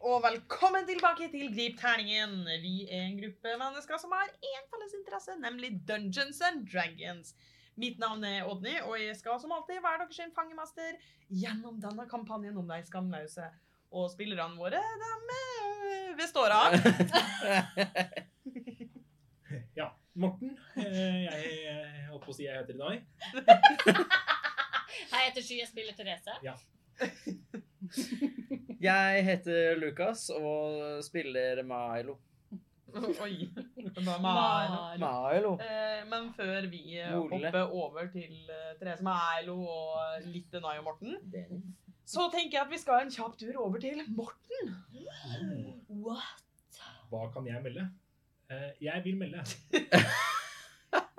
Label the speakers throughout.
Speaker 1: og velkommen tilbake til Grip terningen. Vi er en gruppe mennesker som har én felles interesse, nemlig Dungeons and Dragons. Mitt navn er Odny, og jeg skal som alltid være deres fangemester gjennom denne kampanjen om de skamløse. Og spillerne våre, de eh, består av
Speaker 2: Ja. Morten. eh, Jeg jeg holdt på å si jeg heter Inai.
Speaker 3: Hei, jeg heter Sky, jeg spiller Therese.
Speaker 4: Jeg heter Lukas og spiller Milo.
Speaker 1: Oi. det var Maro.
Speaker 4: Milo.
Speaker 1: Eh, Men før vi eh,
Speaker 4: Ole.
Speaker 1: hopper over til eh, Therese Meilo og litt Denai og Morten, så tenker jeg at vi skal en kjapp tur over til Morten.
Speaker 3: What?
Speaker 2: Hva kan jeg melde? Eh, Jeg vil melde.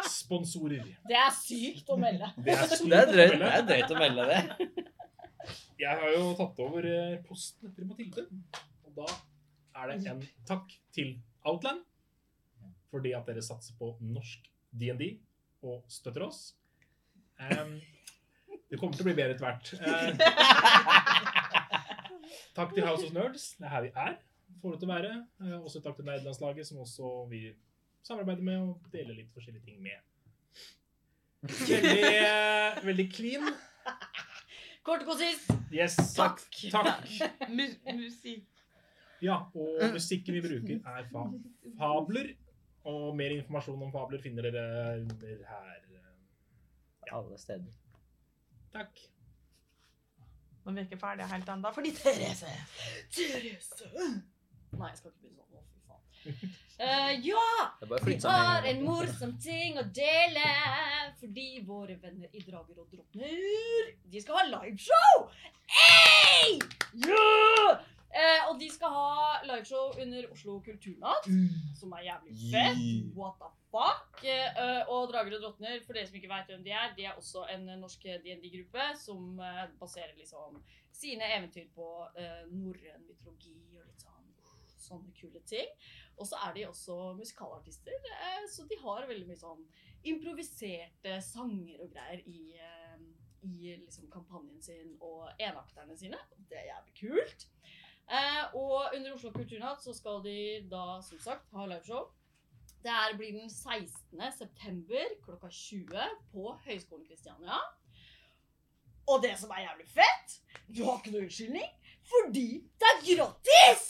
Speaker 2: Sponsorer.
Speaker 3: Det er sykt å melde.
Speaker 2: Det er sykt
Speaker 4: Det er drøyt,
Speaker 2: å
Speaker 4: det
Speaker 2: melde.
Speaker 4: er drøyt å melde det.
Speaker 2: Jeg har jo tatt over eh, posten etter Mathilde. Og da er det en takk til Outland. Fordi at dere satser på norsk DND og støtter oss. Em, det kommer til å bli bedre etter hvert. Eh, Takk til House of Nerds, det er her vi er, får det til å være. Eh, Også takk til Nerdelandslaget, som også vi samarbeider med og deler litt forskjellige ting med. Veldig, eh, veldig clean.
Speaker 3: Kort og konsist.
Speaker 2: Yes, takk. Takk.
Speaker 1: Mu musikk.
Speaker 2: Ja, og musikken vi bruker er fa fabler. Og mer informasjon om fabler finner dere her.
Speaker 4: Alle steder.
Speaker 2: Takk.
Speaker 1: Men vi er ikke ferdige helt ennå, fordi Therese
Speaker 3: Therese. Nei, jeg skal ikke begynne sånn. Å, fy faen. Eh, ja!
Speaker 4: Det Sånn er bare å
Speaker 3: Vi
Speaker 4: flytte
Speaker 3: har
Speaker 4: sammen.
Speaker 3: en morsom ting å dele. Fordi våre venner i Drager og Drottner De skal ha liveshow! Hey! Yeah! Eh, og de skal ha liveshow under Oslo Kulturnatt,
Speaker 1: Mm.
Speaker 3: som er jævlig fett.
Speaker 4: Yeah.
Speaker 3: What the fuck? Eh, eh, og Drager og Drottner, for dere som ikke vet hvem de er, de er også en eh, norsk D&D-gruppe som eh, baserer liksom sine eventyr på eh, norrøn mytologi og litt sånn sånne kule ting. Og så er de også musikalartister, eh, så de har veldig mye sånn improviserte sanger og greier i, eh, i liksom kampanjen sin og enakterne sine. Det er jævlig kult. Eh, og under Oslo Kulturnatt så skal de da som sagt ha liveshow. Det her blir den 16. september klokka 20 på Høgskolen Kristiania. Og det som er jævlig fett, du har ikke noe unnskyldning, fordi det er gratis!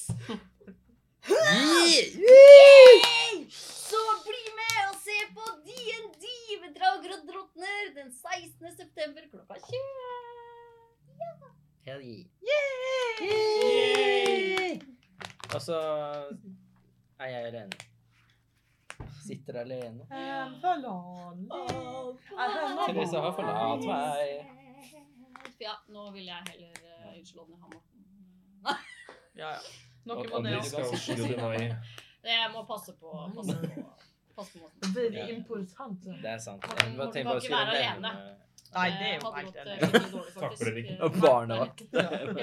Speaker 4: Yeah.
Speaker 3: Yay! Så bli med og se på D&D med Drager og Drottner den 16. september klokka 20.
Speaker 4: Hell yeah.
Speaker 3: Yay!
Speaker 4: Og så Altså, er jeg alene. Sitter alene.
Speaker 1: En forlån.
Speaker 4: Therese har forlatt meg.
Speaker 3: Ja, nå vil jeg heller eh, Unnskyld, Odny. Han må
Speaker 1: Ja, ja. Noe
Speaker 4: Og
Speaker 1: må det
Speaker 4: andre
Speaker 1: også.
Speaker 4: skal
Speaker 3: altså.
Speaker 4: også
Speaker 1: si
Speaker 2: Nei.
Speaker 3: Det jeg må passe på. Passe på. Passe på måten.
Speaker 1: Veldig
Speaker 4: Ja.
Speaker 1: important.
Speaker 4: Det er sant.
Speaker 3: Morten,
Speaker 4: Jeg bare
Speaker 3: Morten
Speaker 4: tenker
Speaker 3: kan
Speaker 4: bare å
Speaker 3: ikke
Speaker 4: skulle
Speaker 3: være
Speaker 4: nevne
Speaker 1: Nei, det er
Speaker 3: Jeg
Speaker 1: jo
Speaker 3: hadde
Speaker 1: helt
Speaker 3: gått, eh,
Speaker 1: enig.
Speaker 3: skikkelig
Speaker 2: Takk
Speaker 3: dårlig,
Speaker 2: for
Speaker 3: faktisk.
Speaker 2: det, Rikke.
Speaker 3: Eh,
Speaker 4: Og barnevakt.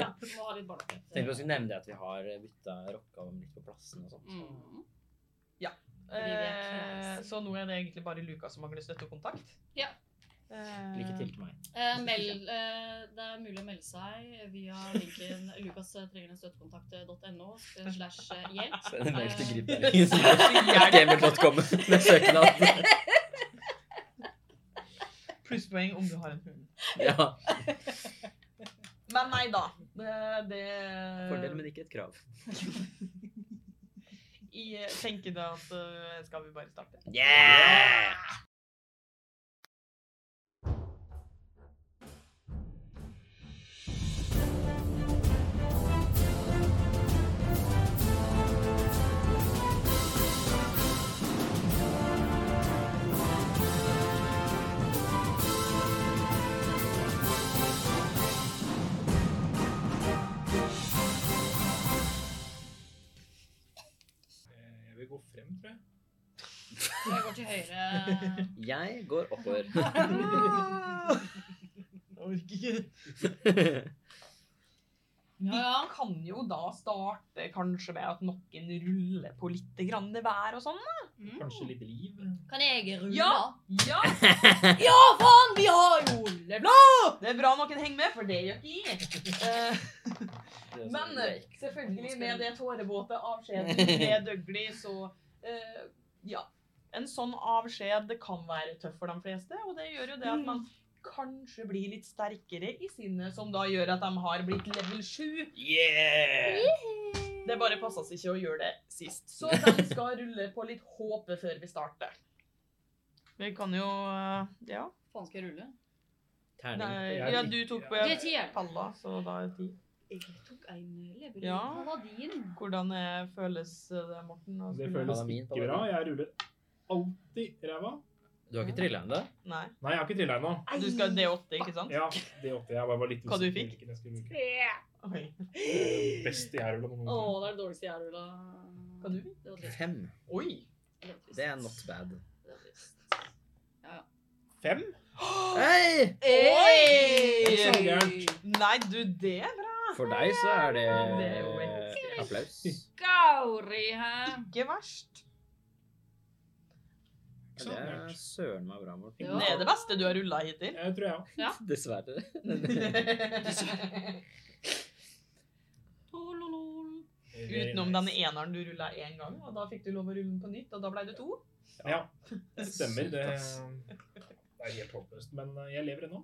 Speaker 3: Ja, må ha litt barnevakt.
Speaker 4: Tenkte bare å skulle nevne det at vi har bytta rocka om litt på plassen og sånt.
Speaker 3: Mm. vi er
Speaker 1: Eh,
Speaker 3: classy.
Speaker 1: Så nå er det egentlig bare Lukas som mangler støttekontakt.
Speaker 3: Ja.
Speaker 1: Eh,
Speaker 4: Lykke til til meg.
Speaker 3: Eh, meld, eh, det er mulig å melde seg via linken eh, lukastrengerenstøttekontakt.no eh, slash hjelp.
Speaker 4: Send en mail til
Speaker 3: Eh,
Speaker 4: gripnæringen.com med søknad.
Speaker 1: Plusspoeng om du har en hund.
Speaker 4: Ja.
Speaker 1: Men nei da. Det, det
Speaker 4: Fordel, men ikke et krav.
Speaker 1: Jeg tenker da at eh, Skal vi bare starte?
Speaker 4: Yeah!
Speaker 2: Eh, Jeg vil gå frem, tror
Speaker 1: Mm.
Speaker 2: jeg.
Speaker 3: Jeg går til høyre.
Speaker 4: Jeg går oppover.
Speaker 1: Jeg orker ikke. Vi
Speaker 3: Ja, ja.
Speaker 1: kan jo da starte kanskje med at noen ruller på litt grann hver og sånn.
Speaker 2: Kanskje litt liv?
Speaker 3: Mm.
Speaker 1: Mm.
Speaker 3: Kan jeg rulle?
Speaker 1: Ja. Ja,
Speaker 3: ja, faen! Vi har jo levla!
Speaker 1: det er bra noen henger med, for det gjør ikke jeg. Eh,
Speaker 4: Det er
Speaker 1: Men
Speaker 4: sånn
Speaker 1: eh,
Speaker 4: greit.
Speaker 1: selvfølgelig, med det tårevåte avskjeden med Dougley, så eh, Ja. En sånn avskjed kan være tøff for de fleste, og det gjør jo det
Speaker 4: Mm.
Speaker 1: at man kanskje blir litt sterkere i sinnet, som da gjør at de har blitt level 7.
Speaker 2: Yeah!
Speaker 1: Det bare passa seg ikke å gjøre det sist. Så de skal rulle på litt håpet før vi starter. Vi kan jo eh, Ja.
Speaker 3: Faen, skal jeg rulle?
Speaker 1: Nei,
Speaker 5: Terning.
Speaker 1: ja du tok på
Speaker 3: Det er tieren.
Speaker 1: palla, så da er det ti.
Speaker 3: Jeg tok en lever.
Speaker 1: Ja.
Speaker 3: Hva var din?
Speaker 1: Hvordan eh, føles det, Morten? å
Speaker 2: Det
Speaker 1: skulle-
Speaker 2: føles
Speaker 4: Palamin,
Speaker 2: ikke bra. Jeg ruller alltid ræva.
Speaker 5: Du har ikke trilla ennå?
Speaker 1: Nei.
Speaker 2: Nei, jeg har ikke trilla ennå.
Speaker 1: Du skal D8, ikke sant?
Speaker 2: Ja, det åtte. Jeg bare var litt
Speaker 1: Hva du
Speaker 2: usikker på
Speaker 1: fikk?
Speaker 2: hvilken jeg skulle bruke.
Speaker 3: Tre.
Speaker 1: Oi.
Speaker 2: Det er det Beste jeg ruller noen
Speaker 3: Å,
Speaker 2: gang.
Speaker 3: det er det dårligste jeg har rulla.
Speaker 1: Hva du fikk?
Speaker 3: Det var trist.
Speaker 5: Fem.
Speaker 1: Oi!
Speaker 3: Det var trist.
Speaker 5: Det er not bad.
Speaker 3: Det var trist.
Speaker 2: Fem?
Speaker 5: Hei!
Speaker 2: Det er så
Speaker 1: Oi!
Speaker 2: gærent.
Speaker 1: Nei, du, det er bra.
Speaker 5: For deg så er det
Speaker 1: Det er jo helt
Speaker 5: eh, applaus.
Speaker 3: Gauri her.
Speaker 1: Ikke verst.
Speaker 5: Det er søren meg bra, Morten.
Speaker 3: Ja.
Speaker 1: Det er det beste du har rulla hittil.
Speaker 2: Jeg eh, tror jeg òg.
Speaker 5: Dessverre.
Speaker 3: Tololol.
Speaker 1: Utenom den eneren du rulla én gang, og da fikk du lov å rulle den på nytt, og da ble det to.
Speaker 2: Ja, det stemmer. Det,
Speaker 5: Ass.
Speaker 2: det er helt håpløst. Men eh, jeg lever ennå.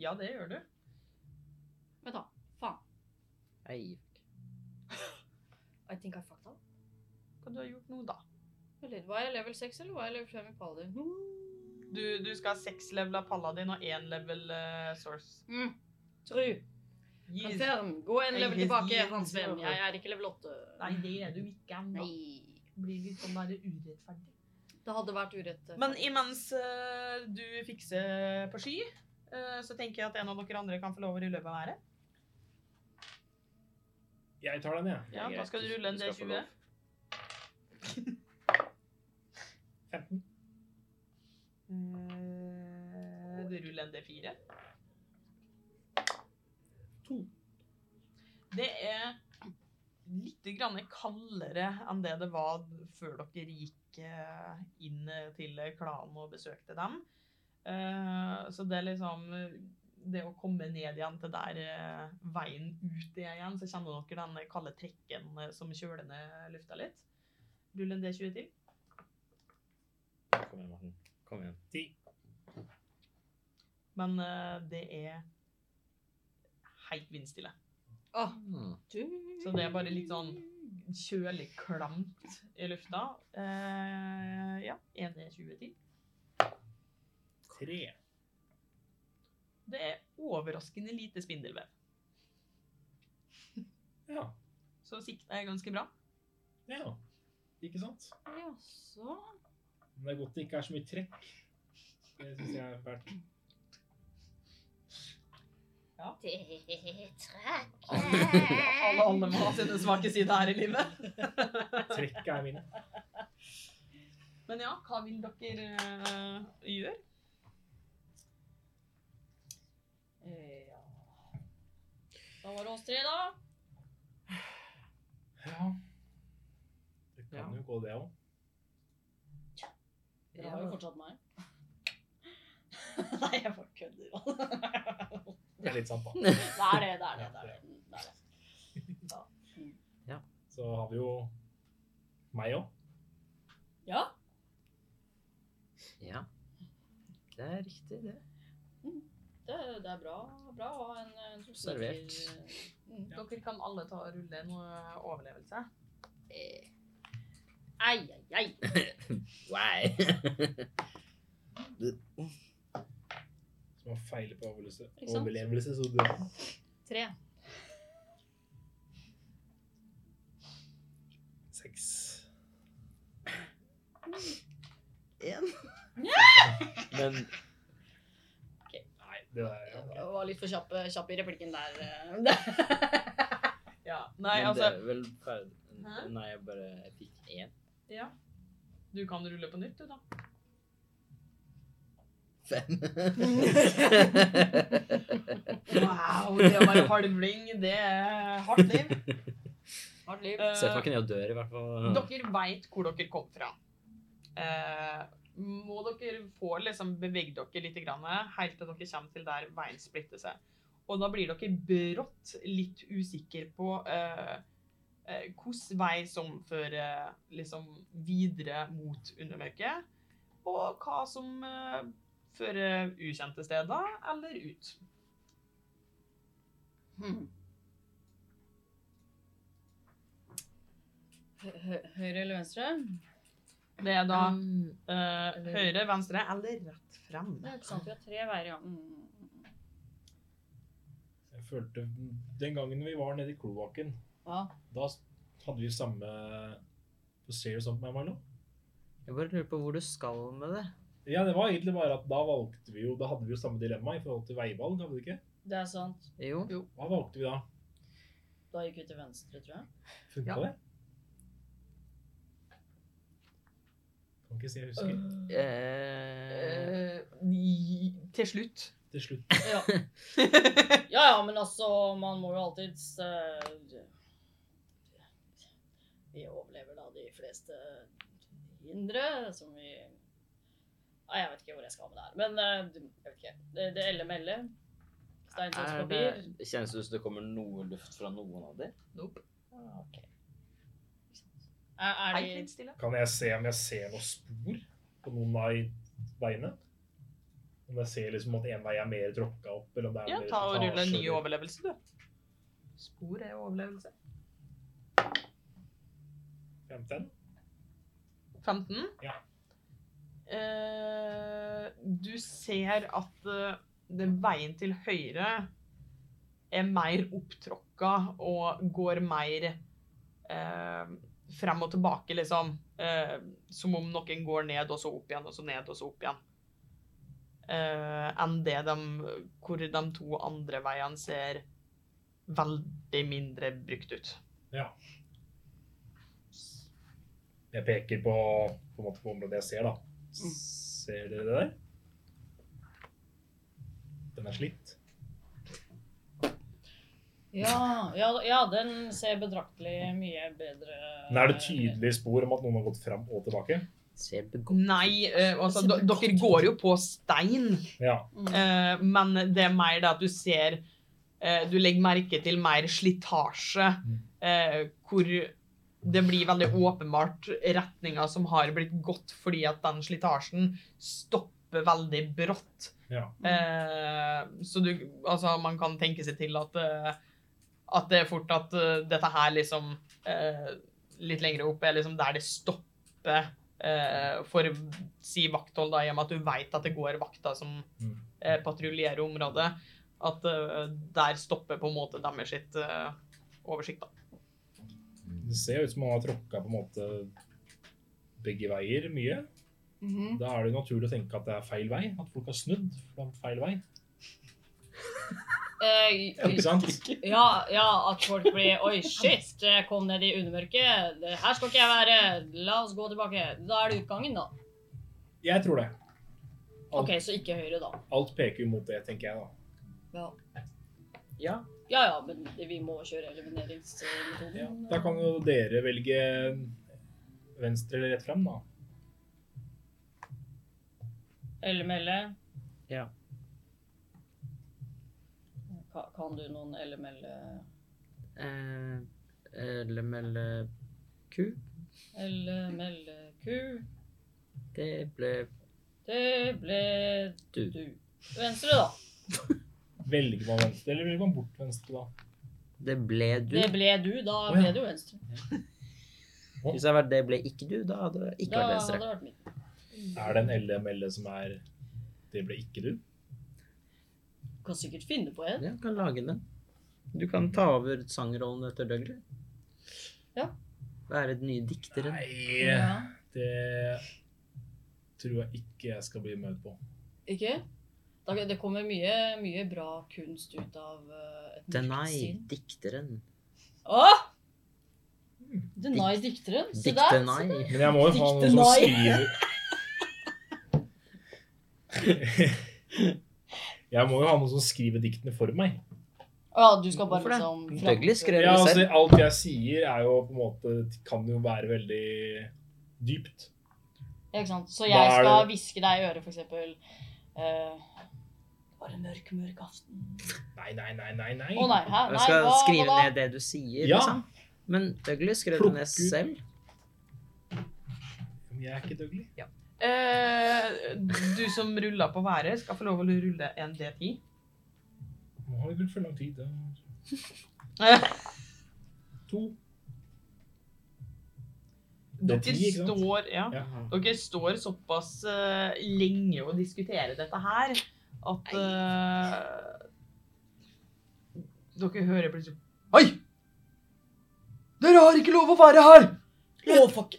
Speaker 1: Ja, det gjør du.
Speaker 3: Vent, da. Faen.
Speaker 5: Hei.
Speaker 3: I think I fucked up.
Speaker 1: Hva du har gjort nå, da?
Speaker 3: Eller var jeg level 6, eller var jeg level 5 i Paladin?
Speaker 1: Mm. Du, du skal ha seks level av paladin og én level eh, source.
Speaker 3: Mm. Tru.
Speaker 1: Yes.
Speaker 3: Confirm. Gå en
Speaker 1: Jeg
Speaker 3: level
Speaker 1: vil
Speaker 3: tilbake,
Speaker 1: gi-
Speaker 3: Hans venn. Jeg er ikke level 8.
Speaker 1: Nei, det er du ikke ennå.
Speaker 3: Nei.
Speaker 1: Blir litt sånn der urettferdig.
Speaker 3: Det hadde vært urett.
Speaker 1: Men imens eh, du fikser på sky, eh, så tenker jeg at en av dere andre kan få lov å rulle på været.
Speaker 2: Jeg tar den, jeg.
Speaker 1: Ja, da skal du rulle en
Speaker 4: skal få
Speaker 1: D20.
Speaker 4: lov.
Speaker 2: 15.
Speaker 1: Eh, Du ruller en D4.
Speaker 2: To.
Speaker 1: Det er litt grann kaldere enn det det var før dere gikk eh, inn til klanen og besøkte dem. Eh, Så det er liksom Det å komme ned igjen til der eh, veien ut er igjen, så kjenner dere den kalde trekken eh, som kjøler ned lufta litt. Rull en D20 til.
Speaker 5: Kom igjen, Morten. Kom igjen.
Speaker 2: Ti.
Speaker 1: Men eh, det er helt vindstille.
Speaker 3: Åh,
Speaker 5: Hmm.
Speaker 1: Så det er bare litt sånn- Kjølig klamt i lufta. Eh, ja, 1D2010.
Speaker 2: Tre.
Speaker 1: Det er overraskende lite spindelvev.
Speaker 2: Ja.
Speaker 1: Så sikta er ganske bra.
Speaker 2: ja. Ikke sant?
Speaker 3: Jaså.
Speaker 2: Men det er godt det ikke er så mye trekk. Det syns jeg er fælt.
Speaker 6: Det er trekk.
Speaker 1: Alle, alle må ha sine svake sider her i livet.
Speaker 2: Trekk er mine.
Speaker 1: Men ja, hva vil dere eh, gjøre? Eh,
Speaker 3: Ja. Da var det oss tre, da.
Speaker 2: Ja. Det kan jo gå, det òg.
Speaker 3: Dere har jo fortsatt meg. Nei, jeg bare kødder.
Speaker 2: Det er litt sant, da.
Speaker 3: Det er det, det er det. det, er det. det, er det.
Speaker 2: så har vi jo meg òg.
Speaker 3: Ja.
Speaker 5: Ja. Det er riktig, det.
Speaker 3: Det, det er bra, bra å ha en, en som Mm.
Speaker 5: Servert.
Speaker 3: sitter-
Speaker 1: Dere kan alle ta og rulle en eh, overlevelse.
Speaker 3: Eh. Ei, ei, ei.
Speaker 5: Wow.
Speaker 2: Som har feil på overlevelse,
Speaker 3: Ikke sant?
Speaker 2: overlevelse så du
Speaker 3: Tre.
Speaker 2: Seks.
Speaker 5: Men
Speaker 2: Nei, det der ja, ok.
Speaker 3: Jeg var litt for kjapp, kjapp i replikken der. eh,
Speaker 1: Ja, nei,
Speaker 5: Men
Speaker 1: altså
Speaker 5: det er vel ferdig.
Speaker 1: Hæ?
Speaker 5: Nei, jeg bare jeg fikk én.
Speaker 1: ja. Du kan rulle på nytt, du, da.
Speaker 5: Fem.
Speaker 1: Wow, det å være halvling, det er hardt liv.
Speaker 3: Hardt liv.
Speaker 1: Eh,
Speaker 5: Sett meg ikke ned og dør, i hvert fall.
Speaker 1: Dere veit hvor dere kom fra. Eh, må dere få liksom bevege dere litt grann, helt til dere kommer til der veien splitter seg. Og da blir dere brått litt usikre på eh, eh, hvilken vei som fører liksom videre mot undermørket, og hva som eh, fører ukjente steder eller ut.
Speaker 3: Hmm. Hø- hø- Høyre eller venstre?
Speaker 1: Det er da eh, høyre, venstre eller rett frem.
Speaker 3: Det er ikke sant, vi har tre veier, ja. Mm.
Speaker 2: Jeg følte Den gangen vi var nede i kloakken,
Speaker 3: ja.
Speaker 2: da s- hadde vi samme For ser du sånt med meg, Milo?
Speaker 5: Jeg bare lurer på hvor du skal med det.
Speaker 2: Ja, det var egentlig bare at da valgte vi jo Da hadde vi jo samme dilemma i forhold til veivalg, hadde vi ikke?
Speaker 3: Det er sant.
Speaker 5: Jo.
Speaker 2: Hva valgte vi da?
Speaker 3: Da gikk vi til venstre, tror jeg.
Speaker 2: Funka
Speaker 1: Ja.
Speaker 2: det? Kan ikke si jeg husker.
Speaker 3: Mm.
Speaker 5: Eh,
Speaker 1: Eh, i- til slutt.
Speaker 2: Til slutt
Speaker 3: Ja. ja, ja, men altså, man må jo alltid eh, Vi overlever da de fleste hindre som vi Nei, jeg vet ikke hvor jeg skal med det her, men eh, jeg vet ikke. Det, det er LML. Stein, saks,
Speaker 5: er det,
Speaker 3: sånn papir.
Speaker 5: kjennes det ut som det kommer noe luft fra noen av dem?
Speaker 1: Nope.
Speaker 5: Ah, ok.
Speaker 3: Er, er
Speaker 1: Helt
Speaker 3: de
Speaker 1: litt stille.
Speaker 2: Kan jeg se om jeg ser noen spor på noen av veiene? Om jeg ser liksom at en vei er mer tråkka opp, eller om det er
Speaker 1: Ja,
Speaker 2: mer
Speaker 1: ta og
Speaker 2: slitasje,
Speaker 1: rulle en ny
Speaker 2: eller-
Speaker 1: overlevelse, du. Spor er overlevelse.
Speaker 2: 15?
Speaker 1: 15.
Speaker 2: Ja.
Speaker 1: Eh, du ser at eh, den veien til høyre er mer opptråkka og går mer eh, frem og tilbake, liksom. Eh, som om noen går ned og så opp igjen, og så ned og så opp igjen. Eh, enn det de, hvor de to andre veiene ser veldig mindre brukt ut.
Speaker 2: Jeg peker på, på, en måte på området jeg ser, da. Ser dere det der? Den er slitt.
Speaker 3: ja, ja, ja, den ser betraktelig mye bedre
Speaker 2: Men er det tydelige spor om at noen har gått fram og tilbake?
Speaker 5: Ser begått
Speaker 1: Nei, eh, altså, d- dere går jo på stein.
Speaker 2: Ja.
Speaker 3: Mm.
Speaker 1: Eh, men det er mer det at du ser eh, Du legger merke til mer slitasje.
Speaker 2: Mm.
Speaker 1: eh, hvor det blir veldig åpenbart retninger som har blitt gått fordi at den slitasjen stopper veldig brått.
Speaker 2: ja.
Speaker 1: Eh, så du Altså, man kan tenke seg til at eh, at det er fort at eh, dette her liksom eh, Litt lenger opp er liksom der det stopper eh, for si vakthold, da, i og med at du veit at det går vakter som
Speaker 2: Mm.
Speaker 1: eh, patruljere området, at eh, der stopper på en måte deres sitt eh, oversikt. Da.
Speaker 2: Det ser ut som man har tråkka på en måte begge veier mye.
Speaker 5: Mm.
Speaker 3: Mhm.
Speaker 2: Da er det jo naturlig å tenke at det er feil vei. At folk har snudd. for det er feil vei.
Speaker 3: Eh,
Speaker 2: Ikke sant?
Speaker 3: Ja, ja, at folk blir Oi, shit, jeg kom ned i undermørket. Det- Her skal ikke jeg være. La oss gå tilbake. Da er det utgangen, da.
Speaker 2: Jeg tror det.
Speaker 3: OK, så ikke høyre, da.
Speaker 2: Alt peker jo mot det, tenker jeg da.
Speaker 3: Ja
Speaker 5: Ja.
Speaker 3: ja, ja men vi må kjøre elimineringsmetoden.
Speaker 2: Da kan jo dere velge venstre eller rett frem, da.
Speaker 3: Elle melle.
Speaker 5: Ja.
Speaker 3: Ka- Kan du noen elle melle
Speaker 5: eh, LML Q.
Speaker 3: Elle melle ku?
Speaker 5: Det ble
Speaker 3: Det ble
Speaker 5: Du.
Speaker 3: du. Venstre, da.
Speaker 2: Velger man venstre, eller velger man bort venstre, da?
Speaker 5: Det ble du.
Speaker 3: Det ble du. Da
Speaker 2: Å, ja.
Speaker 3: ble det jo venstre.
Speaker 5: Hvis det hadde vært det ble ikke du, da hadde det ikke
Speaker 3: Da
Speaker 5: vært
Speaker 3: hadde det
Speaker 5: venstre.
Speaker 3: vært mitt.
Speaker 2: Er det en LML E som er Det ble ikke du?
Speaker 3: Kan sikkert finne på en.
Speaker 5: Ja, kan lage den. Du kan ta over sangrollen etter Dougley.
Speaker 3: Ja.
Speaker 5: Være den nye dikteren.
Speaker 2: Nei,
Speaker 3: Ja.
Speaker 2: det tror jeg ikke jeg skal bli med på.
Speaker 3: Ikke? Da, det kommer mye, mye bra kunst ut av eh, et
Speaker 5: Denai,
Speaker 3: magasin.
Speaker 5: dikteren.
Speaker 3: Åh! Denai dikteren. Se der.
Speaker 5: Dikt-Denai.
Speaker 2: Men jeg må jo ha noen
Speaker 3: Dikte
Speaker 2: som
Speaker 3: nei.
Speaker 2: skriver Jeg må jo ha noen som skriver diktene for meg.
Speaker 3: Ja, du skal bare
Speaker 5: Hvorfor det?
Speaker 3: liksom
Speaker 5: Douglas skrev
Speaker 2: Ja,
Speaker 5: det
Speaker 2: altså,
Speaker 5: selv.
Speaker 2: alt jeg sier er jo på en måte Kan jo være veldig dypt.
Speaker 3: Ja, Ikke sant? Så
Speaker 2: Da
Speaker 3: jeg
Speaker 2: er
Speaker 3: skal
Speaker 2: det-
Speaker 3: hviske deg i øret, for eksempel. eh, det var en mørk, mørk aften.
Speaker 2: Nei, nei, nei, nei. nei.
Speaker 3: Å nei, hæ?
Speaker 5: Jeg
Speaker 3: Nei,
Speaker 5: skal
Speaker 3: hva,
Speaker 5: skrive
Speaker 3: hva da?
Speaker 5: ned det du sier,
Speaker 2: Ja.
Speaker 5: liksom. Men Douglas skrev det
Speaker 2: Plukke
Speaker 5: ned
Speaker 2: ut.
Speaker 5: selv.
Speaker 2: Men Jeg er ikke døglig.
Speaker 1: Eh, du som ruller på været, skal få lov å rulle en D10.
Speaker 2: Nå har vi brukt for lang tid. da.
Speaker 1: Eh,
Speaker 2: To.
Speaker 1: Dere
Speaker 2: D10, ikke sant?
Speaker 1: står, ja,
Speaker 2: Ja.
Speaker 1: dere står såpass eh, lenge å diskutere dette her at eh, Dere hører plutselig Oi! Dere har ikke lov å være her! Å, fuck.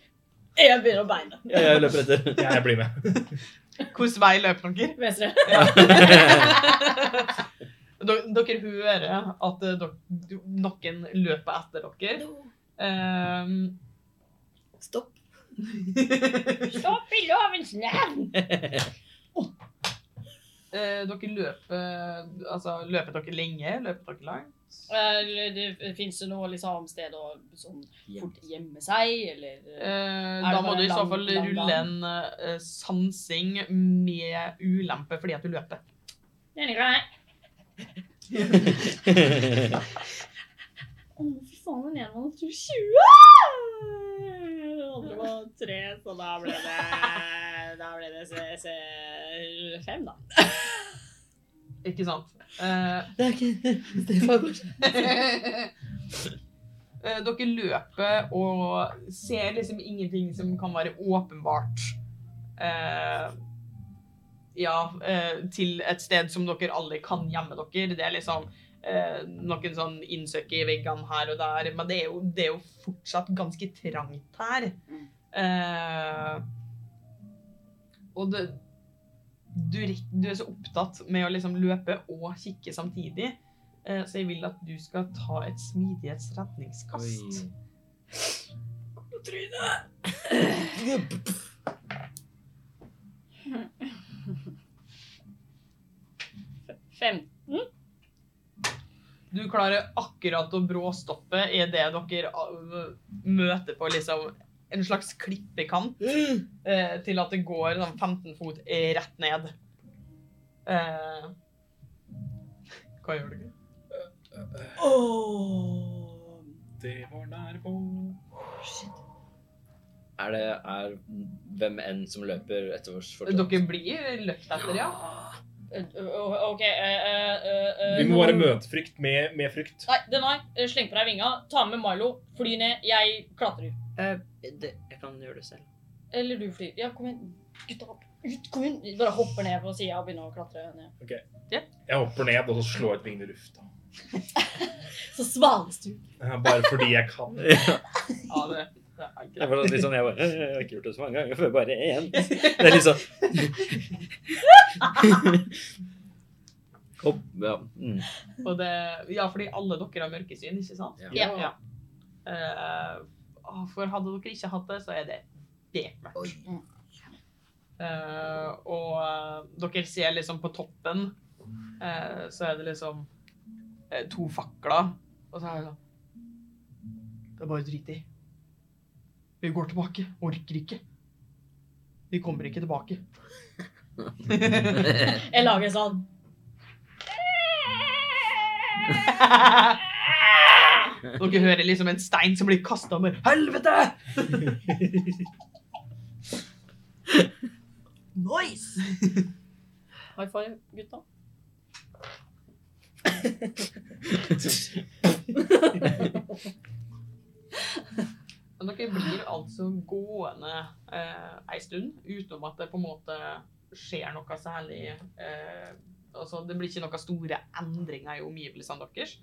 Speaker 3: Jeg begynner å beine.
Speaker 4: Ja, jeg løper etter.
Speaker 2: Ja, jeg blir med.
Speaker 1: Hvilken vei løp dere?
Speaker 3: Venstre.
Speaker 1: Dere, dere hører at eh, dok- noen løper etter dere. Ehm,
Speaker 4: Stopp.
Speaker 3: Stopp i lovens navn!
Speaker 1: eh, dere løper Altså, løper dere lenge? Løper dere langt?
Speaker 3: Eh, det Fins det noe liksom, sted å sånn, fort gjemme seg, eller eh,
Speaker 1: Eh,
Speaker 3: det
Speaker 1: da må
Speaker 3: bare
Speaker 1: du i så
Speaker 3: lang-
Speaker 1: fall
Speaker 3: lang
Speaker 1: rulle en
Speaker 3: gang?
Speaker 1: eh, sansing med ulempe fordi at du løper.
Speaker 3: Det er grei. Å, fy faen, den ene var natur 20! Den andre var 3, så da ble det Eh, Da ble det se- se- 5, da.
Speaker 1: Ikke sant? Eh,
Speaker 4: Det er ikke Stefan.
Speaker 1: eh, dere løper og ser liksom ingenting som kan være åpenbart. Eh, ja, eh, til et sted som dere alle kan gjemme dere. Det er liksom eh, noen sånn innsøk i veggene her og der, men det er jo, det er jo fortsatt ganske trangt her. Eh, og det, du, rekk- du er så opptatt med å liksom løpe og kikke samtidig, eh, så jeg vil at du skal ta et smidighetsredningskast.
Speaker 3: Fem.
Speaker 1: Du klarer akkurat å bråstoppe i det dere av- møter på liksom en slags klippekant, eh, til at det går sånn 15 fot rett ned. Eh, hva gjør du?
Speaker 2: Det var nær på.
Speaker 4: Er det er hvem enn som løper etter oss fortsatt?
Speaker 1: Dere blir løpt etter, ja.
Speaker 3: Eh, eh, OK eh, eh, eh,
Speaker 2: Vi må bare møte frykt med, med frykt.
Speaker 3: Nei, den har. Eh, Sleng på deg vinga, ta med Milo, fly ned. Jeg klatrer.
Speaker 5: det, jeg kan gjøre det selv.
Speaker 3: Eller du flyr. Ja, kom igjen. Gutta, hopp ut. Kom igjen. Bare hopper ned på sida og begynner å klatre ned.
Speaker 2: Jeg hopper ned og så slår jeg et vingen i lufta.
Speaker 3: Så svales du.
Speaker 2: Eh, Bare fordi jeg kan.
Speaker 1: ja det, det er greit.
Speaker 4: Jeg var litt sånn, jeg bare, jeg har ikke gjort det så mange ganger før, bare én. Det er litt sånn. Hopp, ja. Mm.
Speaker 1: Og det, ja, fordi alle dere har mørkesyn, ikke sant?
Speaker 4: Ja.
Speaker 3: Ja.
Speaker 1: Eh, å, for hadde dere ikke hatt det, så er det bekmørkt.
Speaker 3: Oi.
Speaker 1: Eh, og eh, dere ser liksom på toppen, eh, så er det liksom eh, to fakler, og så er det sånn Det er bare drit i. Vi går tilbake. Orker ikke. Vi kommer ikke tilbake.
Speaker 4: Mm.
Speaker 3: Jeg lager sånn.
Speaker 1: Dere hører liksom en stein som blir kasta med Helvete! nice!
Speaker 3: High five, gutta.
Speaker 1: Men dere blir altså gående eh, ei stund utenom at det på en måte skjer noe særlig eh, altså Det blir ikke noen store endringer i omgivelsene deres.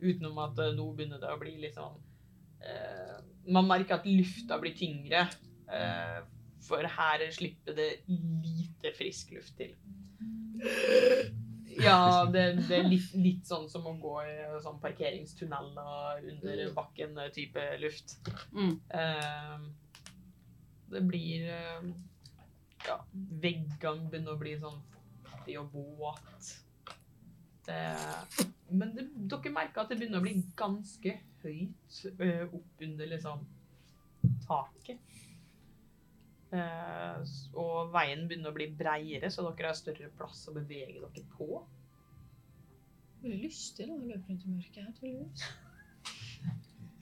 Speaker 1: Utenom at eh, nå begynner det å bli litt sånn eh, Man merker at lufta blir tyngre. Eh, for her slipper det lite frisk luft til. Ja, det, det er litt, litt sånn som å gå i sånn parkeringstuneller under bakken-type luft.
Speaker 3: Mm.
Speaker 1: Eh, det blir eh, Ja, veggene begynner å bli sånn kaffe og båt. Det, men det, dere merker at det begynner å bli ganske høyt eh, opp under liksom taket. Eh, s- og veien begynner å bli breiere, så dere har større plass å bevege dere på.
Speaker 7: Veldig lyst til å løpe rundt i mørket her,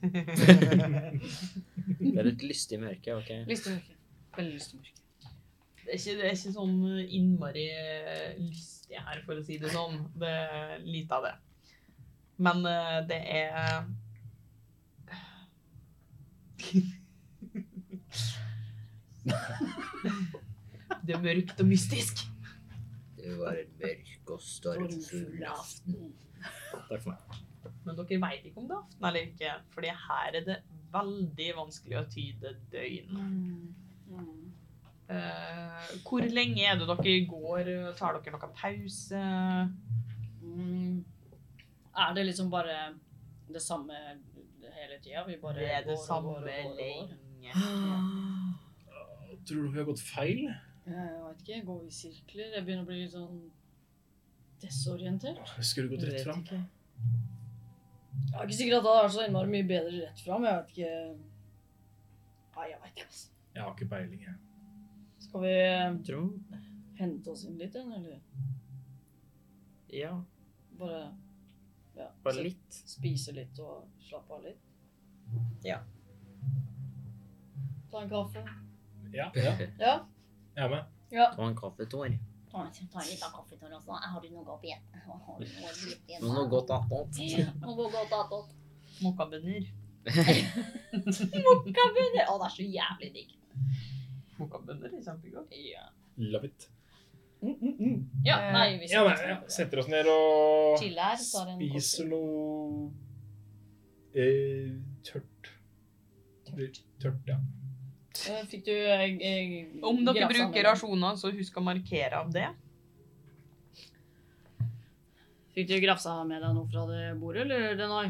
Speaker 7: tydeligvis.
Speaker 5: Det er et lystig mørke, ok.
Speaker 7: Lyst til mørket. Veldig lyst til mørket.
Speaker 1: Det er, ikke, det er ikke sånn innmari eh, lystig her, for å si det sånn. Det er lite av det. Men eh, det er Det er mørkt og mystisk.
Speaker 8: Det var en mørk og stormfull aften.
Speaker 2: Takk for meg.
Speaker 1: Men dere veit ikke om det er aften eller ikke, Fordi her er det veldig vanskelig å tyde døgn.
Speaker 3: Mm.
Speaker 1: Eh, hvor lenge er det dere går? Tar dere noen pause?
Speaker 3: Mm. Er det liksom bare det samme hele tida? Vi bare
Speaker 1: Det er det
Speaker 3: går og
Speaker 1: samme
Speaker 3: går og går og går?
Speaker 1: lenge.
Speaker 5: Ah.
Speaker 2: Tror du vi har gått feil?
Speaker 3: Jeg vet ikke. Gå i sirkler. Jeg begynner å bli litt sånn desorientert.
Speaker 2: Skulle gått rett
Speaker 1: Vet
Speaker 2: fram.
Speaker 1: ikke.
Speaker 3: Jeg er ikke sikker at det hadde vært så innmari mye bedre rett fram. Jeg vet ikke Nei, jeg vet ikke, altså.
Speaker 2: Jeg har ikke peiling, jeg.
Speaker 3: Skal vi eh,
Speaker 5: Tror
Speaker 3: hente oss inn litt igjen, eller
Speaker 5: Ja,
Speaker 3: bare ja,
Speaker 5: bare litt.
Speaker 3: spise litt og slappe av litt?
Speaker 1: Ja.
Speaker 3: Ta en kaffe.
Speaker 2: Ja, ja.
Speaker 3: Ja.
Speaker 2: Jeg er med.
Speaker 3: ja.
Speaker 5: Ta en kaffetår.
Speaker 6: Ta ta litt av kaffetårnet også. Jeg har du noe opp igjen? Jeg Har du noe litt igjen?
Speaker 5: Noe godt annet.
Speaker 6: Noe godt attåt.
Speaker 1: Mokkabønner.
Speaker 6: Kaffebønner! Å, det er så jævlig digg.
Speaker 1: Mokkabønner er kjempegodt.
Speaker 3: Ja.
Speaker 2: Love it.
Speaker 3: Mm, mm, mm. ja.
Speaker 1: Eh,
Speaker 3: Nei, vi
Speaker 2: Ja, nei, ja. Setter oss ned og
Speaker 3: Chill her, tar en
Speaker 2: spiser
Speaker 3: kopp.
Speaker 2: noe eh, tørt. Tørt, ja.
Speaker 3: Eh, Fikk du eh, eh,
Speaker 1: Om dere
Speaker 3: grafsa ned?
Speaker 1: bruker rasjoner, så husk å markere av det.
Speaker 3: Fikk du grafsa med deg noe fra det bordet, eller Denai?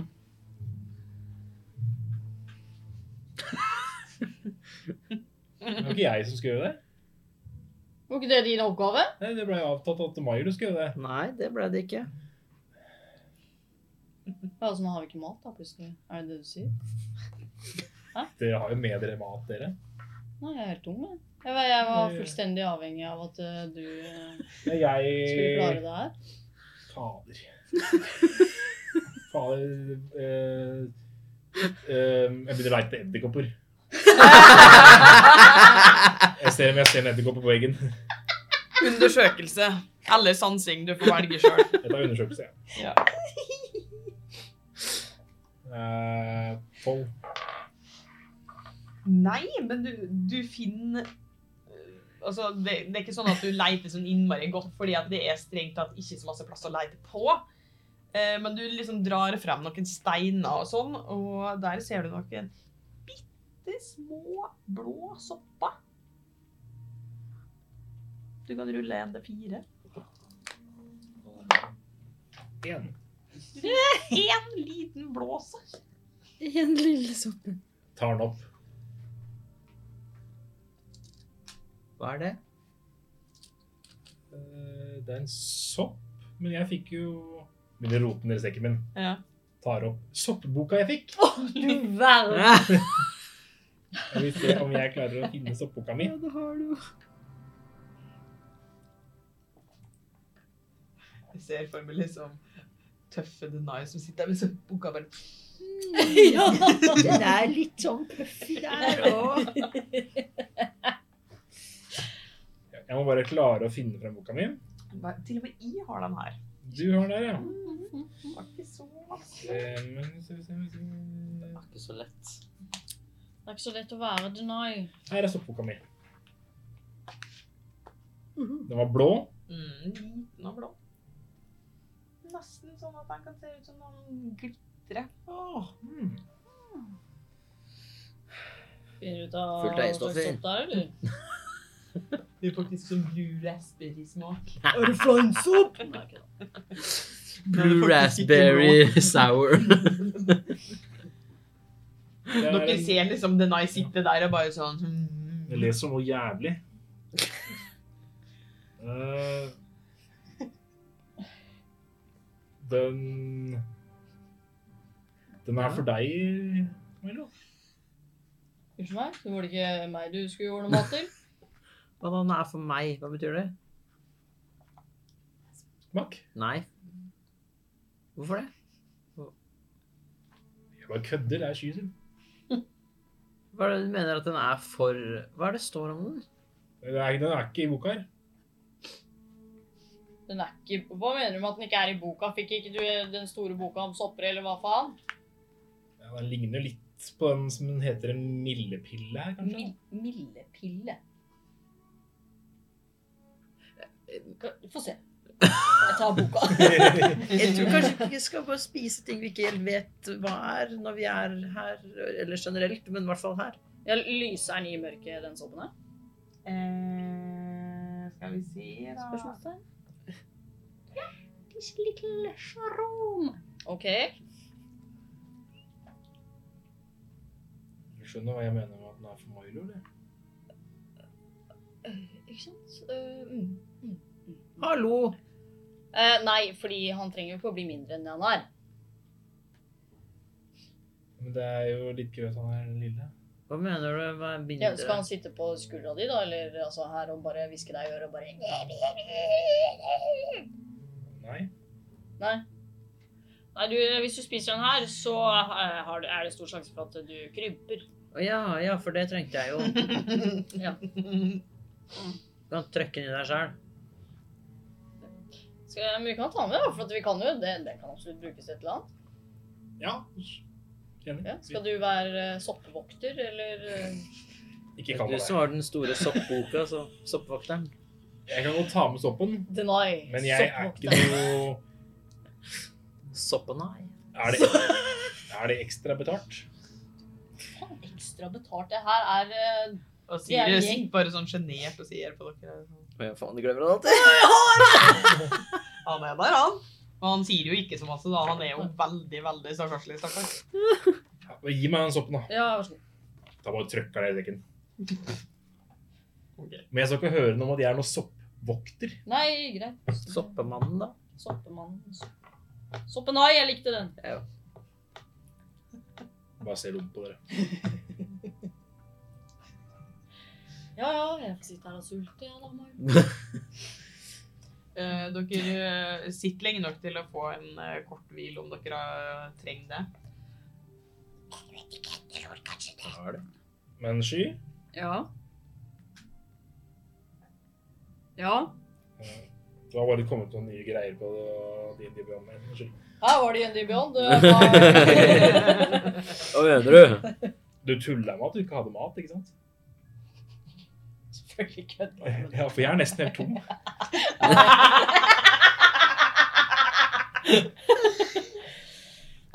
Speaker 2: Det var ikke jeg som skulle gjøre det.
Speaker 3: Var ikke det din oppgave?
Speaker 2: Nei, det ble jo avtalt at Maier skulle gjøre det.
Speaker 5: Nei, det ble det ikke.
Speaker 3: Ja, altså, nå har vi ikke mat, da, plutselig. Er det det du sier?
Speaker 2: Dere har jo med dere mat, dere.
Speaker 3: Nei, jeg er helt tom, jeg. Jeg var, jeg var fullstendig avhengig av at eh, du eh,
Speaker 2: Men
Speaker 3: skulle klare
Speaker 2: Jeg
Speaker 3: det her.
Speaker 2: Fader. Fader eh, eh, Jeg begynner å leite edderkopper. Jeg ser om jeg ser en edderkopp på veggen.
Speaker 1: Undersøkelse. Eller sansing. Du får velge sjøl.
Speaker 2: Jeg tar undersøkelse, jeg.
Speaker 1: Ja.
Speaker 2: Eh, Tolv.
Speaker 1: Nei, men du, du finner øh, Altså, det, det er ikke sånn at du leiter sånn innmari godt, fordi at det er strengt tatt ikke så masse plass å leite på. Eh, Men du liksom drar frem noen steiner og sånn, og der ser du noen bitte små blå sopper. Du kan rulle en til fire.
Speaker 2: En.
Speaker 1: Én liten blå sopp.
Speaker 7: En lille sopp.
Speaker 2: Tar den opp.
Speaker 5: Hva er det?
Speaker 2: Eh, det er en sopp, men jeg fikk jo Begynner å rote den i sekken min.
Speaker 1: Ja.
Speaker 2: Tar opp soppboka jeg fikk.
Speaker 3: Du verden!
Speaker 2: Jeg vil se om jeg klarer å finne soppboka mi.
Speaker 7: det har du.
Speaker 1: Jeg ser for meg liksom tøffe Denai som sitter der med sånn boka bare
Speaker 3: ja.
Speaker 8: Den er litt sånn puffy der òg.
Speaker 2: Jeg må bare klare å finne frem boka mi.
Speaker 1: Hva- Til og med I har den her.
Speaker 2: Du har den der, ja.
Speaker 1: Det var ikke så vanskelig.
Speaker 2: Eh, men- se, se, se, se.
Speaker 5: Ikke så lett.
Speaker 3: Det er ikke så lett å være Denai.
Speaker 2: Her er soppboka mi.
Speaker 3: Mhm.
Speaker 2: Den var blå.
Speaker 1: Mm, liten og blå. Nesten sånn at den kan se ut som noen glitrer.
Speaker 2: Mm.
Speaker 3: Finner ut av sånn
Speaker 8: Fullt av E-stoffer.
Speaker 3: hva slags sopp det er, eller?
Speaker 1: Det er faktisk som blue raspberry-smak.
Speaker 3: Er det fleinsopp? Nei, ikke det.
Speaker 1: Nei, det er
Speaker 5: Blue
Speaker 1: faktisk ikke
Speaker 5: raspberry sour.
Speaker 2: Det er
Speaker 1: Dere
Speaker 2: en-
Speaker 1: ser liksom Denai sitte der og bare sånn hmm.
Speaker 2: Jeg leser noe jævlig. Eh, Den Den er for deg, Milo.
Speaker 3: Unnskyld meg, så var det ikke meg du skulle ordne mat til?
Speaker 5: Hva da, den er for meg? Hva betyr det?
Speaker 2: Smak.
Speaker 5: Nei. Hvorfor det?
Speaker 2: Jeg bare kødder. Det er sky sin.
Speaker 5: Hva er det du mener at den er for Hva er det står om den?
Speaker 2: Den er, den er ikke i boka her.
Speaker 3: Den er ikke, hva mener du med at den ikke er i boka? Fikk ikke du den store boka om sopper, eller hva faen?
Speaker 2: Ja, Den ligner litt på den som heter en mildepille her, kanskje.
Speaker 3: Mil mildepille. Få se. Jeg tar boka.
Speaker 5: Jeg tror
Speaker 1: Eh,
Speaker 5: kanskje ikke vi skal bare spise ting vi ikke helt vet hva er, når vi er her, eller generelt, men i hvert fall her.
Speaker 3: Jeg lyser den i mørket, den soppen her?
Speaker 1: Eh, skal vi se, da
Speaker 3: Spørsmålstegn.
Speaker 6: This little shroom.
Speaker 3: OK. Eh,
Speaker 2: Du skjønner hva jeg mener med at den er for Milo, eller?
Speaker 7: Ikke sant? Eh, mm.
Speaker 5: Hallo!
Speaker 3: Eh, nei, fordi han trenger jo ikke å bli mindre enn det han er.
Speaker 2: Men det er jo litt gøy at han er lille.
Speaker 5: Hva mener du? Hva er
Speaker 3: Ja,
Speaker 5: bildet?
Speaker 3: skal han sitte på skuldra di, da, eller altså her og bare hviske deg i øret og bare
Speaker 2: Nei.
Speaker 3: Nei. Nei, du, hvis du spiser den her, så eh, har du, er det stor sjanse for at du krymper.
Speaker 5: Å ja, ja, for det trengte jeg jo.
Speaker 3: Ja.
Speaker 1: Mm.
Speaker 5: Du kan trykke den i deg sjøl.
Speaker 3: Skal, men vi kan ta den med, da, for at vi kan jo det, det kan absolutt brukes til et eller annet.
Speaker 2: Ja. Enig.
Speaker 3: Ja. Skal du være eh, soppevokter, eller eh,
Speaker 2: Ikke kall
Speaker 5: Du
Speaker 2: meg
Speaker 5: som
Speaker 2: det.
Speaker 5: har den store soppboka, så soppvokteren.
Speaker 2: Jeg kan godt ta med soppen,
Speaker 3: Deny.
Speaker 2: men jeg er ikke
Speaker 3: soppevokter.
Speaker 2: noe
Speaker 5: Soppenai.
Speaker 2: Er det, er det ekstra betalt?
Speaker 3: Faen, Ekstra betalt. Det her er eh,
Speaker 1: Og
Speaker 3: Vi er en
Speaker 1: Siri
Speaker 3: gjeng.
Speaker 1: sitter bare sånn sjenert og sier på dere.
Speaker 5: Å ja, faen, du glemmer det alltid.
Speaker 1: Han er der, han. Og han sier jo ikke så masse, da. Han er jo veldig, veldig stakkarslig. Stakkars.
Speaker 2: Ja, men gi meg den soppen, da.
Speaker 3: Ja, vær så god.
Speaker 2: Da bare trykker jeg deg i dekken.
Speaker 1: Ok.
Speaker 2: Men jeg skal ikke høre noe om at jeg er noen soppvokter.
Speaker 3: Nei, greit.
Speaker 5: Soppemannen, da.
Speaker 3: Soppemann. Soppenai, jeg likte den.
Speaker 2: Bare se rundt på dere.
Speaker 3: Ja, ja, jeg får sitte her og sulte, jeg, da. Mario.
Speaker 1: Eh, dere eh, sitter lenge nok til å få en eh, kort hvil om dere eh, trenger det.
Speaker 2: Er det? Men sky
Speaker 3: Ja. Ja.
Speaker 2: eh, Det har bare kommet noen nye greier på DND-programmet.
Speaker 3: Her var det Jenny Beyond. Det var-
Speaker 4: Hva mener du?
Speaker 2: Du tulla med at du ikke hadde mat, ikke sant?
Speaker 3: Selvfølgelig kødder jeg med det.
Speaker 2: Ja, for jeg er nesten helt tom.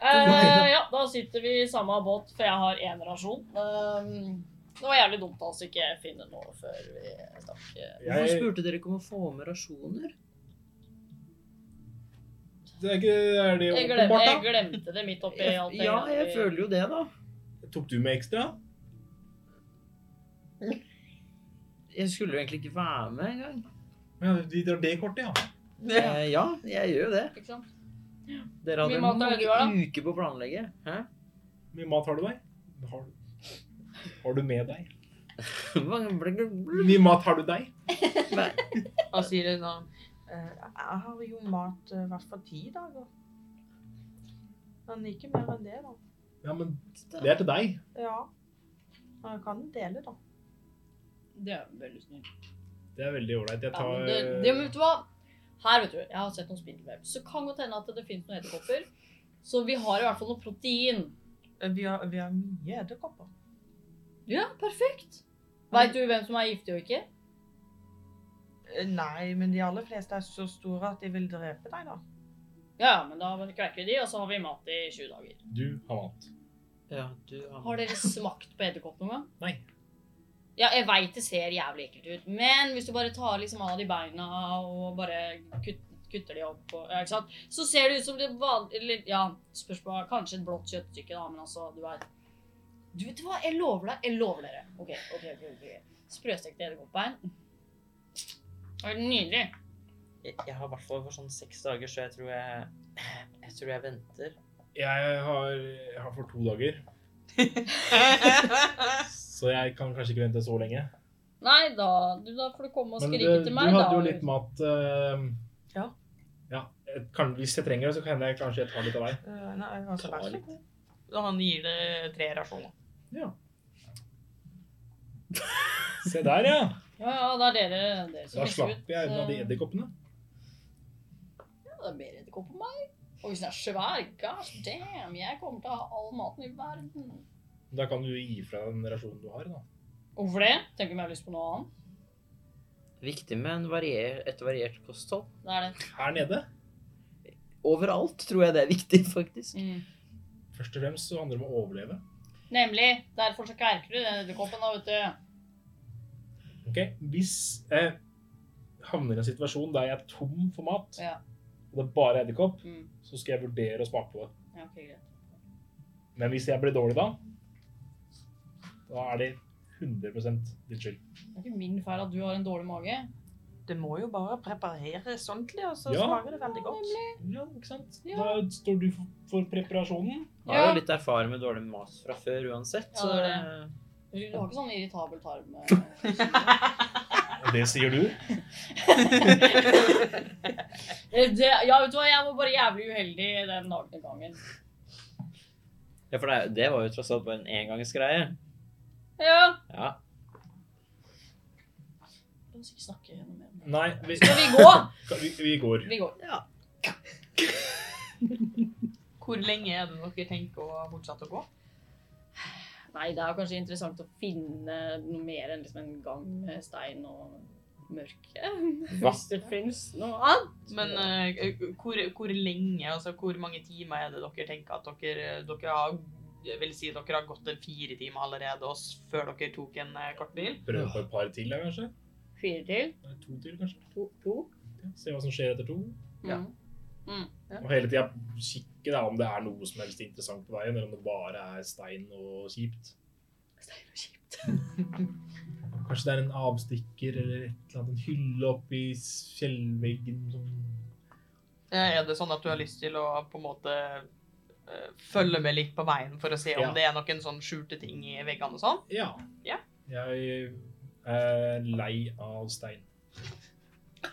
Speaker 3: Eh, ja, da sitter vi i samme båt, for jeg har én rasjon. Ehm, det var jævlig dumt av oss ikke finne noe før vi stakk. eh.
Speaker 5: Hvorfor
Speaker 2: Jeg,
Speaker 5: spurte dere ikke om å få med rasjoner?
Speaker 2: det er, ikke, er det
Speaker 3: Jeg glemte, jeg
Speaker 2: åpenbart,
Speaker 3: glemte det midt oppi alt det
Speaker 5: Ja,
Speaker 3: greiene
Speaker 5: jeg
Speaker 3: vi-
Speaker 5: føler jo det, da.
Speaker 2: da? Tok du med ekstra?
Speaker 5: Jeg skulle jo egentlig ikke være med engang.
Speaker 2: Ja, de drar det kortet, ja.
Speaker 1: Ja.
Speaker 5: Eh, ja, jeg gjør jo det.
Speaker 3: Ikke sant?
Speaker 5: Dere hadde
Speaker 3: Mye mat er det du har, da.
Speaker 5: mange uker på å planlegge. Hæ?
Speaker 2: Hvor mye mat har du deg? Har, har du med deg?
Speaker 5: Mange ble- ble- ble-
Speaker 2: Hvor mye mat har du deg?
Speaker 1: Og Siri sånn eh, Jeg har jo mat eh, i hvert fall ti dager. Men ikke mer enn det, da.
Speaker 2: Ja, men det er til deg.
Speaker 1: Ja. Men jeg kan dele, da.
Speaker 3: Det er veldig snilt.
Speaker 2: Det er veldig ålreit. Jeg
Speaker 3: Ja, men
Speaker 2: tar eh,
Speaker 3: det, det, men vet du hva? Her, vet du, jeg har sett noen spindelvev. Så kan godt hende at det finnes noen edderkopper. Så vi har i hvert fall noe protein.
Speaker 1: Eh, Vi har, vi har mye edderkopper.
Speaker 3: Ja, perfekt. Veit du hvem som er giftig og ikke?
Speaker 1: Eh, Nei, men de aller fleste er så store at de vil drepe deg, da.
Speaker 3: Ja, men da bare kvekker vi de, og så har vi mat i 20 dager.
Speaker 2: Du har mat.
Speaker 5: Ja, du har
Speaker 3: Har dere smakt på edderkopp noen gang?
Speaker 2: Nei.
Speaker 3: Ja, jeg veit det ser jævlig ekkelt ut, men hvis du bare tar liksom av de beina og bare kut- kutter de opp, og, ja, ikke sant? så ser det ut som det vanlige Ja, spørs på Kanskje et blått kjøttstykke, da, men altså, du er Du vet hva, jeg lover deg. Jeg lover dere. OK, OK. ok, ok. Sprøstekte edderkoppbein. Det var Nydelig.
Speaker 4: Jeg, jeg har i hvert fall for sånn seks dager, så jeg tror jeg Jeg tror jeg venter.
Speaker 2: Jeg har, jeg har for to dager,
Speaker 1: Eh,
Speaker 2: så jeg kan kanskje ikke vente så lenge.
Speaker 3: Nei da, du, da får du komme og
Speaker 2: Men eh,
Speaker 3: skrike
Speaker 2: du,
Speaker 3: til meg,
Speaker 2: du
Speaker 3: da.
Speaker 2: hadde jo litt mat. eh,
Speaker 1: Ja.
Speaker 2: ja. jeg Kan, hvis jeg trenger det, så kan jeg kanskje ta litt av deg.
Speaker 1: Eh, nei, han tar
Speaker 4: Ta
Speaker 1: bæsj.
Speaker 4: litt.
Speaker 1: Og han gir det tre rasjoner.
Speaker 2: Se der, ja.
Speaker 3: Ja, ja, det er dere, dere som
Speaker 2: Da
Speaker 3: fikser ut,
Speaker 2: slapp jeg unna de
Speaker 3: eh,
Speaker 2: edderkoppene.
Speaker 3: Ja, det er mer edderkopp på meg. Og hvis den er svær, gosh damn, jeg kommer til å ha all maten i verden.
Speaker 2: Da kan du jo gi fra deg den rasjonen du har. da.
Speaker 3: Hvorfor det? Tenker om jeg har lyst på noe annet.
Speaker 4: Viktig med en varier, et variert kosthold.
Speaker 3: Det er det.
Speaker 2: Her nede
Speaker 4: Overalt tror jeg det er viktig, faktisk.
Speaker 3: Mm.
Speaker 2: først og fremst så handler det om å overleve.
Speaker 3: Nemlig. Derfor så kverker du den edderkoppen, da, vet du.
Speaker 2: Ok, Hvis jeg havner i en situasjon der jeg er tom for mat,
Speaker 3: Ja.
Speaker 2: og det er bare edderkopp,
Speaker 3: Mm.
Speaker 2: så skal jeg vurdere å smake på det.
Speaker 3: Ja, ok, greit.
Speaker 2: Men hvis jeg blir dårlig da, da er det 100 din skyld.
Speaker 3: Det er ikke min feil at du har en dårlig mage.
Speaker 1: Det må jo bare prepareres ordentlig, og så
Speaker 2: Ja.
Speaker 1: smaker det veldig godt.
Speaker 2: Ja, ikke sant?
Speaker 3: Ja.
Speaker 2: Da står du for, for preparasjonen.
Speaker 4: Jeg har
Speaker 3: Ja.
Speaker 4: jo litt erfaring med dårlig mat fra før uansett.
Speaker 3: Ja,
Speaker 4: Så
Speaker 3: det
Speaker 4: det
Speaker 3: er Du du har ikke sånn irritabel tarm. eh.
Speaker 2: Og det sier du.
Speaker 3: Det, ja, vet du hva, jeg var bare jævlig uheldig den dagen gangen.
Speaker 4: ja, for det, det var jo tross alt bare en engangsgreie.
Speaker 3: Ja.
Speaker 4: Ja.
Speaker 3: La oss ikke snakke noe mer om det.
Speaker 2: Nei, vi,
Speaker 3: Skal vi gå?
Speaker 2: vi, vi går.
Speaker 3: Vi går.
Speaker 1: Hvor lenge er det dere tenker å fortsette å gå?
Speaker 3: Nei, det er jo kanskje interessant å finne noe mer enn liksom en gang med stein og mørke. Hvis det finnes noe annet.
Speaker 1: Men eh, hvor, hvor lenge, altså hvor mange timer er det dere tenker at dere, dere har jeg vil si dere har gått en fire timer allerede og s- før dere tok en eh, kort bil.
Speaker 2: Prøve på et par til, da, kanskje?
Speaker 3: Fire til.
Speaker 2: Nei, To til, kanskje?
Speaker 3: To. to.
Speaker 2: Se hva som skjer etter to.
Speaker 3: Ja.
Speaker 2: Og hele tida kikke da, om det er noe som helst interessant på veien, eller om det bare er stein og kjipt. Kanskje det er en avstikker eller et eller annet, en hylle oppi fjellveggen som
Speaker 1: Eh, Er det sånn at du har lyst til å på en måte eh, følge med litt på veien for å se om
Speaker 2: Ja.
Speaker 1: det er noen sånn skjulte ting i veggene og sånn?
Speaker 2: Ja.
Speaker 1: Ja.
Speaker 2: Jeg er lei av stein.
Speaker 1: Det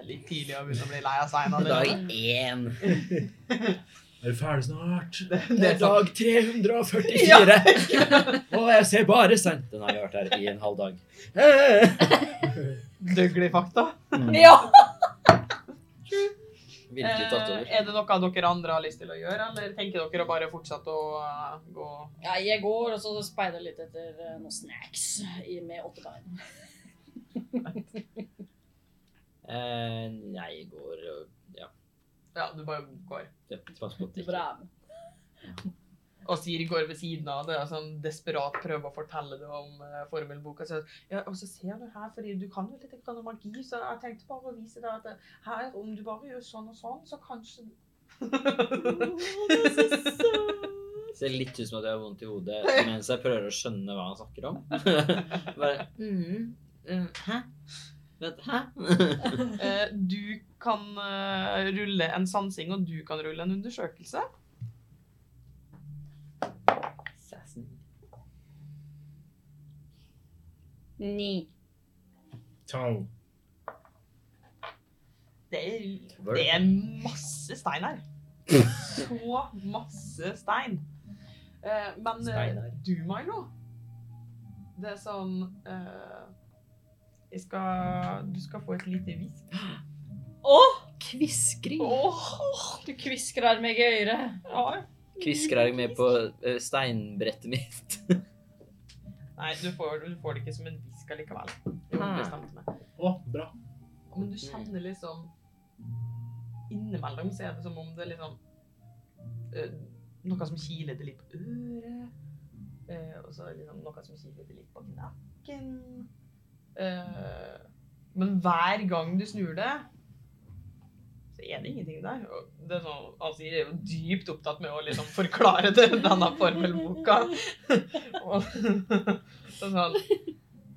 Speaker 1: er litt tidlig å begynne å bli lei av stein
Speaker 4: Dag
Speaker 1: allerede.
Speaker 4: én.
Speaker 2: Er du ferdig snart?
Speaker 4: Det er dag 344. Og jeg ser bare sand. Den har jeg vært her i en halv dag.
Speaker 1: Døglig fakta.
Speaker 3: ja.
Speaker 4: Virkelig tatt over.
Speaker 1: Eh, Er det noe dere andre har lyst til å gjøre, eller tenker dere å bare fortsette å eh, gå
Speaker 3: ja! Jeg går og så speider litt etter eh, noen snacks i- med åtte bein.
Speaker 4: Eh, nei, jeg går og ja.
Speaker 1: Ja, du bare går.
Speaker 4: det- Pass på at
Speaker 3: Du
Speaker 4: det ikke
Speaker 3: bare er med.
Speaker 1: Og Siri går ved siden av det og sånn desperat prøver å fortelle det om eh, formelboka. Så, ja, og så ser du her, fordi du kan jo litt grann om magi, så jeg tenkte bare å vise deg at eh, her, om du bare gjør sånn og sånn, så kanskje
Speaker 4: ser litt ut som at jeg har vondt i hodet mens jeg prøver å skjønne hva han snakker om. Bare mm, eh, Hæ? Vet, hæ?
Speaker 1: Eh, Du kan eh, rulle en sansing, og du kan rulle en undersøkelse.
Speaker 3: Ni.
Speaker 2: Tang.
Speaker 1: Det er, det er masse stein her. Så masse stein. Eh, men eh,
Speaker 4: Stein her.
Speaker 1: du, Milo Det er sånn eh, jeg skal, Du skal få et lite hvisk.
Speaker 3: Å!
Speaker 4: Kviskring.
Speaker 3: Du kvisker her meg i øret.
Speaker 1: Ja.
Speaker 4: Kvisker jeg med på eh, steinbrettet mitt.
Speaker 1: Nei, du får, du får det ikke som en hvisk allikevel. Jo,
Speaker 4: Ah.
Speaker 1: bestemte meg.
Speaker 2: Å, bra.
Speaker 1: Men du kjenner liksom Innimellom så er det som om det er liksom eh, Noe som kiler det litt på øret. eh, og så er det liksom noe som kiler det litt på knakken. Eh, men hver gang du snur det, så er det ingenting der. Og det er sånn, altså, jeg er jo dypt opptatt med å liksom forklare det, denne formelboka. og så sånn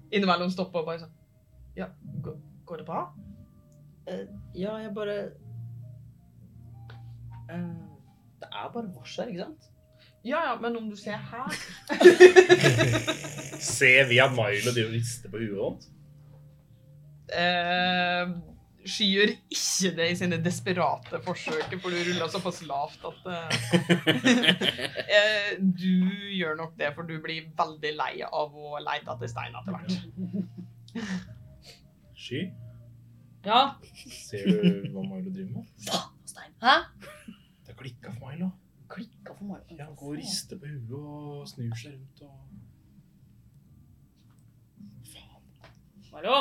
Speaker 1: Innimellom stopper og bare sånn Ja, går, går det bra?
Speaker 5: Eh, ja, jeg bare eh, Det er bare vårs her, ikke sant?
Speaker 1: Ja, ja, men om du ser her
Speaker 2: Se via Milo de rister på huet hans.
Speaker 1: eh, Skyer ikke det i sine desperate forsøk, for du rulla såpass lavt at eh, eh, Du gjør nok det, for du blir veldig lei av å leite etter stein etter hvert.
Speaker 2: Sky,
Speaker 3: Ja.
Speaker 2: ser du hva Milo driver med?
Speaker 6: Stein.
Speaker 3: Hæ?
Speaker 2: Det klikka for Milo.
Speaker 6: Klikka for meg.
Speaker 2: Ja, han går og rister på huet og snur seg rundt og
Speaker 3: Hallo?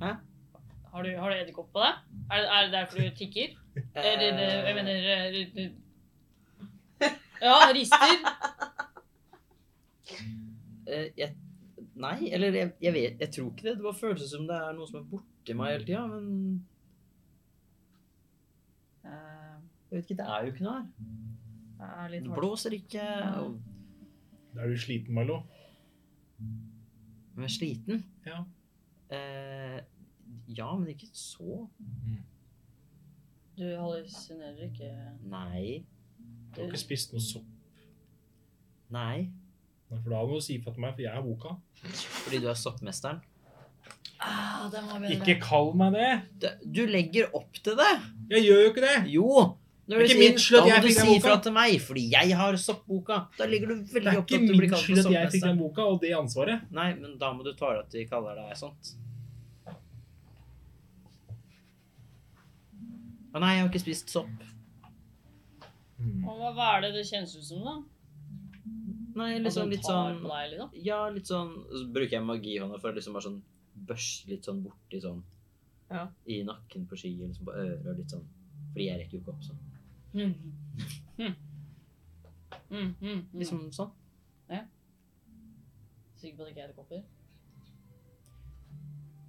Speaker 5: Hæ?
Speaker 3: Har du, har du edderkopp på deg? Er det, er det derfor du tikker? Eller, eh, jeg mener eh, eh, Ja, rister.
Speaker 5: Eh, jeg, nei, eller jeg, jeg vet Jeg tror ikke det. Det bare føles som det er noe som er borti meg hele tida, men eh, Jeg vet ikke, det er jo ikke noe her.
Speaker 3: Det er litt
Speaker 5: Det
Speaker 3: hardt.
Speaker 5: blåser ikke. og-
Speaker 2: Da er du sliten, Milo.
Speaker 5: Men jeg er sliten.
Speaker 2: Ja.
Speaker 5: Eh, ja, men ikke så.
Speaker 3: Du hallusinerer ikke
Speaker 5: Nei.
Speaker 2: Du har ikke spist noe sopp.
Speaker 5: Nei.
Speaker 2: Nei, For da må du si fra til meg, for jeg er boka.
Speaker 5: Fordi du er soppmesteren.
Speaker 3: ah, Den var bedre.
Speaker 2: Ikke kall meg det!
Speaker 5: Du, du legger opp til det!
Speaker 2: Jeg gjør jo ikke det!
Speaker 5: Jo! Når
Speaker 2: Det er
Speaker 5: du
Speaker 2: ikke
Speaker 5: sier,
Speaker 2: min skyld at
Speaker 5: da
Speaker 2: jeg
Speaker 5: må du
Speaker 2: fikk den
Speaker 5: si
Speaker 2: boka.
Speaker 5: ifra til meg, fordi jeg har soppboka. Da ligger du
Speaker 2: Det
Speaker 5: veldig
Speaker 2: er
Speaker 5: opp til
Speaker 2: ikke
Speaker 5: at du blir
Speaker 2: min
Speaker 5: kalt for
Speaker 2: skyld at jeg fikk den
Speaker 5: soppmesteren.
Speaker 2: boka og det ansvaret.
Speaker 5: Nei, men da må du ta det at de kaller deg sånt. Å nei, jeg har ikke spist sopp.
Speaker 2: Mm.
Speaker 3: Og hva- Hva er det det kjennes ut som, da?
Speaker 5: Nei,
Speaker 3: At
Speaker 5: liksom
Speaker 3: noen
Speaker 5: litt
Speaker 3: tar
Speaker 5: sånn
Speaker 3: på deg, liksom?
Speaker 5: Ja, litt sånn Så bruker jeg magihånda for å liksom bare sånn børste litt sånn borti sånn
Speaker 1: Ja.
Speaker 5: I nakken på skyen, liksom på øret og litt sånn. Fordi jeg rekker jo ikke opp sånn.
Speaker 3: Mm. Mm. Mm, mm, mm.
Speaker 5: Liksom sånn.
Speaker 3: Sikker på at det ikke er edderkopper?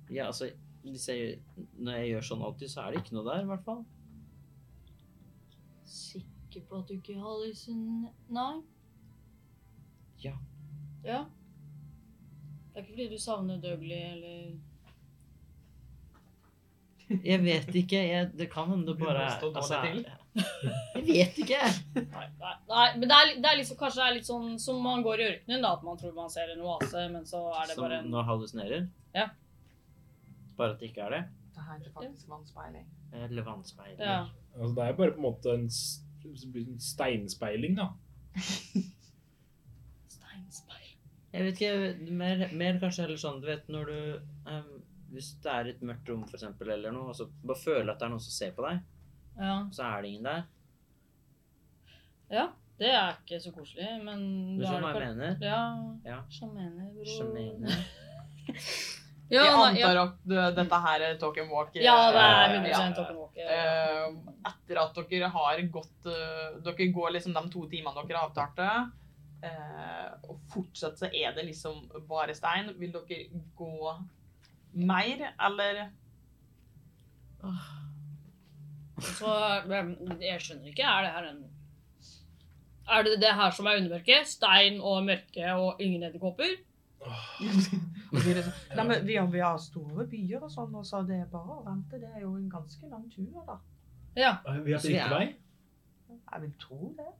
Speaker 5: Ja, altså hvis jeg, Når jeg gjør sånn alltid, så er det ikke noe der, i hvert fall.
Speaker 3: Sikker på at du ikke hallusinerer Nei?
Speaker 5: Ja.
Speaker 3: Ja? Det er ikke fordi du savner Dougley eller
Speaker 5: Jeg vet ikke. Jeg, det kan hende det
Speaker 1: Vi må
Speaker 5: bare altså,
Speaker 1: stå dårlig
Speaker 5: Jeg vet ikke.
Speaker 3: Nei, nei, nei men det er, li- det er liksom, kanskje det er litt sånn som man går i ørkenen, da, at man tror man ser en oase, men så er det
Speaker 5: Som
Speaker 3: bare en
Speaker 5: når hallusinerer.
Speaker 3: Ja.
Speaker 5: Bare at det ikke er det. Eh,
Speaker 1: Det her er faktisk vannspeiling.
Speaker 5: Eller vannspeiler.
Speaker 3: Ja.
Speaker 2: Altså, det er jo bare på en måte en s- en steinspeiling, da.
Speaker 3: Steinspeil.
Speaker 5: Jeg vet ikke, mer, mer kanskje heller sånn, du vet, når du ehm, Hvis det er et mørkt rom, for eksempel, eller noe, og så bare føler at det er noen som ser på deg,
Speaker 3: Ja.
Speaker 5: så er det ingen der.
Speaker 3: ja. Det er ikke så koselig, men
Speaker 5: Du
Speaker 3: da er
Speaker 5: skjønner
Speaker 3: det
Speaker 5: hva jeg
Speaker 3: kanskje-
Speaker 5: mener?
Speaker 3: Ja.
Speaker 5: Ja.
Speaker 3: Sjamaner, bro.
Speaker 5: Sjamene.
Speaker 3: Ja,
Speaker 1: Jeg
Speaker 3: nei, ja.
Speaker 1: antar at uh, dette her er talk and walk.
Speaker 3: ja, det er
Speaker 1: eh,
Speaker 3: 100 open walk. Ja. Ehm.
Speaker 1: Eh, etter at dere har gått eh, Dere går liksom de to timene dere avtalte, eh, og fortsatt så er det liksom bare stein. Vil dere gå mer, eller
Speaker 3: Så men jeg skjønner ikke. Er det her en Er det det her som er undermørket? Stein og mørke og ingen edderkopper?
Speaker 1: Og dere så, Nei, men vi har, vi har store byer og sånn, og så det er bare å vente. Det er jo en ganske lang tur, da.
Speaker 3: Ja.
Speaker 2: Vi har
Speaker 5: Så vi er-
Speaker 2: sykkelvei.
Speaker 1: Jeg vil tro det.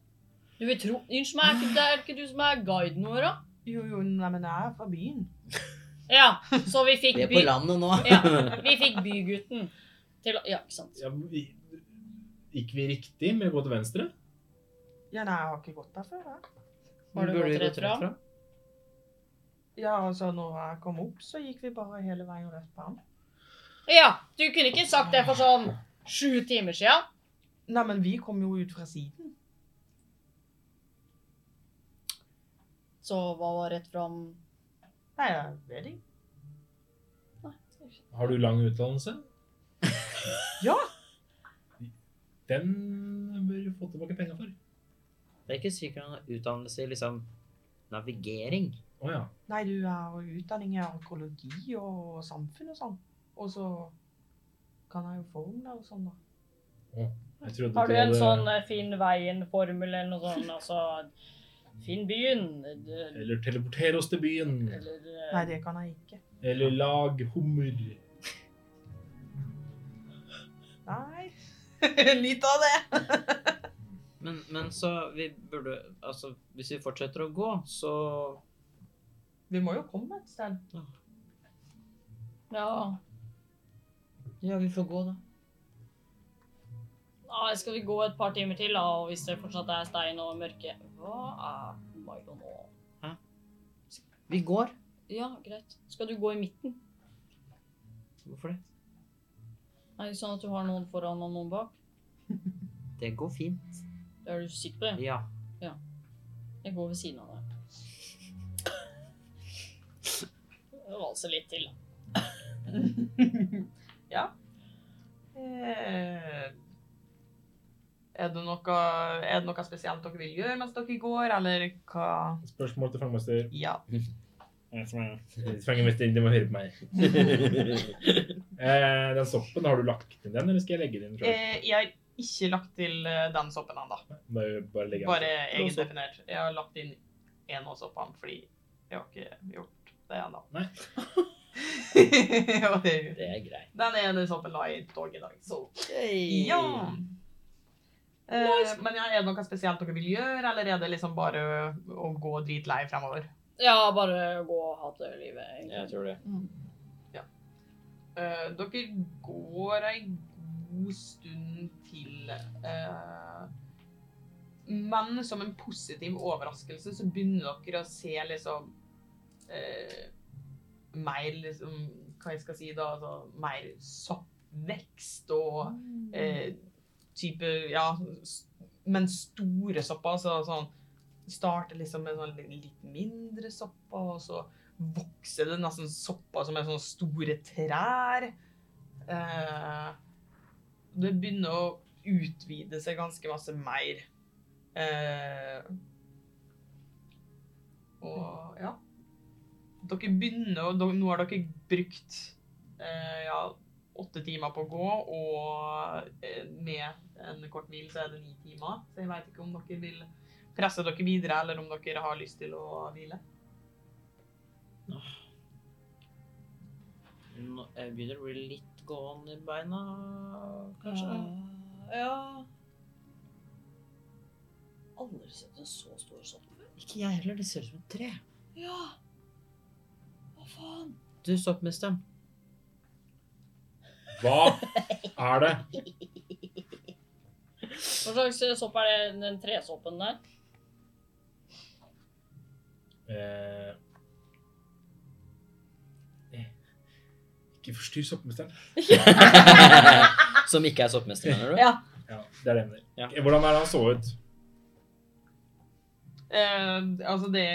Speaker 3: Du vil tro Unnskyld meg, er ikke- det er ikke du som er guiden vår, da?
Speaker 1: Jo, jo, nei, men jeg er fra byen.
Speaker 3: Ja, så vi fikk
Speaker 5: Vi er
Speaker 3: by...
Speaker 5: på landet nå.
Speaker 3: Ja, vi fikk bygutten til å Ja, ikke sant.
Speaker 2: Ja, vi- Gikk vi riktig med å gå til venstre?
Speaker 1: Ja, nei, jeg har ikke gått der før, jeg.
Speaker 3: Har du
Speaker 5: Burde vi
Speaker 3: gått rett
Speaker 5: gått
Speaker 3: fram?
Speaker 1: Ja, altså, når jeg kom opp, så gikk vi bare hele veien rett fram.
Speaker 3: Ja, du kunne ikke sagt det for sånn sju timer sia.
Speaker 1: Nei, men vi kom jo ut fra siden.
Speaker 3: Så hva var rett fram?
Speaker 1: Nei, jeg vet ikke.
Speaker 2: Har du lang utdannelse?
Speaker 1: Ja.
Speaker 2: Den bør du få tilbake penger for.
Speaker 5: Det er ikke sikkert han har utdannelse i liksom navigering.
Speaker 2: Å ja.
Speaker 1: Nei, du er jo utdanning i arkeologi og samfunn og sånn. Og så kan jeg jo formler og sånn, da.
Speaker 2: Jeg trodde
Speaker 3: Har du
Speaker 2: hadde-
Speaker 3: en sånn eh, finn veien-formel eller noe sånt? Altså Finn byen. eh,
Speaker 2: Eller teleportere oss til byen.
Speaker 3: Eller eh,
Speaker 1: Nei, det kan jeg ikke.
Speaker 2: Eller lag hummer.
Speaker 1: Nei. Litt av det.
Speaker 5: Men, men så vi burde Altså, hvis vi fortsetter å gå, så
Speaker 1: Vi må jo komme et sted.
Speaker 3: Ja.
Speaker 5: Ja, vi får gå, da.
Speaker 3: Nei, Ah, skal vi gå et par timer til, da, og hvis det fortsatt er stein og mørke Hva er Milo nå?
Speaker 5: Vi går.
Speaker 3: Ja, greit. Skal du gå i midten?
Speaker 5: Hvorfor det?
Speaker 3: Er det sånn at du har noen foran og noen bak?
Speaker 5: Det går fint.
Speaker 3: Det er du sikker på? det?
Speaker 5: Ja.
Speaker 3: Jeg går ved siden av deg. Valse litt til. da.
Speaker 1: Eh, Er det, noe, er det noe spesielt dere vil gjøre mens dere går, eller hva?
Speaker 2: Spørsmål til fangemester.
Speaker 1: Ja.
Speaker 2: Fangemester, de må høre på meg. Eh, den soppen, har du lagt inn den, eller skal jeg legge den inn? selv?
Speaker 1: Eh, Jeg har ikke lagt til eh, den soppen ennå.
Speaker 2: Bare, bare legge den.
Speaker 1: Bare
Speaker 2: Blå sopp.
Speaker 1: egendefinert. Jeg har lagt inn én av soppene fordi jeg har ikke gjort det ennå.
Speaker 2: Nei.
Speaker 1: Og det-
Speaker 4: Det er greit.
Speaker 1: Den ene soppen la jeg i tog i dag, så Ja! Eh, men ja, er det noe spesielt dere vil gjøre, eller er det liksom bare å gå dritlei fremover?
Speaker 3: Ja, bare gå og ha det livet. egentlig.
Speaker 4: Jeg tror det.
Speaker 1: Eh, dere går ei god stund til. eh, men som en positiv overraskelse så begynner dere å se liksom eh, Mer liksom Hva jeg skal si da? Altså, mer soppvekst og eh, type Ja, s- men store sopper. Altså sånn Starter liksom med sånn li- litt mindre sopper, og så vokser det nesten sopper som er sånne store trær. Eh, det begynner å utvide seg ganske masse mer. Eh, og ja. Dere begynner, og nå har dere brukt eh, ja, åtte timer på å gå, og eh, med en kort hvil så er det ni timer. Så jeg vet ikke om dere vil presse dere videre, eller om dere har lyst til å hvile.
Speaker 5: Nå, jeg begynner å bli litt gåen i beina, kanskje.
Speaker 3: Ja. ja. Aldri sett en så stor sopp før.
Speaker 5: Ikke jeg heller. Det ser ut som et tre.
Speaker 3: Ja. Hva faen?
Speaker 5: Du, soppmesteren.
Speaker 2: Hva er det?
Speaker 3: Hva slags eh, sopp er det? Den tresoppen der?
Speaker 2: Eh, eh, ikke forstyrr soppmesteren.
Speaker 4: Som ikke er soppmester, mener du?
Speaker 3: Ja.
Speaker 2: Ja, det er det jeg mener.
Speaker 4: Ja.
Speaker 2: Ok, Hvordan er det han så ut?
Speaker 1: Eh, altså, det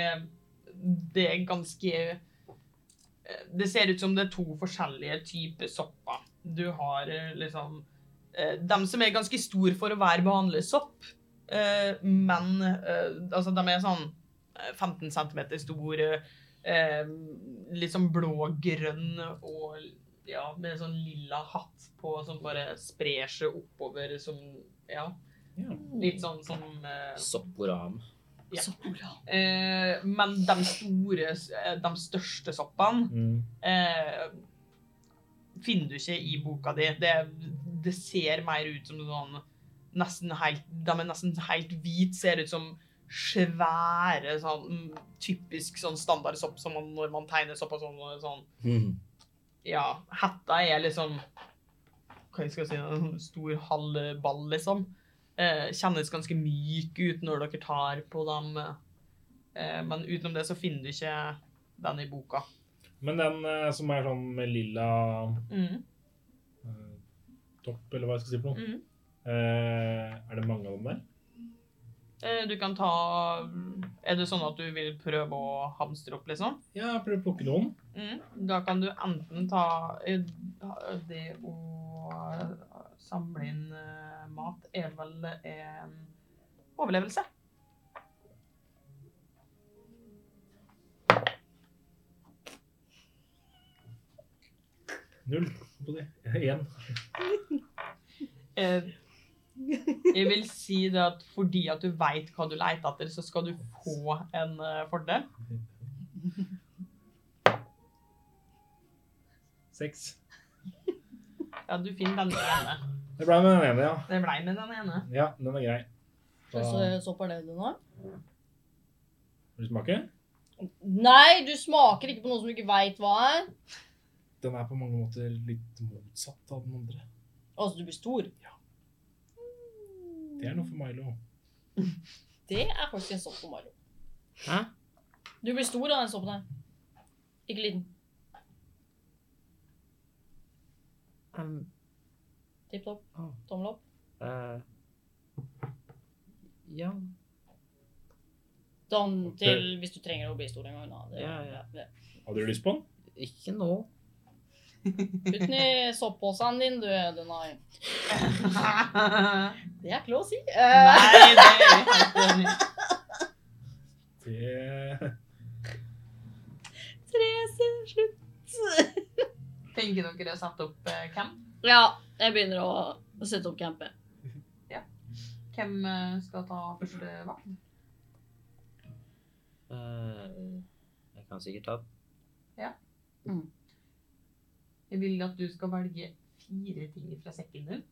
Speaker 1: Det er ganske eh, Det ser ut som det er to forskjellige typer sopper. Du har eh, liksom eh, Dem som er ganske store for å være vanlig sopp, eh, men eh, Altså, de er sånn eh, 15 cm store, eh, litt sånn blå-grønn og ja, med sånn lilla hatt på som bare sprer seg oppover som Ja. Litt sånn som eh,
Speaker 4: Sopporam.
Speaker 1: Eh, men de store, eh, de største soppene
Speaker 2: Mm.
Speaker 1: eh, finner du ikke i boka di. Det, det ser mer ut som sånn nesten helt, De er nesten helt hvite, ser ut som svære, sånn mm, typisk sånn standard sopp som man, når man tegner sopp og sånn, og sånn. Ja, hetta er liksom Hva skal jeg si En stor halvball, liksom. Eh, kjennes ganske myk ut når dere tar på dem. Eh, men utenom det så finner du ikke den i boka.
Speaker 2: Men den eh, som er sånn med lilla eh, topp, eller hva jeg skal si for noe
Speaker 1: Mhm.
Speaker 2: eh, Er det mange av dem der?
Speaker 1: Eh, Du kan ta Er det sånn at du vil prøve å hamstre opp, liksom?
Speaker 2: Ja, jeg prøver å plukke noen.
Speaker 1: Da kan du enten ta eh, det å samle inn eh, mat er vel en overlevelse.
Speaker 2: Null på det. Én.
Speaker 1: Eh, Jeg vil si det at fordi at du veit hva du leter etter, så skal du få en eh, fordel.
Speaker 2: Seks.
Speaker 1: Ja, du finner den ene.
Speaker 2: Det ble med den ene, ja.
Speaker 1: Det blei med den ene.
Speaker 2: Ja, den er grei. Da
Speaker 3: Så, så fornøyd du nå?
Speaker 2: vil du smake?
Speaker 3: Nei, du smaker ikke på noe som du ikke veit hva er.
Speaker 2: Den er på mange måter litt motsatt av den andre.
Speaker 3: Altså, du blir stor.
Speaker 2: Det er noe for Milo.
Speaker 3: Det er faktisk en sopp på Mario.
Speaker 5: Hæ?
Speaker 3: Du blir stor av den soppen her. Ikke liten.
Speaker 5: Um,
Speaker 3: Tipp topp.
Speaker 5: Ah.
Speaker 3: Tommel opp.
Speaker 5: eh, ja.
Speaker 3: Sånn
Speaker 2: Ok.
Speaker 3: til hvis du trenger å bli stor en gang. Da. Det,
Speaker 5: Ja, ja.
Speaker 3: det.
Speaker 2: Hadde du lyst på den?
Speaker 5: Ikke nå.
Speaker 3: Putt den i soppposen din, du, Dunai. Det er ikke lov å si. Eh,
Speaker 1: Nei, det er helt enig.
Speaker 2: Det
Speaker 3: Therese, slutt.
Speaker 1: Tenker dere satt opp eh, hvem?
Speaker 3: ja, jeg begynner å sette opp campet.
Speaker 1: Hvem eh, skal ta første vakt?
Speaker 5: Eh, jeg kan sikkert ta
Speaker 1: Jeg vil at du skal velge fire ting fra sekken din.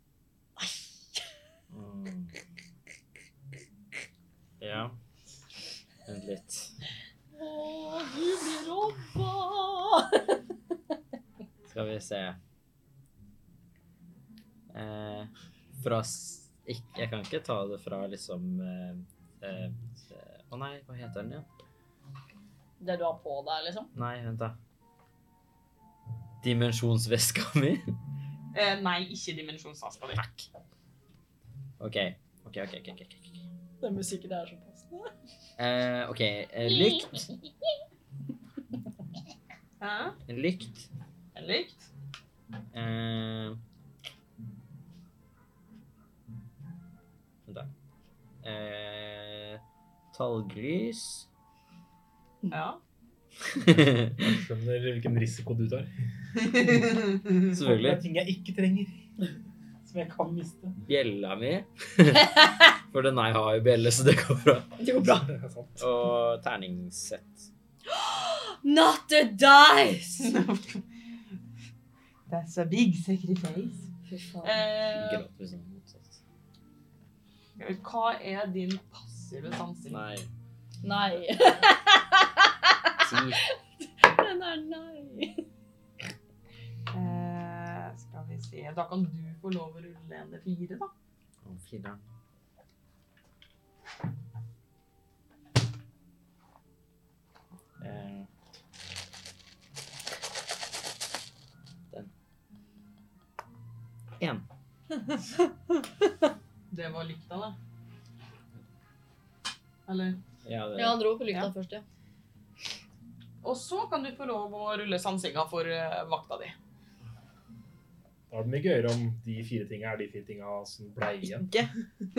Speaker 5: Mm. Ja. Vent litt.
Speaker 3: Å, du blir robba!
Speaker 5: Skal vi se. Eh, fra s- ikk- Jeg kan ikke ta det fra liksom eh, eh, eh, Å nei, hva heter den igjen?
Speaker 3: Det du har på deg, liksom.
Speaker 5: Nei, vent, da. Dimensjonsveska mi?
Speaker 1: Eh, nei, ikke dimensjonsvaska di.
Speaker 5: OK. OK, OK. ok, ok, ok.
Speaker 3: Den musikken er sånn. så passende.
Speaker 5: Eh, ok, eh, Lykt.
Speaker 1: Hæ?
Speaker 5: Lykt.
Speaker 1: Er det likt?
Speaker 5: Eh, Vent, da. Eh, talglys.
Speaker 1: Ja.
Speaker 2: jeg skjønner hvilken risiko du tar. Det er
Speaker 5: Selvfølgelig.
Speaker 2: ting jeg ikke trenger. Som jeg kan miste.
Speaker 5: Bjella mi. For den her har jo bjelle, så det går bra.
Speaker 2: Det går bra. Det er sant.
Speaker 5: Og terningssett.
Speaker 3: Not the dice!
Speaker 1: That's a big sacrifice.
Speaker 3: Fy faen.
Speaker 1: Eh,
Speaker 5: Gråt hvis den er motsatt.
Speaker 1: hva er din passive sansing?
Speaker 5: Nei.
Speaker 3: Nei.
Speaker 5: Ti.
Speaker 3: Den er nei.
Speaker 1: Eh, skal vi se Da kan du få lov å rulle en fire, da.
Speaker 5: Og fireren. Eh. Den. En.
Speaker 1: Det var lykta, da. Eller
Speaker 5: Ja, det
Speaker 3: Ja, han dro på lykta
Speaker 1: Ja.
Speaker 3: først, ja.
Speaker 1: Og så kan du få lov å rulle sansinga for eh, vakta di.
Speaker 2: Da er det mye gøyere om de fire tinga er de fire tinga som ble igjen.
Speaker 5: Ikke.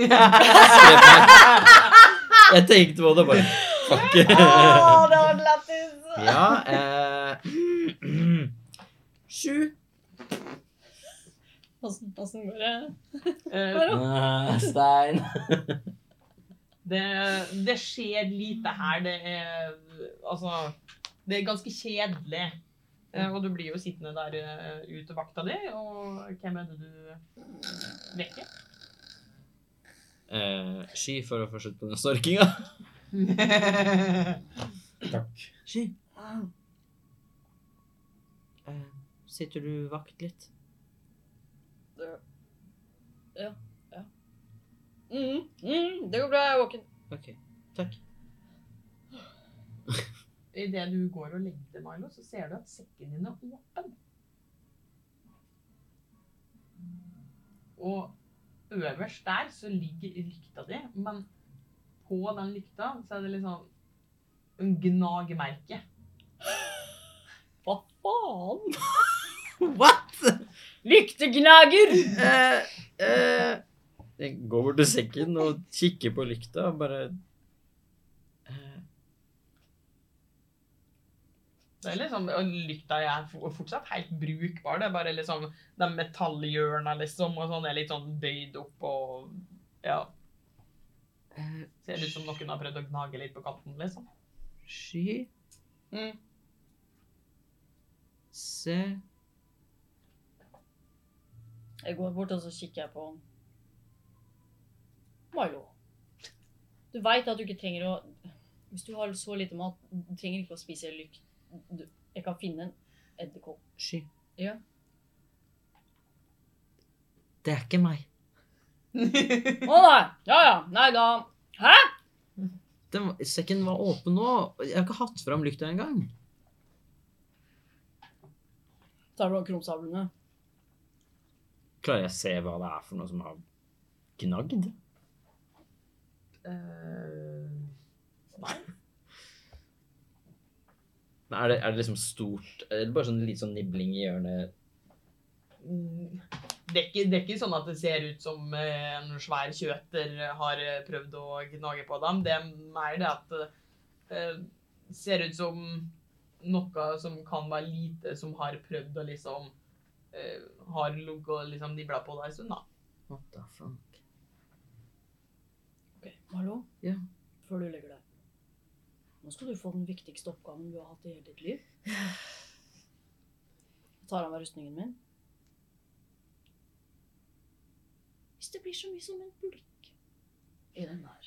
Speaker 5: Jeg tenkte på det bare. Fuck.
Speaker 3: det var lættis!
Speaker 5: Ja, eh. Sju.
Speaker 3: Åssen åssen går det?
Speaker 1: Eh,
Speaker 5: Eh, Stein.
Speaker 1: det, det skjer lite her. Det er Altså Det er ganske kjedelig. Eh, og du blir jo sittende der eh, ut til vakta di, og hvem er det du vekker?
Speaker 5: Eh, sky for å få slutt på den snorkinga.
Speaker 2: Takk.
Speaker 5: Sky. Eh, sitter du vakt litt?
Speaker 3: Ja. ja. Mm, mm, det går bra, jeg er våken.
Speaker 5: Ok, takk.
Speaker 1: Idet du går og legger deg, Milo, så ser du at sekken din er åpen. Og øverst der så ligger lykta di, men på den lykta så er det liksom en gnagemerke.
Speaker 3: Hva faen? What? Eh, Lyktegnager!
Speaker 5: Jeg går bort til sekken og kikker på lykta og bare eh,
Speaker 1: Det er liksom, og lykta er fo- fortsatt helt brukbar. Det er bare liksom de metallhjørna liksom, og sånn er litt sånn bøyd opp og ja.
Speaker 5: eh,
Speaker 1: Ser ut som noen har prøvd å gnage litt på kanten, liksom.
Speaker 5: Sky
Speaker 3: Mm.
Speaker 5: Se
Speaker 3: Jeg går bort og så kikker jeg på han. Milo, du veit at du ikke trenger å Hvis du har så lite mat, du trenger ikke å spise lykt. Du- Jeg kan finne en edderkopp.
Speaker 5: Sky.
Speaker 3: Ja.
Speaker 5: Det er ikke meg.
Speaker 3: Å nei! Ja ja. Nei da. Hæ?
Speaker 5: Den, var- sekken var åpen nå. Jeg har ikke hatt fram lykta engang.
Speaker 3: Tar du av krumsablene?
Speaker 5: Klarer jeg å se hva det er for noe som har gnagd? Men Er det, er det liksom stort Er det bare sånn litt sånn nibling i hjørnet?
Speaker 1: Mm, Det er, ikke, det er ikke sånn at det ser ut som eh, en svær kjøter har eh, prøvd å gnage på dem. Det er mer det at det ser ut som noe som kan være lite, som har prøvd å liksom eh, Har ligget og liksom nibla på deg en stund, da.
Speaker 5: What the fuck?
Speaker 3: Ok, Hallo?
Speaker 5: Ja.
Speaker 3: Før du legger deg. Nå skal du få den viktigste oppgaven du har hatt i hele ditt liv. Jeg tar av meg rustningen min. Hvis det blir så mye som en bulk i den der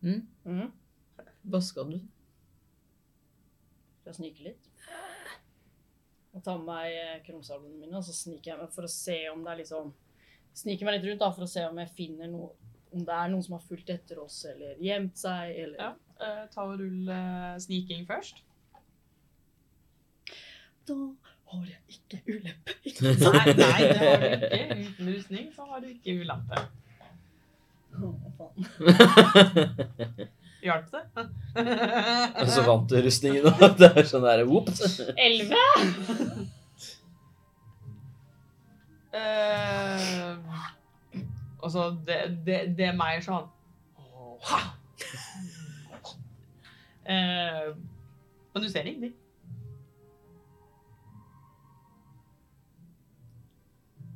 Speaker 5: Mm?
Speaker 3: Mhm.
Speaker 5: Hva skal du?
Speaker 3: Skal jeg snike litt? Jeg tar med meg eh, krumsablene mine, og så sniker jeg meg for å se om det er liksom Sniker meg litt rundt da, for å se om jeg finner noe Om det er noen som har fulgt etter oss, eller gjemt seg, eller
Speaker 1: Ja. Eh, ta og rull eh, sniking først.
Speaker 3: Da har jeg ikke ulempe.
Speaker 1: Nei, nei, det har du ikke. Uten rustning så har du ikke ulempe.
Speaker 3: Å, faen.
Speaker 1: Hjalp det?
Speaker 4: Og
Speaker 1: Altså,
Speaker 4: så vant du rustningen, og det er sånn der Ops!
Speaker 3: Elleve?
Speaker 1: Eh, altså, det, det, det er mer sånn «Åh, ha!» Eh, Men du ser ingenting.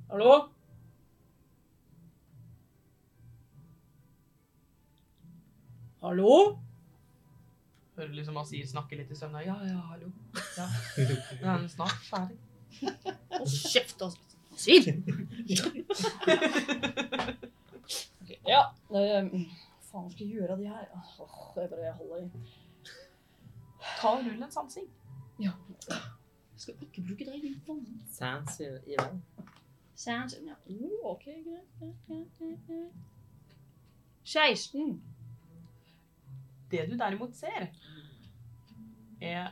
Speaker 3: Hallo? Hallo?
Speaker 1: Hører liksom han sier snakker litt i søvne. Ja, ja, hallo. Ja. Nå er den snart ferdig.
Speaker 3: Hold kjeft, altså. Svin! Ok, ja. eh, faen, hva skal jeg gjøre av de her? Åh, jeg bare holder i.
Speaker 1: Ta og rull en sansing.
Speaker 3: Jeg skal ikke bruke deg, din vann.
Speaker 5: Sans i, i verden.
Speaker 3: Sans. Ja. Oh, ok, greit, greit, greit, greit, greit. 16.
Speaker 1: Det du derimot ser, er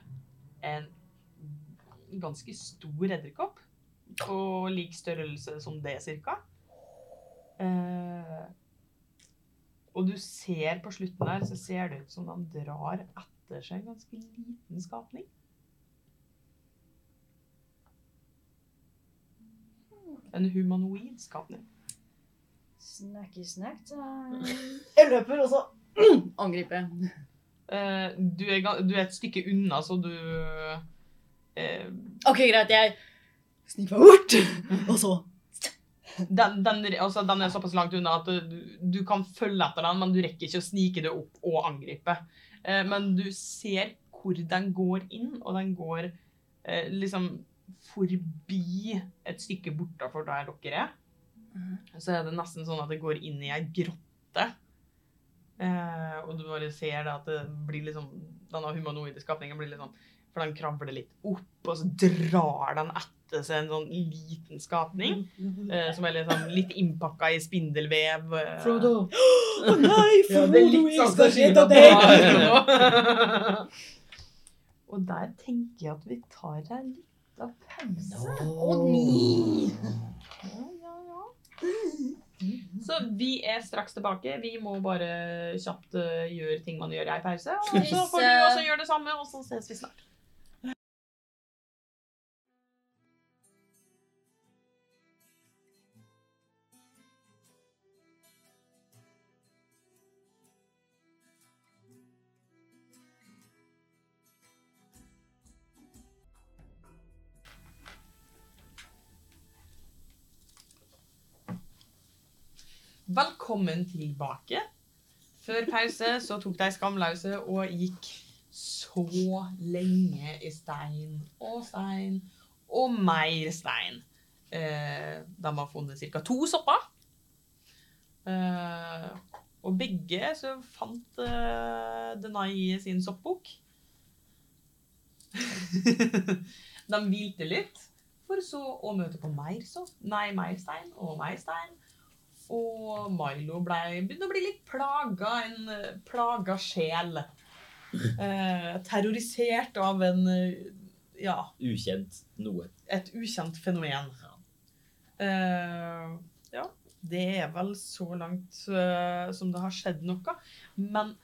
Speaker 1: en ganske stor edderkopp. På lik størrelse som det, cirka. Eh, og du ser på slutten der, så ser det ut som de drar etter seg en ganske liten skapning. En humanoid skapning.
Speaker 3: Snacky snack time. Jeg løper, og så angriper jeg.
Speaker 1: Eh, du, er, ga- du er et stykke unna, så du eh,
Speaker 3: Ok, greit, jeg sniker meg bort, og så
Speaker 1: den, den, altså, den er såpass langt unna at du, du kan følge etter den, men du rekker ikke å snike det opp og angripe. Eh, men du ser hvor den går inn, og den går eh, liksom forbi et stykke bortafor der dere er. Så er det nesten sånn at det går inn i ei grotte. Eh, og du bare ser det at det blir liksom Denne humanoide skapningen blir litt sånn For den kravler litt opp, og så drar den etter seg en sånn liten skapning. Eh, som er liksom litt innpakka i spindelvev. eh.
Speaker 3: Å nei,
Speaker 1: Ja, det er litt sånn som Kina Og der tenker jeg at vi tar en liten pause. Ja, ja, ja. Så vi er straks tilbake. Vi må bare kjapt eh, gjøre ting man gjør i ei pause. Og så får du også gjøre det samme, og så ses vi snart. Velkommen tilbake. Før pause så tok de skamlause og gikk så lenge i stein og stein og mer stein. Eh, de har funnet ca. to sopper. Eh, og begge så fant eh, Denai sin soppbok. de hvilte litt, for så å møte på mer sopp. Nei, mer stein og mer stein. Og Milo ble, begynte å bli litt plaga, en eh, plaga sjel. Eh, terrorisert av en eh, ja,
Speaker 4: Ukjent noe.
Speaker 1: et ukjent fenomen. Eh, ja, det er vel så langt eh, som det har skjedd noe. Men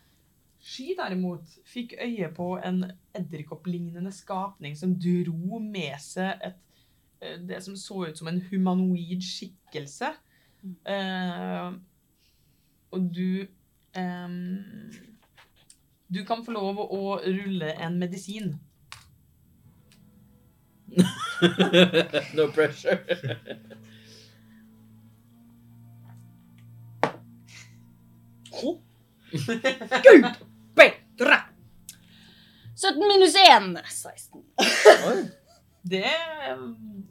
Speaker 1: Sky derimot fikk øye på en edderkopplignende skapning som dro med seg et, eh, det som så ut som en humanoid skikkelse. Eh, og du ehm, Du kan få lov å rulle en medisin.
Speaker 4: no pressure.
Speaker 6: Bra! 17 minus 1. 16.
Speaker 1: Det ehm,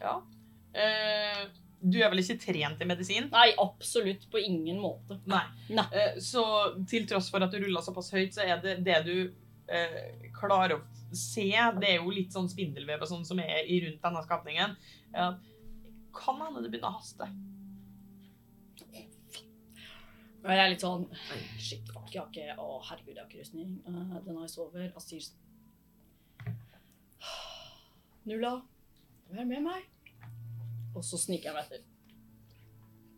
Speaker 1: Ja. Eh, du er vel ikke trent i medisin?
Speaker 3: Nei, absolutt på ingen måte.
Speaker 1: Nei.
Speaker 3: Nei.
Speaker 1: Eh, så til tross for at du rulla såpass høyt, så er det det du eh, klarer å se Det er jo litt sånn spindelvev og sånn som er i rundt denne skapningen. Ja. Kan hende det begynner å haste.
Speaker 3: Og jeg er litt sånn «Ei, Shit, fuck, jeg har ikke Å, herregud, jeg har ikke rustning. Eh, den har jeg sover. Asyl Nulla, vær med meg. Og så sniker jeg meg etter.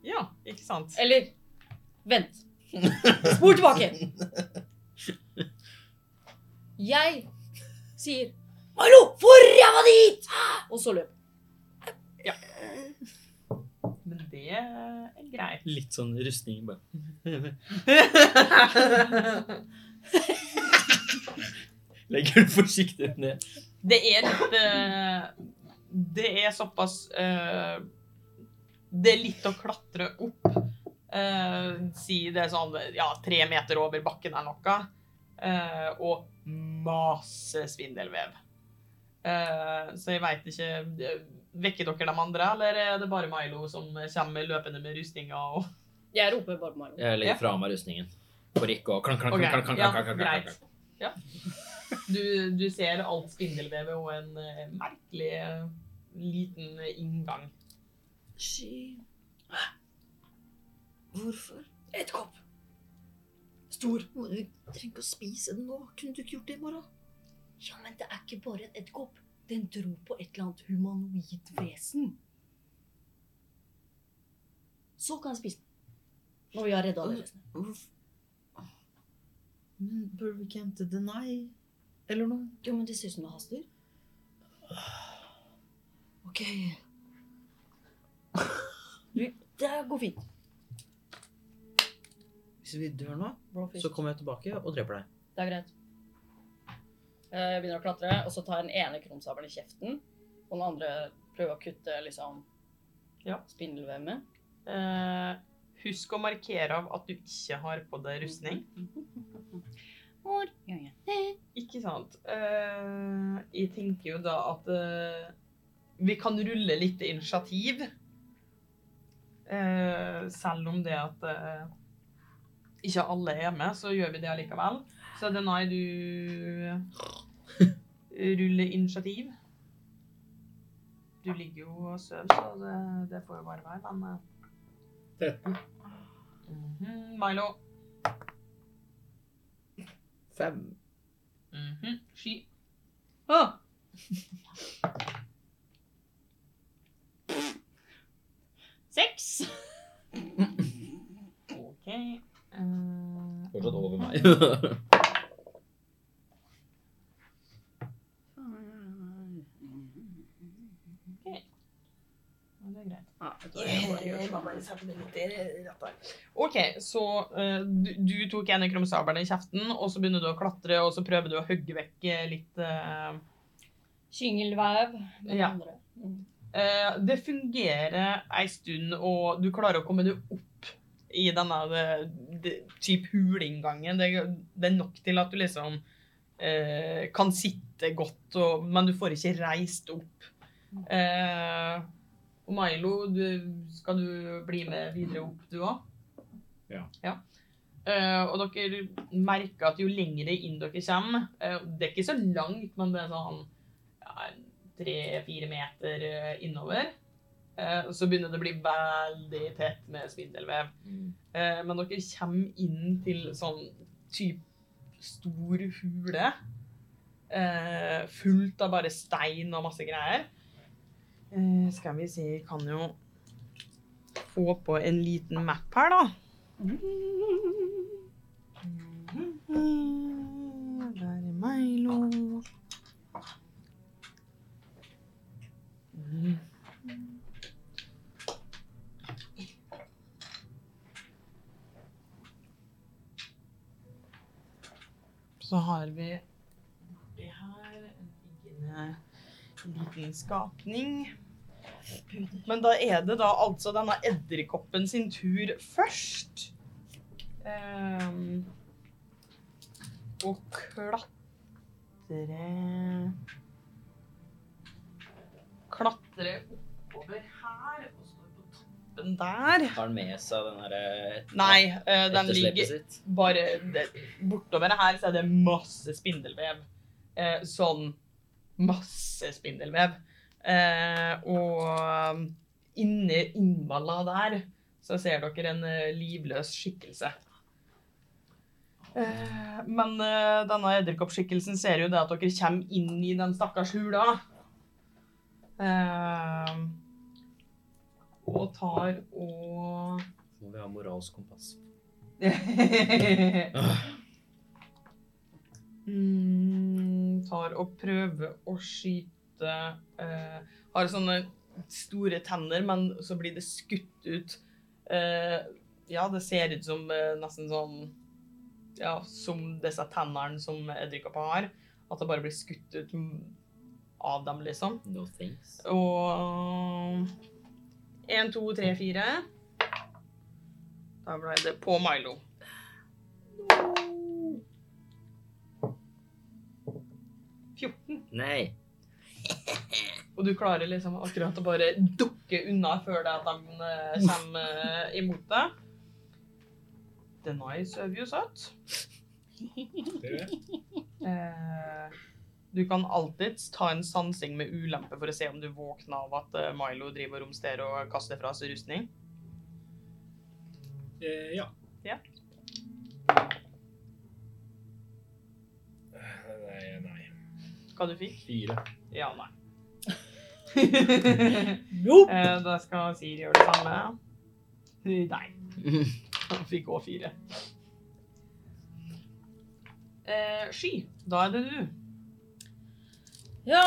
Speaker 1: Ja, ikke sant?
Speaker 3: Eller Vent. Spor tilbake. Jeg sier Hallo, for ræva dit! Og så løp.
Speaker 1: Men det er greit.
Speaker 4: Litt sånn rustning bare. Legger den forsiktig ned.
Speaker 1: Det er litt eh, Det er såpass eh, Det er litt å klatre opp. Eh, si det er sånn ja, tre meter over bakken er noe. Eh, og masse spindelvev. Eh, så jeg veit ikke eh, Vekker dere de andre, eller er det bare Milo som kommer løpende med rustninga og
Speaker 3: Jeg roper bare på Marlon.
Speaker 4: Jeg legger
Speaker 1: Ja.
Speaker 4: fra meg rustningen. For ikke å klank, klank,
Speaker 1: Ok,
Speaker 4: klank, klank,
Speaker 1: ja,
Speaker 4: klank, klank, klank,
Speaker 1: greit.
Speaker 4: klank.
Speaker 1: Ja. Du, du ser alt spindelvevet og en eh, merkelig eh, liten inngang.
Speaker 5: Sky. Hvorfor?
Speaker 3: Et kopp. Stor.
Speaker 5: Må Du trenger ikke å spise den nå. Kunne du ikke gjort det i morgen?
Speaker 3: Ja, men det er ikke bare en edderkopp. Den dro på et eller annet humanoid vesen. Så kan jeg spise den. Når vi har redda det vesenet.
Speaker 5: Hvorf- Men burde vi ikke hente Deny? Eller noe?
Speaker 3: Jo, men det ser ut som det haster.
Speaker 5: Ok.
Speaker 3: Det går fint.
Speaker 5: Hvis vi dør nå, så kommer jeg tilbake og dreper deg.
Speaker 3: Det er greit. Eh, Jeg begynner å klatre, og så tar jeg den ene krumsabelen i kjeften. Og den andre prøver å kutte liksom
Speaker 1: Ja.
Speaker 3: spindelvev med.
Speaker 1: Eh, husk å markere av at du ikke har på deg rustning.
Speaker 6: Hvor gjør jeg det?
Speaker 1: Ikke sant? Eh, jeg tenker jo da at eh, vi kan rulle litt initiativ. Eh, selv om det at eh, ikke alle er med, så gjør vi det allikevel. Så Denai, du ruller initiativ. Du ligger jo og sover, så det, det får jo bare være, men eh,
Speaker 2: 13.
Speaker 1: mhm, Milo.
Speaker 5: Fem.
Speaker 1: Mhm, Sky.
Speaker 3: Seks!
Speaker 1: OK. Eh,
Speaker 4: Fortsatt over meg.
Speaker 1: ja, det er greit.
Speaker 3: Ja,
Speaker 1: OK, så eh, du, du tok en av krumsaberne i kjeften, og så begynner du å klatre, og så prøver du å hogge vekk eh, litt eh,
Speaker 3: Kyngelvev. med den
Speaker 1: Ja.
Speaker 3: andre. Mm.
Speaker 1: eh, Det fungerer ei stund, og du klarer å komme deg opp i denne eh, det- typ huleinngangen. Det, det er nok til at du liksom eh, kan sitte godt, og, men du får ikke reist opp. Eh, og Milo, du, skal du bli med videre opp, du òg?
Speaker 9: Ja.
Speaker 1: Eh, og dere merker at jo lengre inn dere kommer eh, Det er ikke så langt, men det er sånn ja, tre-fire meter eh, innover. Eh, så begynner det å bli veldig tett med spindelvev. Eh, men dere kommer inn til sånn typ stor hule. Eh, fullt av bare stein og masse greier. Eh, skal vi se, jeg kan jo få på en liten map her, da. Der er Milo. Så har vi oppi her en liggende liten skapning. Men da er det da altså denne edderkoppen sin tur først. Ehm, og klatre Klatre oppover her, og så på toppen der.
Speaker 4: Har han med seg den derre
Speaker 1: Nei, eh, den ligger
Speaker 4: etterslepet sitt?
Speaker 1: bare det, bortover her så er det masse spindelvev. Eh, sånn masse spindelvev. Eh, og inne innmalla der så ser dere en eh, livløs skikkelse. Eh, men eh, denne edderkoppskikkelsen ser jo det at dere kommer inn i den stakkars hula. Eh, og tar og
Speaker 4: Må vi ha moralsk kompass?
Speaker 1: mm, tar og prøver å skyte eh, Har sånne store tenner, men så blir det skutt ut. Eh, ja, det ser ut som eh, nesten sånn Ja, som disse tennene som edderkopper har. At det bare blir skutt ut mm, av dem, liksom.
Speaker 4: No thanks.
Speaker 1: Og 1, 2, 3, 4. Da ble det på Milo.
Speaker 4: Nei.
Speaker 1: Og du klarer liksom akkurat å bare dukke unna før det at de eh, kommer eh, imot deg. The nice øver jo søtt.
Speaker 2: Det gjør jeg.
Speaker 1: Eh, Du kan alltid ta en sansing med ulempe for å se om du våkner av at eh, Milo driver og romsterer og kaster fra seg rustning.
Speaker 2: Eh, ja.
Speaker 1: Ja.
Speaker 2: Eh, Nei, nei.
Speaker 1: Hva du fikk?
Speaker 2: Fire.
Speaker 1: Ja, nei. Eh, Da skal Siri gjøre det samme. Nei. Han fikk òg fire. Eh, sky, da er det du.
Speaker 3: Ja.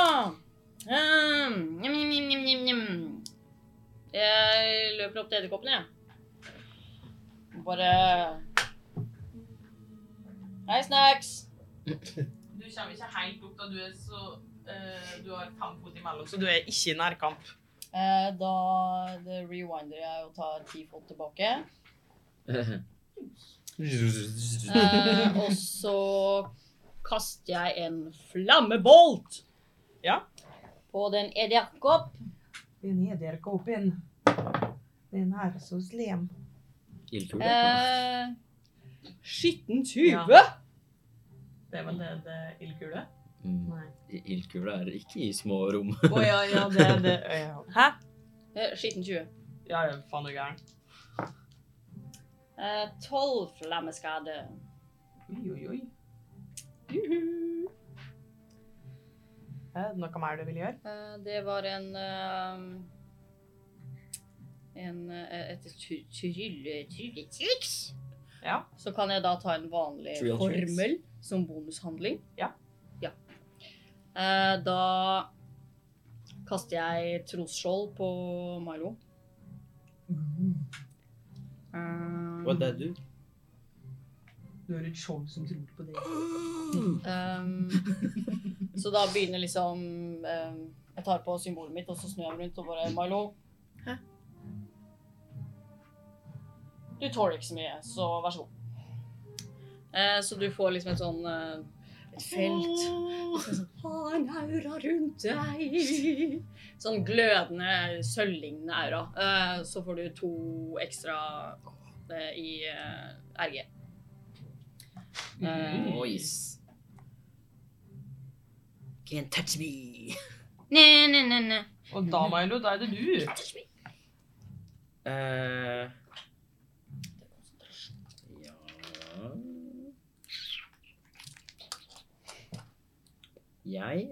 Speaker 3: Ehm, Njam, njam, njam, njam, njam, njam. Jeg løper opp til edderkoppen, jeg. Bare Hei, Snacks.
Speaker 1: Du kommer ikke helt opp da du er så eh, Du har fem fot imellom, så du er ikke i nærkamp.
Speaker 3: Eh, da det rewinder jeg og tar ti fot tilbake. Eh, og så kaster jeg en flammebolt
Speaker 1: Ja.
Speaker 3: på den edderkopp.
Speaker 1: Den edderkoppen. Den er så slem.
Speaker 4: Ildfugl.
Speaker 3: Eh, Skitten 20.
Speaker 1: Det er vel det, det ildkule?
Speaker 4: Mm.
Speaker 1: Nei.
Speaker 4: Ildkule er ikke i små rom.
Speaker 1: Å ja, ja, det er det. Ja. Hæ?
Speaker 3: Eh, Skitten 20.
Speaker 1: Ja, ja, faen du er gæren.
Speaker 3: Eh, 12 flammeskade.
Speaker 1: Oi, oi, oi. Er det noe mer du vil gjøre?
Speaker 3: Eh, det var en eh, en, eh, et try- trylle- trylletriks.
Speaker 1: Ja.
Speaker 3: Så kan jeg da ta en vanlig
Speaker 4: Trill tricks.
Speaker 3: formel som bonushandling.
Speaker 1: Ja.
Speaker 3: Ja. Eh, da kaster jeg trosskjold på Milo.
Speaker 1: Mm. Eh,
Speaker 3: Um,
Speaker 4: Hva er det du?
Speaker 1: Du har et skjold som tror på det.
Speaker 3: Um, så da begynner liksom um, Jeg tar på symbolet mitt, og så snur jeg meg rundt og bare Milo. Du tåler ikke så mye, så vær så god. Eh, så du får liksom et sånn eh,
Speaker 7: et felt. Ha en aura rundt deg.
Speaker 3: Sånn glødende, sølvlignende aura. Eh, så får du to ekstra eh, i eh, RG. Eh,
Speaker 1: Mm.
Speaker 4: Nice.
Speaker 8: Can't touch me.
Speaker 3: ne, ne, ne, ne.
Speaker 1: Og da, Milo, da er det du.
Speaker 5: Eh, ja Jeg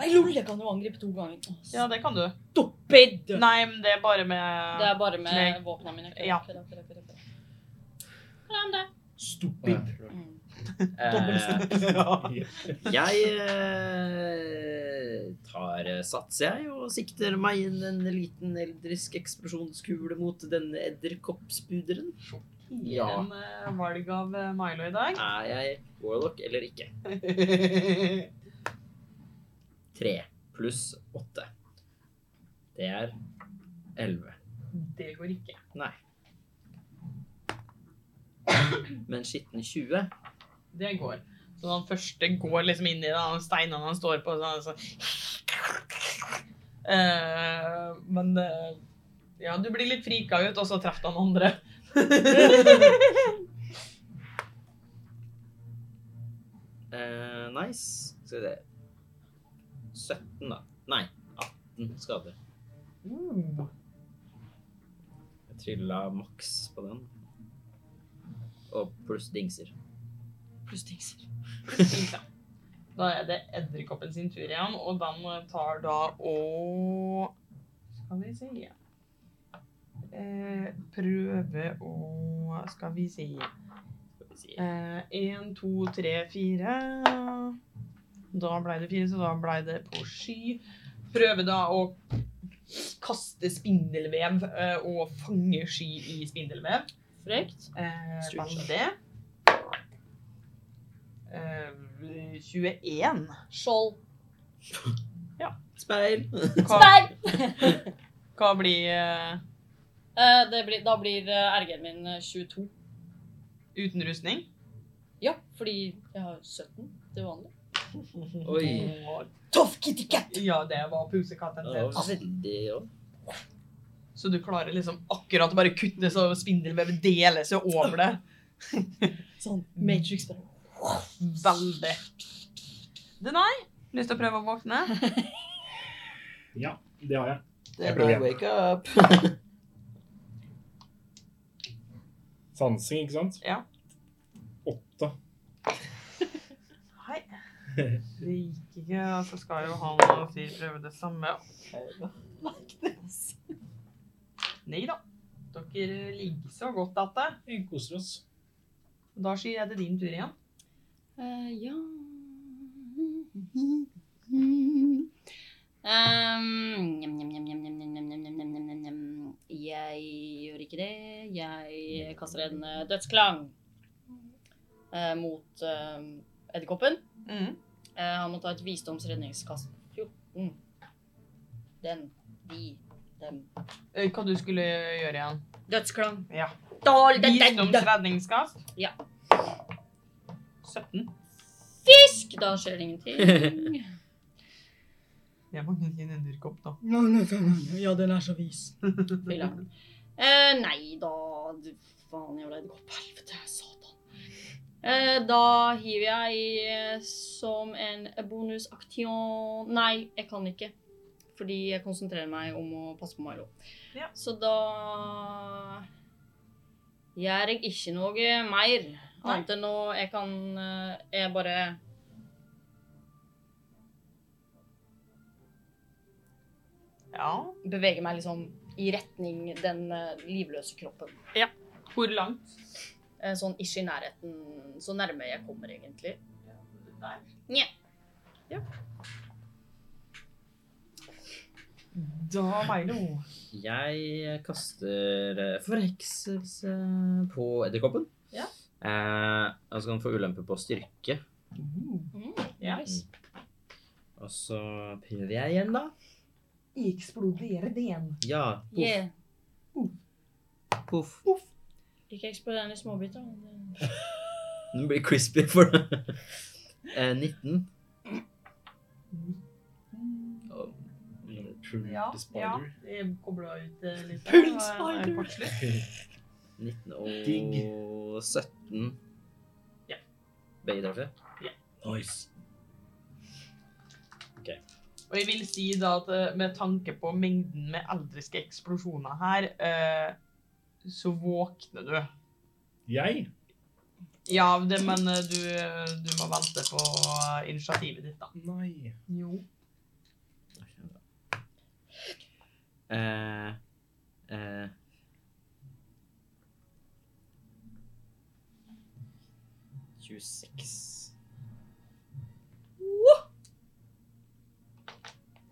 Speaker 3: Nei, lol, jeg kan jo angripe to ganger. Å,
Speaker 1: Ja, det kan du.
Speaker 3: Stupid!
Speaker 1: Nei, men det er bare
Speaker 3: Det
Speaker 1: med
Speaker 3: er bare med
Speaker 1: Nei.
Speaker 3: våpnene mine.
Speaker 1: Ja.
Speaker 3: Kjør, kjør, kjør, kjør. Kjør om det.
Speaker 2: Stupid.
Speaker 3: Mm.
Speaker 5: eh,
Speaker 1: Ja.
Speaker 5: Jeg eh, tar eh, sats, jeg, og sikter meg inn en liten eldrisk eksplosjonskule mot denne edderkoppspuderen.
Speaker 1: Gir
Speaker 5: Ja.
Speaker 1: en eh, valg av eh, Milo i dag.
Speaker 5: Er jeg warlock eller ikke? Tre pluss åtte. Det er elleve.
Speaker 1: Det går ikke.
Speaker 5: Nei. Men skitten 20
Speaker 1: Det går. Så han første går liksom inn i den steinen han står på, sånn, sånn. Eh, men eh, ja, du blir litt frika ut, og så treffer han andre.
Speaker 5: eh, Nice. Skal vi se 17, da. Nei, 18 skader.
Speaker 1: Mm.
Speaker 5: Jeg trilla maks på den. Og pluss dingser.
Speaker 1: Pluss dingser. Da er det edderkoppen sin tur igjen, og den tar da og Skal vi se eh, Prøve å Skal vi se
Speaker 5: Skal vi si.
Speaker 1: Én, to, tre, fire. Da ble det fire, så da ble det på sky. Prøve da å kaste spindelvev eh, og fange sky i spindelvev.
Speaker 3: Frekt.
Speaker 1: Eh,
Speaker 5: Stort
Speaker 1: Vann
Speaker 5: sett.
Speaker 1: det. Eh, 21.
Speaker 3: Skjold.
Speaker 5: Speil!
Speaker 1: Hva, hva blir eh,
Speaker 3: Eh, det blir, da blir eh, RG-en min eh, 22.
Speaker 1: uten rustning?
Speaker 3: Ja, fordi jeg har 17 til vanlig.
Speaker 5: Oi.
Speaker 1: Og-
Speaker 6: Tough kitty cat!
Speaker 1: Ja, det var pusekatten
Speaker 5: Det
Speaker 1: sin.
Speaker 5: var veldig ja.
Speaker 1: Så du klarer liksom akkurat å bare kutte så spindelvevet deler seg over det.
Speaker 3: Sånn Matrix bare
Speaker 1: Veldig. Denai, lyst til å prøve å våkne?
Speaker 2: Ja, det har jeg.
Speaker 4: Det
Speaker 2: Jeg
Speaker 4: er
Speaker 2: prøver
Speaker 4: bare
Speaker 2: igjen.
Speaker 4: wake up.
Speaker 2: Sansing, ikke sant?
Speaker 1: Ja.
Speaker 2: Åtte.
Speaker 1: Nei. Det gikk ikke, og så skal jo han og si prøve det samme. Nei da. Dere ligger så godt at det.
Speaker 2: Vi koser oss.
Speaker 1: Da sier jeg det din tur igjen.
Speaker 3: Eh, Ja
Speaker 6: Um, njam, njam, njam, njam, njam, njam, njam, njam, njam, njam, njam, njam. Jeg gjør ikke det.
Speaker 3: Jeg kaster en eh, dødsklang eh, mot eh, edderkoppen. Eh, han må ta et visdomsredningskast. 14. Den, de, dem.
Speaker 1: Eh, Hva du skulle gjøre igjen?
Speaker 3: Dødsklang.
Speaker 1: Ja.
Speaker 3: Dårlig, den, den, den.
Speaker 1: Visdomsredningskast?
Speaker 3: Ja.
Speaker 1: 17.
Speaker 3: Fisk! Da skjer det ingenting.
Speaker 1: Jeg mangler ikke en edderkopp, da.
Speaker 3: ja, den er så vis. Eh, nei da du, Faen, jeg ble gått på helvete. Satan. Eh, da hiver jeg eh, som en bonusaktion Nei, jeg kan ikke. Fordi jeg konsentrerer meg om å passe på Milo.
Speaker 1: Ja.
Speaker 3: Så da gjør jeg ikke noe mer. Annet enn å Jeg kan eh, Jeg bare
Speaker 1: Ja.
Speaker 3: beveger meg liksom i retning den eh, livløse kroppen.
Speaker 1: Hvor langt?
Speaker 3: Eh, Sånn ish i nærheten, så nærme jeg kommer egentlig.
Speaker 1: Da, Milo.
Speaker 5: Jeg kaster eh, forhekselse på edderkoppen.
Speaker 1: Ja.
Speaker 5: Eh, og så kan den få ulempe på styrke.
Speaker 3: Mm.
Speaker 1: Ja.
Speaker 5: Nice. Og så prøver jeg igjen, da.
Speaker 1: Eksplodere den.
Speaker 5: Ja. Poff.
Speaker 3: Yeah.
Speaker 5: Poff.
Speaker 3: Ikke eksploder den i småbiter.
Speaker 5: Den blir crispy for det. Eh, 19. Og-
Speaker 1: Ja,
Speaker 2: The
Speaker 1: ja.
Speaker 2: spider.
Speaker 1: Det kobla ut eh, litt.
Speaker 3: Pull
Speaker 1: Det var- det var kortslutt.
Speaker 5: 19
Speaker 4: Digg.
Speaker 5: og 17.
Speaker 1: Ja.
Speaker 5: Begge treffer?
Speaker 1: Ja.
Speaker 5: Nice.
Speaker 1: Og jeg vil si da at eh, med tanke på mengden med eldriske eksplosjoner her, eh, så våkner du.
Speaker 2: Jeg?
Speaker 1: Ja, det, men eh, du, du må vente på eh, initiativet ditt, da.
Speaker 2: Nei.
Speaker 1: Jo.
Speaker 5: Eh, eh.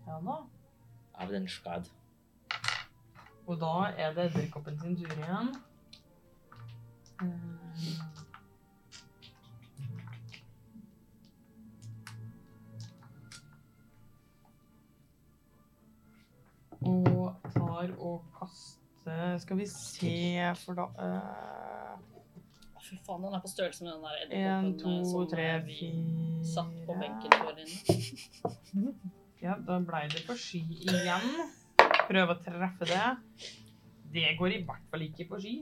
Speaker 1: Ja da.
Speaker 4: Av den skad.
Speaker 1: Og da er det edderkoppen sin tur igjen. Eh, Og tar og kaster Skal vi se, for da eh,
Speaker 3: Å, Fy faen, den er på størrelse med den der
Speaker 1: En,
Speaker 3: edderkoppen, eh,
Speaker 1: to,
Speaker 3: som,
Speaker 1: tre,
Speaker 3: eh, vi
Speaker 1: fire
Speaker 3: Satt på benken for henne.
Speaker 1: Ja, da blei det på ski igjen. Prøve å treffe det. Det går i hvert fall ikke på ski.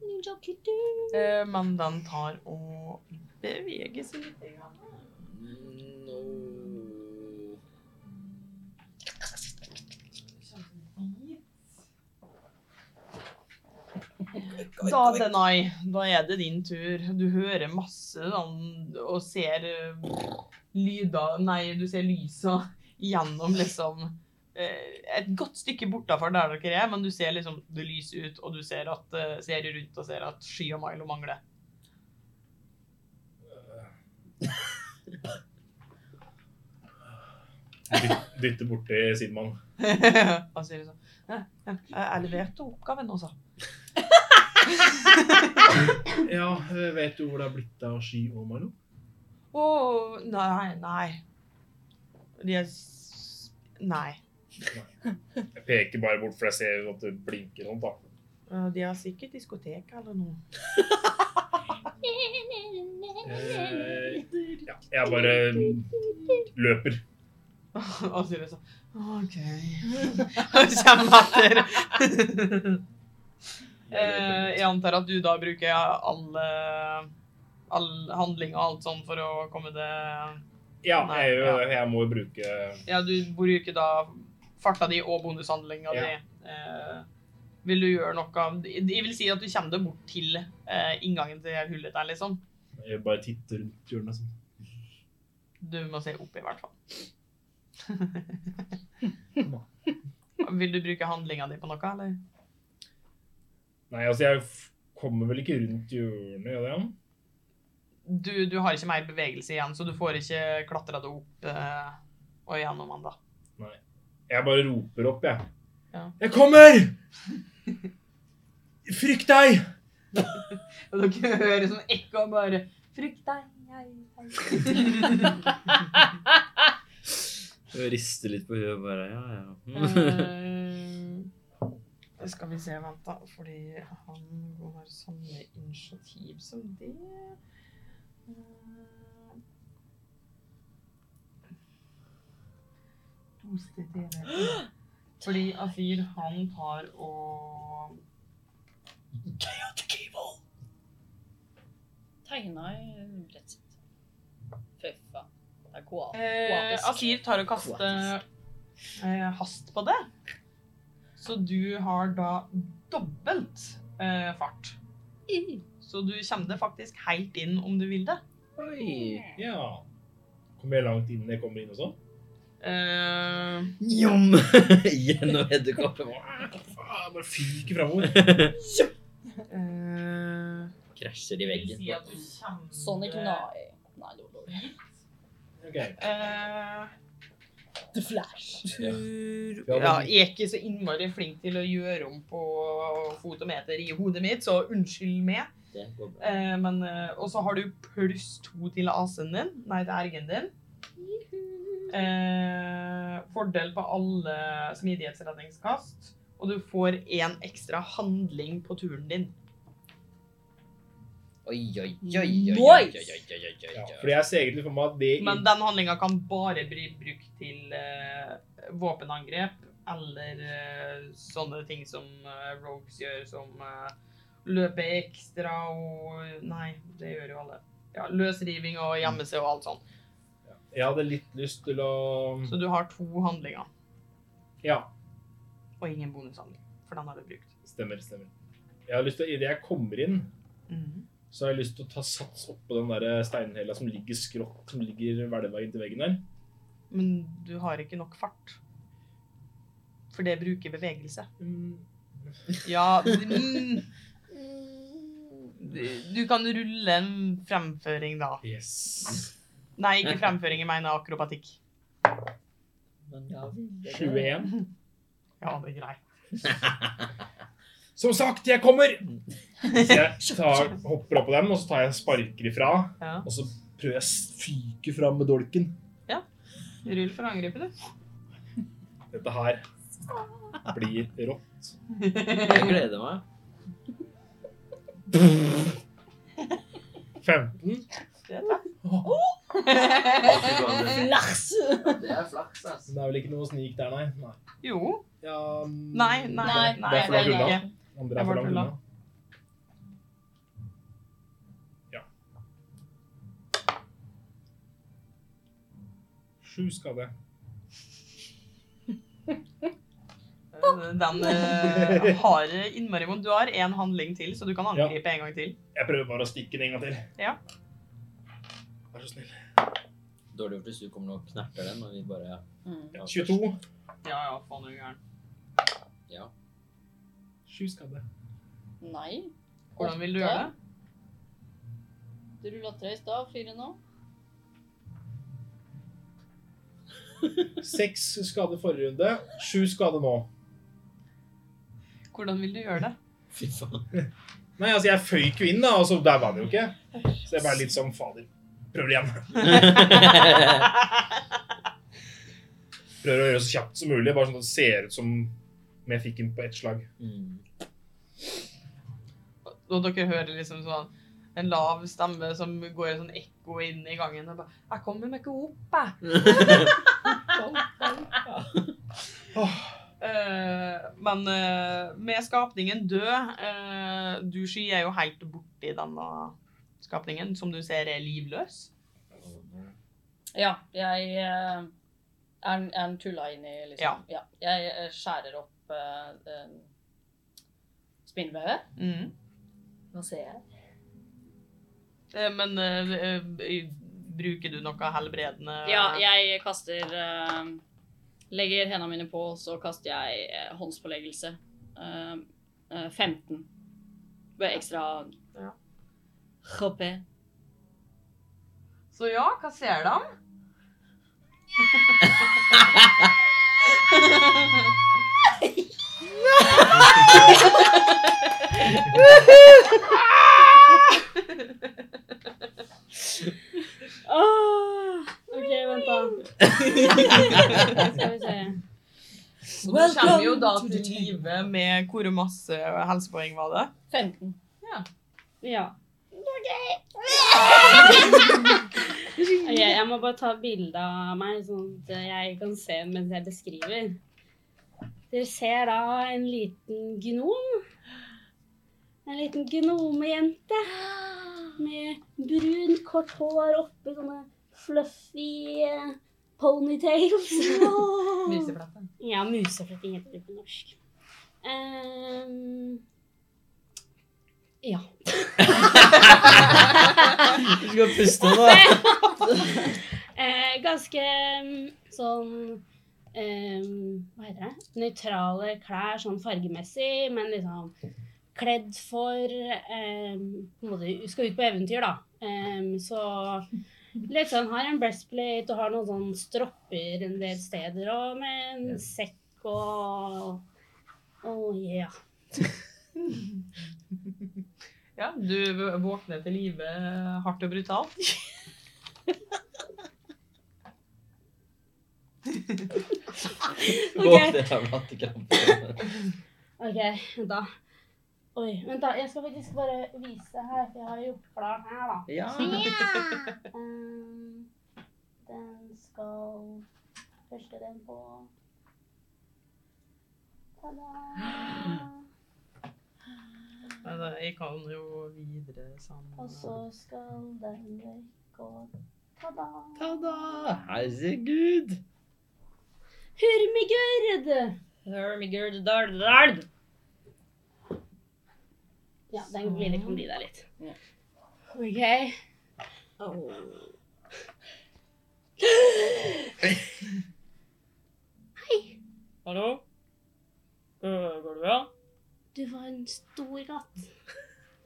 Speaker 3: Ninja
Speaker 1: Eh, men den tar og beveger seg litt. grann.
Speaker 4: Mm, No.
Speaker 1: Da, Denai, da er det din tur. Du hører masse sånn og ser eh, lyder Nei, du ser lysa gjennom liksom eh, et godt stykke bortafor der dere er, men du ser liksom det lyser ut, og du ser, at, eh, ser rundt og ser at Sky og Milo mangler.
Speaker 2: Dyt- Dytter borti Sidman.
Speaker 1: Han sier sånn «Eh, eh, Jeg leverte oppgaven også.
Speaker 2: Ja, eh, vet du hvor det er blitt av Ski og Milo?
Speaker 1: Å, nei, nei. De er s- Nei.
Speaker 2: Jeg peker bare bort, for jeg ser at det blinker sånn, da.
Speaker 1: Eh, De har sikkert diskotek eller noe.
Speaker 2: Eh, ja, jeg bare løper.
Speaker 1: Og Siri sånn OK. Og kommer etter. Eh, Jeg antar at du da bruker alle all handling og alt sånn for å komme til
Speaker 2: Ja, jeg, gjør det. jeg må jo bruke
Speaker 1: Ja, du bruker da farta di og bonushandlinga
Speaker 2: Ja.
Speaker 1: di. Eh, vil du gjøre noe av Jeg vil si at du kommer deg bort til eh, inngangen til hullet der, liksom.
Speaker 2: Jeg bare titter rundt hjørnet sånn.
Speaker 1: Du må se opp, i hvert fall. vil du bruke handlinga di på noe, eller?
Speaker 2: Nei, altså, jeg f- kommer vel ikke rundt hjørnet, gjør jeg det?
Speaker 1: du, du har ikke mer bevegelse igjen, så du får ikke klatra det opp eh, og gjennom den, da.
Speaker 2: Jeg bare roper opp, jeg.
Speaker 1: Ja.
Speaker 2: Jeg kommer! Frykt deg!
Speaker 1: Og dere hører sånn ekko og bare Frykt deg, jeg,
Speaker 5: Jeg rister litt på huet og bare ja,
Speaker 4: Mm.
Speaker 5: ja.
Speaker 1: jeg. Eh, Skal vi se, vent da, fordi han har samme initiativ som det. Eh, to steder i det. Fordi Afir, han tar og
Speaker 3: Tegna i rett sitt. Fy faen. Det er koala.
Speaker 1: Eh,
Speaker 3: Koatisk.
Speaker 1: Akir tar og kaster eh, hast på det. Så du har da dobbelt eh, fart. Så du kommer det faktisk helt inn om du vil det.
Speaker 5: Oi.
Speaker 2: Ja. Kommer jeg langt inn når jeg kommer inn og sånn?
Speaker 1: Eh,
Speaker 5: Njom! Gjennom edderkoppen.
Speaker 2: ah, Faen, bare fyker framover.
Speaker 1: eh,
Speaker 4: Krasjer i
Speaker 1: vil
Speaker 4: veggen.
Speaker 1: si at du kommer
Speaker 6: Sånn
Speaker 3: Sonic Nye. Nei, det var dårlig.
Speaker 2: Ok.
Speaker 1: Eh,
Speaker 3: The Flash.
Speaker 1: tur
Speaker 2: Ja.
Speaker 1: Ja, jeg er ikke så innmari flink til å gjøre om på fotometer i hodet mitt, så unnskyld meg.
Speaker 4: Det går bra.
Speaker 1: Eh, men, eh, og så har du pluss to til AC-en din. Nei, til RG-en din. Eh, fordel på alle smidighetsredningskast. Og du får én ekstra handling på turen din.
Speaker 4: Oi, oi, oi, oi, oi, oi,
Speaker 3: Nice.
Speaker 4: oi, oi, oi, oi,
Speaker 2: Ja,
Speaker 4: oi.
Speaker 2: fordi jeg ser egentlig for meg at det
Speaker 1: Men den handlinga kan bare bli brukt til eh, våpenangrep eller eh, sånne ting som eh, rogues gjør, som eh, løpe ekstra og Nei, det gjør jo alle. Ja, løsriving og gjemme seg og alt sånt.
Speaker 2: Jeg hadde litt lyst til å
Speaker 1: Så du har to handlinger
Speaker 2: Ja,
Speaker 1: og ingen bonushandling, for den har du brukt.
Speaker 2: stemmer, stemmer. Jeg har lyst til å, Idet jeg kommer inn,
Speaker 1: Mhm.
Speaker 2: så har jeg lyst til å ta sats oppå den der steinhella som ligger skrått, som ligger hvelva inntil veggen der.
Speaker 1: Men du har ikke nok fart. For det bruker bevegelse.
Speaker 2: Mm.
Speaker 1: Ja mm. Du- Du kan rulle en fremføring, da.
Speaker 2: Yes.
Speaker 1: Nei, ikke fremføring. Jeg mener akrobatikk.
Speaker 2: 21.
Speaker 1: Ja, det er greit.
Speaker 2: Som sagt, jeg kommer! Så jeg tar, hopper opp på den, og så tar jeg en sparker ifra.
Speaker 1: Ja.
Speaker 2: Og så prøver jeg å fyke fram med dolken.
Speaker 1: Rull for å angripe, du.
Speaker 2: Dette her blir rått.
Speaker 4: Jeg gleder meg.
Speaker 2: 15.
Speaker 1: Det tar.
Speaker 2: Åh,
Speaker 4: Fy faen, det-
Speaker 3: Lars!
Speaker 4: Det er flaks, ass.
Speaker 2: Det er vel ikke noe snik der, nei? nei.
Speaker 1: Jo.
Speaker 2: Ja, mm,
Speaker 1: Nei, nei.
Speaker 3: Nei,
Speaker 2: det er for
Speaker 3: nei,
Speaker 2: langt
Speaker 3: nei,
Speaker 2: unna.
Speaker 1: ikke.
Speaker 2: Andre er
Speaker 1: Jeg
Speaker 2: for
Speaker 1: var
Speaker 2: langt
Speaker 1: tulla.
Speaker 2: unna. Ja. Sju skade.
Speaker 1: Den eh, har innmari vondt. Du har én handling til, så du kan angripe en gang til.
Speaker 2: Jeg prøver bare å stikke den en gang til.
Speaker 1: Ja.
Speaker 2: Vær så snill.
Speaker 4: Dårlig gjort hvis du kommer og knerter den, og vi bare
Speaker 3: Mm.
Speaker 2: Ja, 22.
Speaker 1: Ja, ja, faen er du gæren.
Speaker 4: Ja.
Speaker 2: Sju skade.
Speaker 3: Nei.
Speaker 1: Hvordan vil du gjøre det?
Speaker 3: Du rulla tre i stad, fire nå.
Speaker 2: Seks skade forrige runde. Sju skade nå.
Speaker 1: Hvordan vil du gjøre det?
Speaker 4: Fy faen.
Speaker 2: Nei, altså, jeg føyk jo inn, da, og så der var det jo ikke. Så jeg bare litt sånn Fader, prøver igjen. Prøver å gjøre det så kjapt som mulig, bare sånn at det ser ut som om jeg fikk den på ett slag.
Speaker 4: Mm.
Speaker 1: Og dere hører liksom sånn en lav stemme som går i sånn ekko inn i gangen og bare 'Jeg kommer meg ikke opp, jeg'. Eh, men eh, med skapningen død eh, Du sky er jo helt borti denne skapningen, som du ser er livløs.
Speaker 3: Ja, jeg eh, er, er en tulla inni, liksom. Ja. Jeg eh, skjærer opp eh, uh, spinnevevet.
Speaker 1: Mhm.
Speaker 3: Nå ser jeg.
Speaker 1: Eh, men eh, eh, bruker du noe helbredende
Speaker 3: Ja, jeg kaster eh, Legger hendene mine på, så kaster jeg eh, håndspåleggelse. Eh, eh, 15. Med ekstra
Speaker 1: Ja.
Speaker 3: HP.
Speaker 1: Så ja, hva ser de?
Speaker 3: OK, vent, da. Skal vi se.
Speaker 1: Så du kommer jo da til live med hvor masse helsepoeng var det?
Speaker 3: 15.
Speaker 1: Ja.
Speaker 9: Ja. Ok, jeg må bare ta bilde av meg, sånn at jeg kan se mens jeg beskriver. Dere ser da en liten gnom. En liten gnomejente med brunt, kort hår oppi sånne fluffy eh, ponytails.
Speaker 1: Musefletten.
Speaker 9: Ja, musefletting heter det på norsk. Ehm, ja.
Speaker 4: Du skal puste nå, da.
Speaker 9: Eh, ganske mm, sånn ehm, Hva heter det? Nøytrale klær sånn fargemessig, men liksom kledd for ehm, på en måte, Skal ut på eventyr, da. Ehm, så litt sånn har en breastplate og har noen sånn stropper en del steder og med en sekk og Oh yeah.
Speaker 1: Ja, du v- våkner til live hardt og brutalt.
Speaker 4: Våkner av latterkrampe.
Speaker 9: OK, vent da. Oi, vent da. Jeg skal faktisk bare vise her, for jeg har gjort klar den her, da.
Speaker 5: Ja.
Speaker 9: Ehm, den skal Første den på Ta-da!
Speaker 1: Nei, da, eh, Jeg kan jo videre sammen.
Speaker 9: Og så skal den vekk og ta-da!
Speaker 5: Ta da! Herregud!
Speaker 9: Hurmigurd!
Speaker 3: Hermigurd dard dard.
Speaker 9: Ja, den gleder kan bli der litt.
Speaker 3: Ja.
Speaker 9: OK.
Speaker 3: Hallo? Øh, går det bra?
Speaker 9: Du var en stor katt.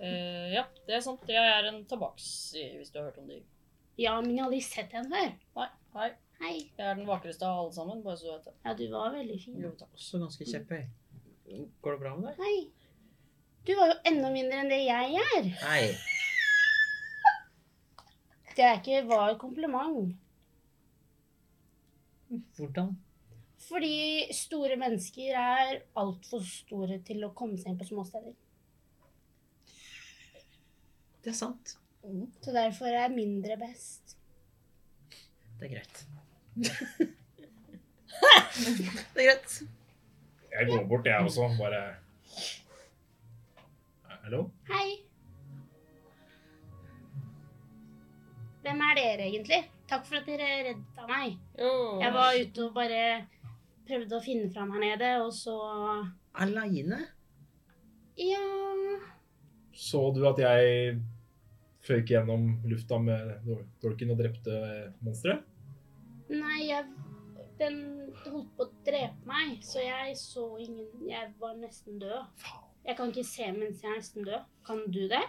Speaker 3: Eh, ja, det er sant. Jeg er en tabakks, hvis du har hørt om de.
Speaker 9: Ja, men jeg har aldri sett en før.
Speaker 3: Nei, nei.
Speaker 9: Hei.
Speaker 3: Jeg er den vakreste av alle sammen, bare så du vet det.
Speaker 9: Ja, du var veldig fin.
Speaker 3: Jo, takk.
Speaker 5: Også ganske kjepphøy. Går det bra med deg?
Speaker 9: Hei. Du var jo enda mindre enn det jeg er.
Speaker 5: Nei.
Speaker 9: Det er ikke var et kompliment.
Speaker 5: Hvordan?
Speaker 9: Fordi store mennesker er altfor store til å komme seg inn på små steder.
Speaker 5: Det er sant.
Speaker 9: Så derfor er mindre best.
Speaker 5: Det er greit. det er greit.
Speaker 2: Jeg går bort, jeg også. Bare Hallo?
Speaker 9: Hei. Hvem er dere egentlig? Takk for at dere redda meg.
Speaker 3: Jo.
Speaker 9: Jeg var ute og bare prøvde å finne fram her nede, og så
Speaker 5: Aleine?
Speaker 9: Ja
Speaker 2: Så du at jeg føyk gjennom lufta med dol- dolken og drepte eh, monsteret?
Speaker 9: Nei, jeg Den holdt på å drepe meg, så jeg så ingen Jeg var nesten død. Jeg kan ikke se mens jeg er nesten død. Kan du det?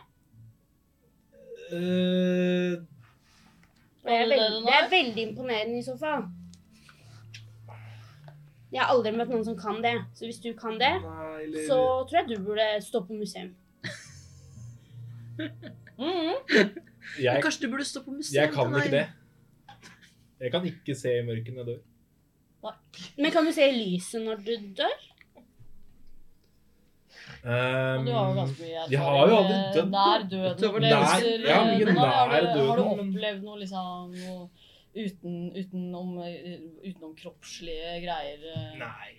Speaker 2: Eh,
Speaker 3: Var
Speaker 9: Det er,
Speaker 3: det det
Speaker 9: veldig,
Speaker 3: du
Speaker 9: det er
Speaker 3: var?
Speaker 9: veldig imponerende i så fall. Jeg har aldri møtt noen som kan det, så hvis du kan det,
Speaker 2: nei, eller
Speaker 9: så tror jeg du burde stå på museum.
Speaker 3: Mhm.
Speaker 5: Men
Speaker 2: jeg,
Speaker 5: Kanskje du burde stå på museet?
Speaker 2: jeg kan ikke det. Jeg kan ikke se i mørket når jeg dør.
Speaker 9: Men kan du se lyset når du dør?
Speaker 3: Du har jo
Speaker 2: Um,
Speaker 3: ganske mye
Speaker 2: Vi har jo aldri
Speaker 3: med
Speaker 2: dødd.
Speaker 3: Nær døden-opplevelser.
Speaker 2: Nær- ja, mye
Speaker 3: eh, Nina. Har
Speaker 2: nær
Speaker 3: du- Har du
Speaker 2: døden, men-
Speaker 3: opplevd noe liksom noe uten, utenom, eh, utenom kroppslige greier? eh?
Speaker 2: Nei.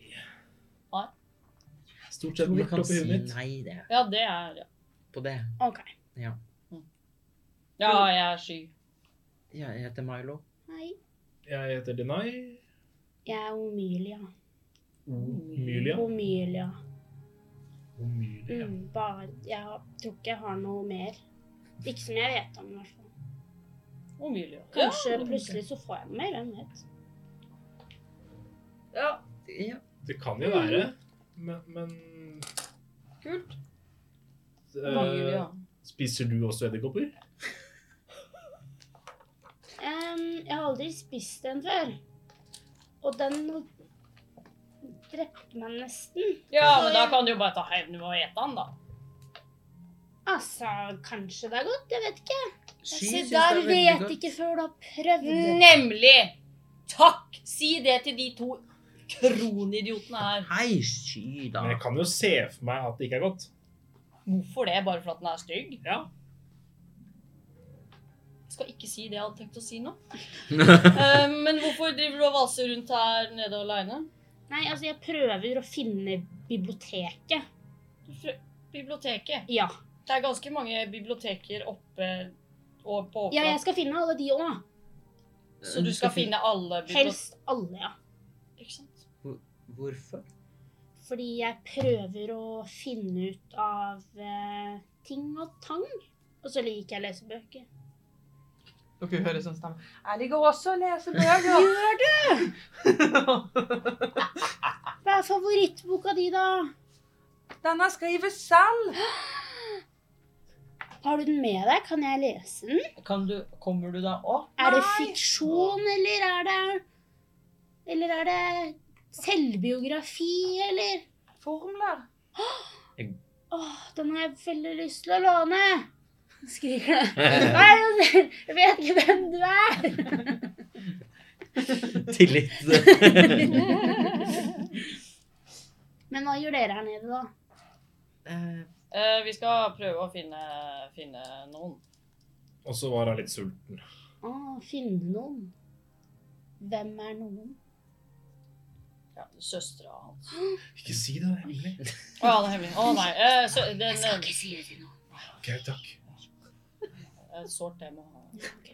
Speaker 3: Nei.
Speaker 2: Stort sett
Speaker 5: Jeg tror vi
Speaker 2: mørkt
Speaker 5: kan
Speaker 2: oppi
Speaker 5: si
Speaker 2: huet mitt.
Speaker 5: nei det,
Speaker 3: Ja, det er Ja,
Speaker 5: på det.
Speaker 9: OK.
Speaker 3: ja jeg er sky.
Speaker 5: Jeg heter Milo.
Speaker 9: Hei.
Speaker 2: Jeg heter Denai.
Speaker 9: Jeg er Omilia.
Speaker 2: Omylia.
Speaker 9: Omilia.
Speaker 2: Omylia.
Speaker 9: Mm, bare, jeg har- tror ikke jeg har noe mer. Ikke som jeg vet om, i hvert fall.
Speaker 3: Omgjelig.
Speaker 9: Kanskje plutselig så får jeg noe mer, hvem vet.
Speaker 3: Ja,
Speaker 5: Ja.
Speaker 2: Det kan jo være, men, men
Speaker 3: kult.
Speaker 2: eh,
Speaker 3: Omgjelig,
Speaker 2: Spiser du også edderkopper?
Speaker 9: Em, jeg har aldri spist en før. Og den drepte meg nesten.
Speaker 3: Ja, men da kan du jo bare ta hevn og ete den, da.
Speaker 9: Altså, kanskje det er godt, jeg vet
Speaker 5: Sky
Speaker 9: ikke. Se
Speaker 5: syns det
Speaker 9: der,
Speaker 5: er veldig
Speaker 9: vet
Speaker 5: godt. Mm.
Speaker 9: ikke før du har prøvd.
Speaker 3: Nemlig! Takk! Si det til de to kronidiotene her.
Speaker 5: Hei, sky, da.
Speaker 2: Men jeg kan jo se for meg at det ikke er godt.
Speaker 3: Hvorfor det? Bare for at den er stygg?
Speaker 2: Ja.
Speaker 3: Skal ikke si det jeg hadde tenkt å si nå. Eh, men hvorfor driver du og valser rundt her nede aleine?
Speaker 9: Nei, altså, jeg prøver å finne biblioteket.
Speaker 3: Biblioteket.
Speaker 9: Ja.
Speaker 3: Det er ganske mange biblioteker oppe og på
Speaker 9: ja, jeg
Speaker 3: overflaten,
Speaker 9: skal finne alle de òg.
Speaker 3: så du skal finne alle bibliotek...
Speaker 9: Helst alle, ja.
Speaker 3: Ikke sant?
Speaker 5: Hvorfor?
Speaker 9: Fordi jeg prøver å finne ut av eh, ting og tang. Og så liker jeg å lese bøker.
Speaker 1: Dere hører sånn stemme. Jeg ligger også og leser bøker.
Speaker 9: Hva er favorittboka di, da?
Speaker 1: Den jeg skriver selv.
Speaker 9: Har du den med deg? Kan jeg lese den?
Speaker 4: Kan du, kommer du da opp?
Speaker 9: Er det
Speaker 1: Nei.
Speaker 9: fiksjon, eller er det Eller er det selvbiografi, eller
Speaker 1: Formler.
Speaker 9: Åh, den har jeg veldig lyst til å låne! Skriker det. Nei, jeg vet ikke hvem du er!
Speaker 4: eh,
Speaker 5: Tillit.
Speaker 9: Men Men hva gjør dere her nede, da?
Speaker 5: Eh,
Speaker 3: Eh, vi skal prøve å finne, finne noen.
Speaker 2: Og så var hun litt sulten.
Speaker 9: Å, finne noen. Hvem er noen?
Speaker 3: Ja, Søstera hans.
Speaker 2: Ikke si det, det er hemmelig.
Speaker 3: Å ja, det er hemmelig. Å nei. eh, sø, den, jeg skal ikke si
Speaker 2: Ok, takk.
Speaker 3: det. Sårt tema.
Speaker 9: Ja, ok.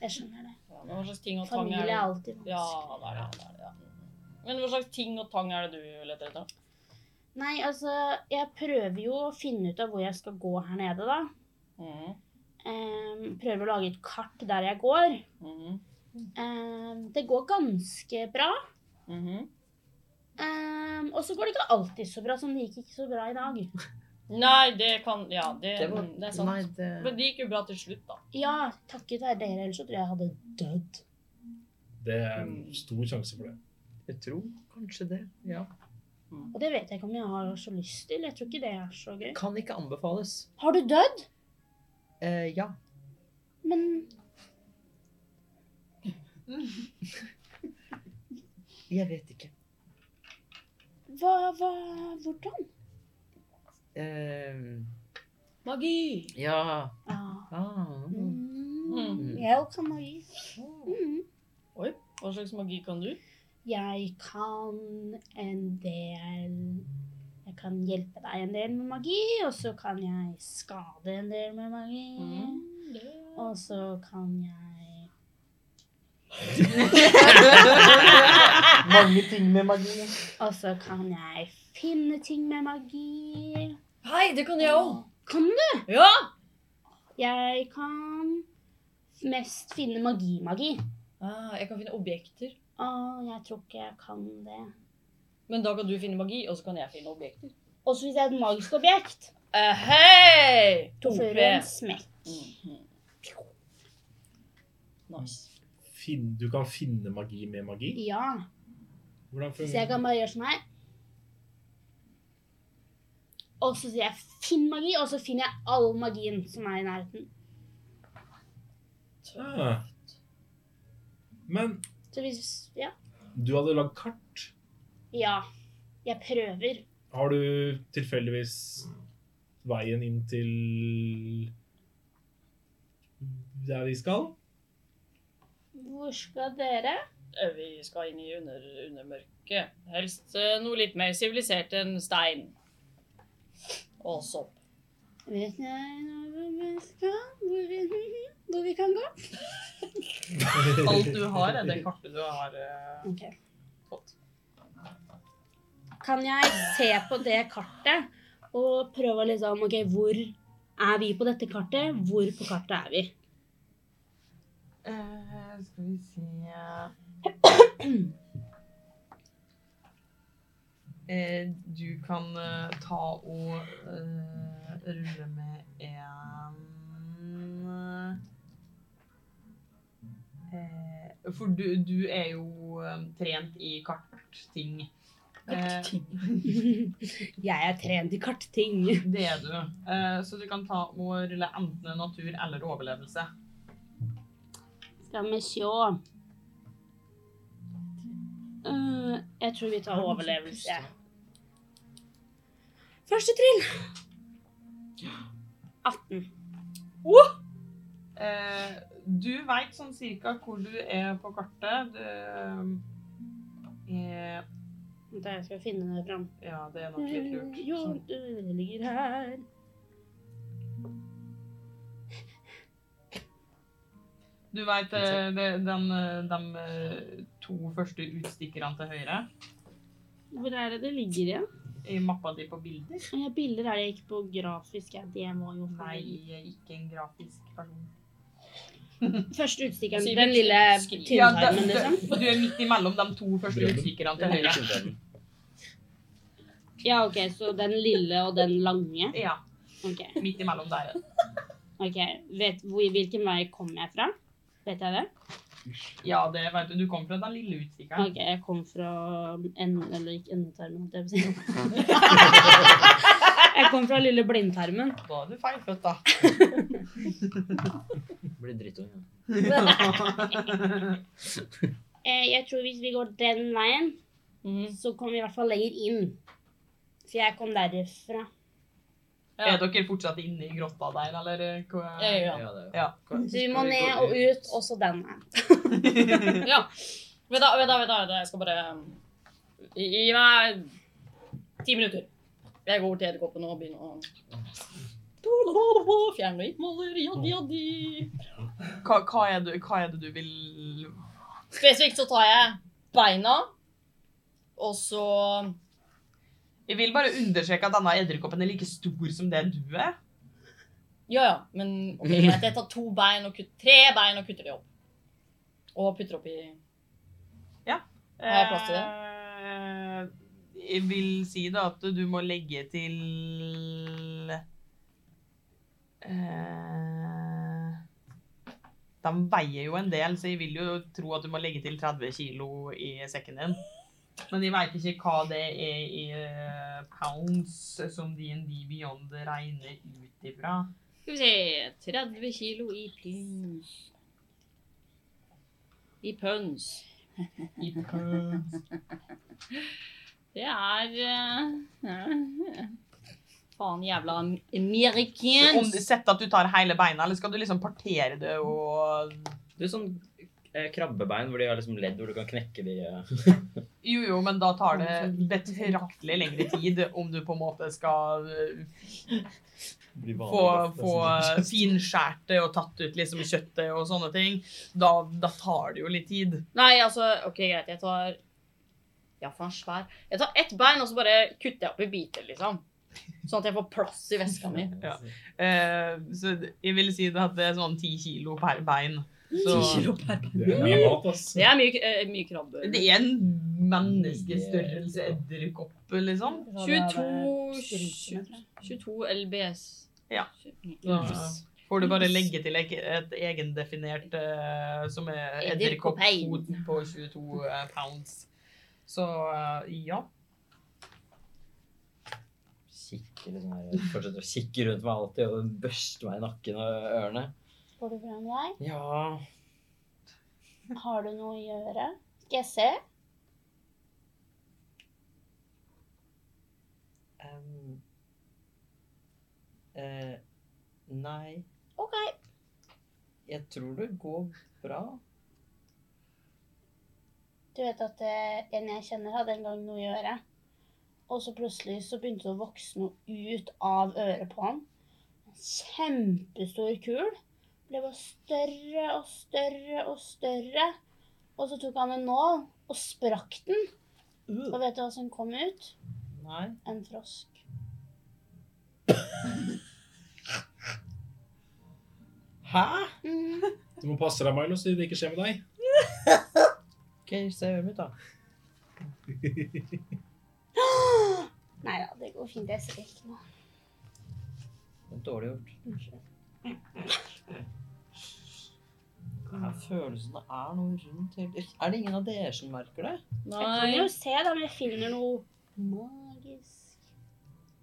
Speaker 9: Jeg skjønner det.
Speaker 3: Ja, men hva slags ting og tang
Speaker 9: Familie
Speaker 3: er
Speaker 9: er
Speaker 3: det?
Speaker 9: alltid vanskelig.
Speaker 3: Ja, det er det. det, er det ja. Men hva slags ting og tang er det du leter etter?
Speaker 9: Nei, altså, jeg prøver jo å finne ut av hvor jeg skal gå her nede, da.
Speaker 3: Mm.
Speaker 9: Ehm, prøver å lage et kart der jeg går.
Speaker 3: Mm.
Speaker 9: Ehm, det går ganske bra.
Speaker 3: Mhm.
Speaker 9: Ehm, og så går det ikke alltid så bra, som det gikk ikke så bra i dag.
Speaker 3: Nei, det kan Ja, det,
Speaker 5: det var
Speaker 3: det er sant.
Speaker 5: Nei, det
Speaker 3: Sånn Men det gikk jo bra til slutt, da.
Speaker 9: Ja, takket være dere, ellers så tror jeg jeg hadde dødd.
Speaker 2: Det er en stor sjanse for det.
Speaker 5: Jeg tror kanskje det. Ja.
Speaker 9: Og det vet jeg ikke om jeg har så lyst til. Jeg tror ikke det er så gøy.
Speaker 5: Kan ikke anbefales.
Speaker 9: Har du dødd?
Speaker 5: Eh, ja.
Speaker 9: Men
Speaker 5: Jeg vet ikke.
Speaker 9: hva, hva Hvordan?
Speaker 5: Eh,
Speaker 3: Magi!
Speaker 5: ja.
Speaker 9: Ah.
Speaker 5: Ah.
Speaker 9: Mm.
Speaker 3: Mm.
Speaker 9: Jeg kan magi. Mm.
Speaker 3: Oi, hva slags magi kan du?
Speaker 9: Jeg kan en del Jeg kan hjelpe deg en del med magi, og så kan jeg skade en del med magi. Mm, Og så kan jeg
Speaker 5: Mange ting med magi.
Speaker 9: Og så kan jeg finne ting med magi.
Speaker 3: Hei, det kan jeg òg!
Speaker 9: Kan du?
Speaker 3: Ah. Ja!
Speaker 9: Jeg kan mest finne magi-magi.
Speaker 3: Ah, jeg kan finne objekter.
Speaker 9: Å, jeg tror ikke jeg kan det.
Speaker 3: Men da kan du finne magi, og så kan jeg finne objekter.
Speaker 9: Også hvis det er et magisk objekt.
Speaker 3: Eh, Hei!
Speaker 9: Så får du en smekk.
Speaker 3: Mhm. Nice.
Speaker 2: Finn, du kan finne magi med magi?
Speaker 9: Ja.
Speaker 2: Hvordan
Speaker 9: Så jeg kan
Speaker 2: fungerer det?
Speaker 9: bare gjøre sånn her. Og så sier jeg 'finn magi', og så finner jeg all magien som er i nærheten.
Speaker 2: Ah. Men
Speaker 9: Så hvis Ja.
Speaker 2: du hadde lagd kart.
Speaker 9: ja. Jeg prøver.
Speaker 2: Har du tilfeldigvis veien inn til der vi skal?
Speaker 9: Hvor skal dere?
Speaker 3: Eh, Vi skal inn i under, undermørket. Helst eh, noe litt mer sivilisert enn stein. Og sopp.
Speaker 9: Vet jeg hvor vi skal? Hvor vi, hvor vi kan gå?
Speaker 1: Alt du har, er det kartet du har. eh.
Speaker 9: Ok.
Speaker 1: Flott.
Speaker 9: Kan jeg se på det kartet og prøve å liksom OK, hvor er vi på dette kartet? Hvor på kartet er vi?
Speaker 1: Eh, skal vi si eh, Du kan eh, ta og eh, rulle med en eh, For du, du er jo eh, trent i kartting. Eh,
Speaker 9: Jeg er trent i kartting.
Speaker 1: det er du. Eh, så du kan ta og rulle enten natur eller overlevelse.
Speaker 9: Skal vi sjå. Eh, jeg tror vi tar overlevelse. Første trinn. 18.
Speaker 1: Eh, du veit sånn cirka hvor du er på kartet. Du, eh,
Speaker 9: Vent, da, jeg skal finne det fram.
Speaker 1: ja, det er nok litt lurt.
Speaker 9: Eh, Jo,
Speaker 1: Sånn.
Speaker 9: det ligger her.
Speaker 1: Du veit eh, det- den, eh, de eh, to første utstikkerne til høyre
Speaker 9: Hvor er det det ligger igjen?
Speaker 1: i mappa di på bilder?
Speaker 9: Ja, bilder er det ikke på grafisk. Ja. Det må jo
Speaker 1: Nei, jeg er ikke en grafisk person.
Speaker 9: Første utstikkeren.
Speaker 1: Altså,
Speaker 3: Sikkert
Speaker 9: Den lille
Speaker 3: skriv.
Speaker 1: Ja, da-
Speaker 9: tynntarmen, liksom.
Speaker 1: da- du er midt imellom de to første
Speaker 2: Brødben.
Speaker 1: utstikkerne til høyre.
Speaker 9: Ja, OK, så den lille og den lange.
Speaker 1: Ja,
Speaker 9: OK.
Speaker 1: midt imellom der.
Speaker 9: ok. Vet, hvor, hvilken vei kom jeg fra? Vet jeg det?
Speaker 1: Ja, det vet du. Du kom fra den lille utstikkeren.
Speaker 9: Ok, jeg kom fra enden, eller ikke endetarmen, holdt jeg på å si. Jeg kom fra lille blindtarmen.
Speaker 1: Da er du feilfødt, da.
Speaker 4: Blir drittung. Ja.
Speaker 9: Eh, Jeg tror hvis vi går den veien,
Speaker 3: Mhm.
Speaker 9: så kommer vi i hvert fall lenger inn. For jeg kom derifra.
Speaker 3: Ja.
Speaker 1: Er dere fortsatt inne i grotta der, eller? eh, hva-
Speaker 3: Ja.
Speaker 4: Ja, det er jo.
Speaker 1: Ja.
Speaker 9: Så vi må ned og ut, også den veien.
Speaker 3: ja. Vent, da, vent, da, vent da, vent da. Jeg skal bare um, Gi gi meg ti minutter. Jeg går bort til edderkoppen og begynner å Fjerne hvitmaler, jaddi, jaddi.
Speaker 1: Hva, hva, er det, hva er det du vil
Speaker 3: Spesifikt så tar jeg beina, og så
Speaker 1: Jeg vil bare understreke at denne edderkoppen er like stor som det du er.
Speaker 3: Ja, ja, men ok, greit. Jeg tar to bein og kutter, tre bein og kutter de opp. Og putter opp i Har jeg plass til det?
Speaker 1: det? Eh, Jeg vil si da at du må legge til eh, De veier jo en del, så jeg vil jo tro at du må legge til 30 kilo i sekken din. Men jeg veit ikke hva det er i eh, pounds som D&D Beyond regner ut ifra.
Speaker 3: Skal vi se 30 kilo i pins. I pøns.
Speaker 1: I pounds.
Speaker 3: Det er eh, ja. Faen jævla amerikansk.
Speaker 1: Om du sett at du tar hele beina, eller skal du liksom partere det og
Speaker 4: Det er sånn eh, krabbebein hvor de har liksom ledd hvor du kan knekke de eh.
Speaker 1: Jo, jo, men da tar det betraktelig lengre tid om du på en måte skal uh,
Speaker 4: de vanlige
Speaker 1: få,
Speaker 4: kroppene
Speaker 1: få eh,
Speaker 4: som-
Speaker 1: finskjært det og tatt ut liksom kjøttet og sånne ting. Da, da tar det jo litt tid.
Speaker 3: Nei, altså, ok, greit. Jeg tar Ja, faen svær. Jeg tar ett bein, og så bare kutter jeg opp i biter, liksom. Sånn at jeg får plass i veska mi.
Speaker 1: Ja. Eh, så jeg vil si det at det er sånn ti kilo per bein. Så
Speaker 2: Det er mye mat, ass.
Speaker 3: Det er mye, eh, mye krabbe.
Speaker 1: det er en menneskestørrelse edderkopp, liksom.
Speaker 3: 22 22 LBS.
Speaker 1: Ja.
Speaker 3: Ja.
Speaker 1: Mm. Får du bare legge til et, et egendefinert eh, som er edderkoppkvoten på 22 pounds. Så eh, ja.
Speaker 4: Kikker liksom her, fortsetter å kikke rundt meg alltid og børste meg i nakken og ørene.
Speaker 9: Går du fram der?
Speaker 4: Ja,
Speaker 9: Har du noe å gjøre? Skal jeg se?
Speaker 4: ehm, eh, Nei,
Speaker 9: OK.
Speaker 4: jeg tror det går bra.
Speaker 9: Du vet at eh, en jeg kjenner, hadde en gang noe å gjøre. Og så plutselig så begynte det å vokse noe ut av øret på han. En kjempestor kul. Ble bare større og større og større. Og så tok han en nål og sprakk den. Og vet du hva som kom ut?
Speaker 4: Nei.
Speaker 9: En frosk.
Speaker 4: Hæ?
Speaker 9: Mm.
Speaker 2: Du må passe deg, Milo, så det ikke skjer med deg.
Speaker 4: Ok, se øret mitt, da.
Speaker 9: Nei da, det går fint. Jeg ser ikke noe.
Speaker 4: Det er dårlig gjort. Her følelsen det er noe rundt hele Er det ingen av dere som merker det?
Speaker 9: Jeg kan jo
Speaker 3: Nei.
Speaker 9: se da om jeg finner noe magisk.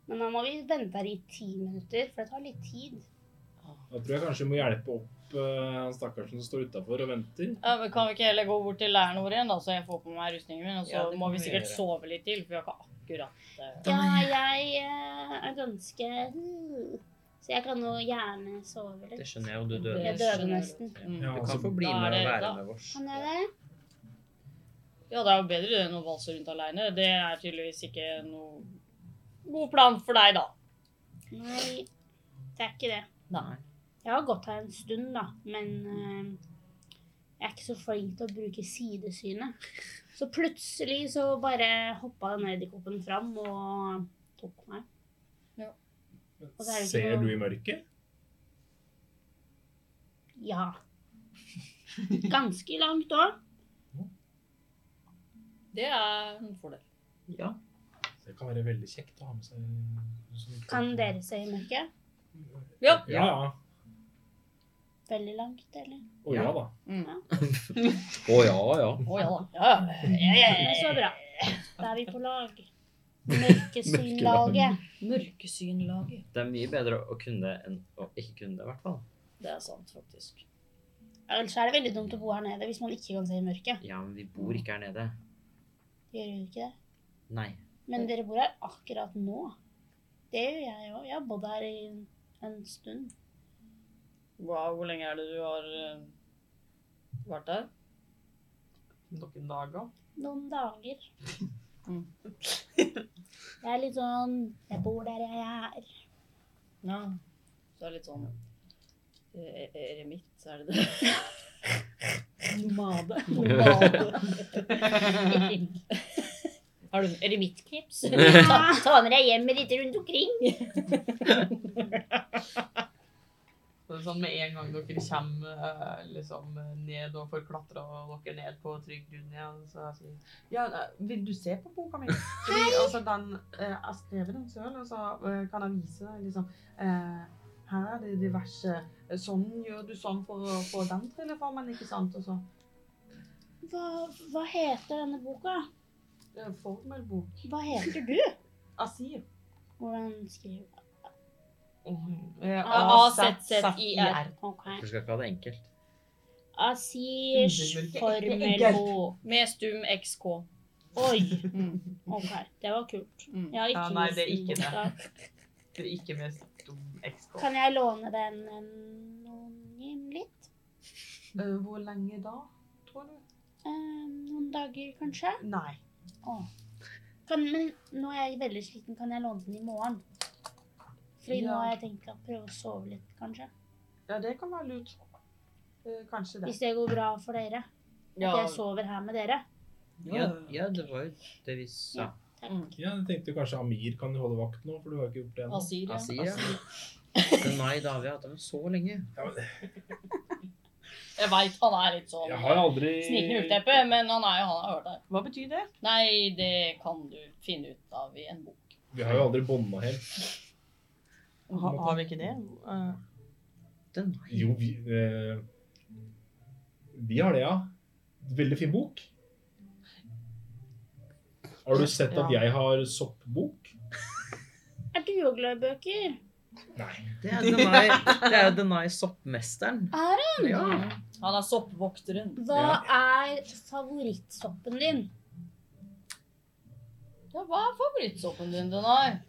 Speaker 9: Men da må vi vente her i ti minutter, for det tar litt tid.
Speaker 2: Da tror jeg kanskje vi må hjelpe opp eh, han stakkaren som står utafor og venter.
Speaker 3: Ja, men kan vi ikke heller gå bort til leiren vår igjen, da, så jeg får på meg rustningen min? Og så
Speaker 4: Ja, det kan
Speaker 3: må vi
Speaker 4: vi
Speaker 3: sikkert
Speaker 4: gjøre.
Speaker 3: sove litt til, for vi har ikke akkurat eh,
Speaker 9: Ja, jeg eh, er ganske hmm. Så jeg kan nå gjerne sove litt.
Speaker 4: Det skjønner jeg jo, du
Speaker 3: døde.
Speaker 4: døde.
Speaker 9: Jeg døver nesten.
Speaker 3: mm.
Speaker 2: Ja,
Speaker 4: Du kan
Speaker 2: altså,
Speaker 4: få bli med
Speaker 3: Da er
Speaker 4: og
Speaker 3: det-
Speaker 4: være
Speaker 3: da-
Speaker 4: med oss.
Speaker 9: Kan jeg det?
Speaker 3: Ja, det er jo bedre det enn å valse rundt aleine. Det er tydeligvis ikke noe god plan for deg, da.
Speaker 9: Nei, det er ikke det.
Speaker 3: Nei.
Speaker 9: Jeg har gått her en stund, da, men eh, jeg er ikke så flink til å bruke sidesynet. Så plutselig så bare hoppa den edderkoppen fram og tok meg. Og det er jo ikke
Speaker 2: Ser
Speaker 9: noe-
Speaker 2: du i mørket?
Speaker 9: Ja. Ganske langt òg.
Speaker 3: Det er en fordel.
Speaker 4: Ja.
Speaker 2: Det kan være veldig kjekt å ha med seg sånn-
Speaker 9: Kan dere se i mørket?
Speaker 3: Ja.
Speaker 2: Ja, ja.
Speaker 9: Veldig langt, eller?
Speaker 2: Å ja da.
Speaker 4: Å ja, ja.
Speaker 3: Å ja da. Ja, ja, ja,
Speaker 9: Men
Speaker 3: ja, ja.
Speaker 9: så bra. Da er vi på lag. Mørkesynlaget.
Speaker 3: Mørkesynlaget.
Speaker 4: Det er mye bedre å kunne enn å ikke kunne det, i hvert fall.
Speaker 3: Det er sant, faktisk.
Speaker 9: Ellers er det veldig dumt å bo her nede hvis man ikke kan se i mørket.
Speaker 4: Ja, men vi bor ikke her nede.
Speaker 9: Gjør vi ikke det?
Speaker 4: Nei.
Speaker 9: Men dere bor her akkurat nå. Det gjør jeg òg. Jeg har bodd her i en stund.
Speaker 3: Wow, hvor lenge er det du har eh, vært der?
Speaker 1: Noen dager.
Speaker 9: Noen dager.
Speaker 3: Mm.
Speaker 9: Jeg er litt sånn Jeg bor der jeg er.
Speaker 3: Ja. Så det er litt sånn eh, e- eremitt, er det det?
Speaker 9: Nomade.
Speaker 6: Har du en eremittknips? ta, ta med deg hjemmet ditt rundt omkring.
Speaker 1: Så det er sånn med en gang dere kommer eh, liksom, ned og får klatra dere ned på trygg grunn igjen, så jeg sier Ja, eh, vil du se på boka mi? Fordi, altså, den, eh, jeg skrev den selv, og så eh, kan jeg vise deg liksom eh, Her er det diverse eh, Sånn gjør du sånn for å få den trilleformen, ikke sant? Og så
Speaker 9: Hva, hva heter denne boka?
Speaker 1: eh, formelbok.
Speaker 9: Hva heter du?
Speaker 1: Asir.
Speaker 9: Hvordan skriver du?
Speaker 1: A-Z-Z-I-R.
Speaker 9: OK.
Speaker 5: Du skal ikke ha det enkelt.
Speaker 9: Asish formelbok.
Speaker 3: Med stum XK.
Speaker 9: Oi.
Speaker 3: Mm.
Speaker 9: OK, det var kult.
Speaker 3: Mm.
Speaker 9: Jeg har ikke
Speaker 1: Ja, nei, det er
Speaker 9: vist den
Speaker 1: ikke det.
Speaker 9: boka.
Speaker 1: Det er ikke med stum eksport.
Speaker 9: Kan jeg låne den eh, anonymlig?
Speaker 1: Eh, Hvor lenge da, tror du?
Speaker 9: Eh, noen dager, kanskje?
Speaker 1: Nei.
Speaker 9: Åh. Kan, men nå er jeg veldig sliten. Kan jeg låne den i morgen? Fordi nå
Speaker 1: Ja.
Speaker 9: har jeg tenkt å prøve å sove litt, kanskje.
Speaker 1: Ja, det kan være lurt. Eh, Kanskje det.
Speaker 9: Hvis det går bra for dere.
Speaker 3: Ja.
Speaker 9: At jeg sover her med dere.
Speaker 5: Ja, ja, det var jo det vi sa.
Speaker 2: Ja, jeg tenkte kanskje Amir kan holde vakt nå, for du har ikke gjort det ennå.
Speaker 3: Asir, ja.
Speaker 5: Asir, ja. Men nei, da har vi hatt dem så lenge.
Speaker 3: Jeg veit han er litt sånn
Speaker 2: Jeg har aldri
Speaker 3: snikende uteppe, men han er jo han har hørt der.
Speaker 1: Hva betyr det?
Speaker 3: Nei, det kan du finne ut av i en bok.
Speaker 2: Vi har jo aldri bånda helt.
Speaker 1: Ha, har vi ikke det? Eh,
Speaker 5: Den nei.
Speaker 2: Jo, vi eh, Vi har det, ja. Veldig fin bok. Har du sett at
Speaker 1: Ja.
Speaker 2: jeg har soppbok?
Speaker 9: Er du òg glad i bøker?
Speaker 5: Det er Denai, det er jo Denai soppmesteren.
Speaker 9: Er
Speaker 5: hun? Ja.
Speaker 3: Han er soppvokteren.
Speaker 9: Hva er favorittsoppen din?
Speaker 3: Ja, hva er favorittsoppen din, Denai?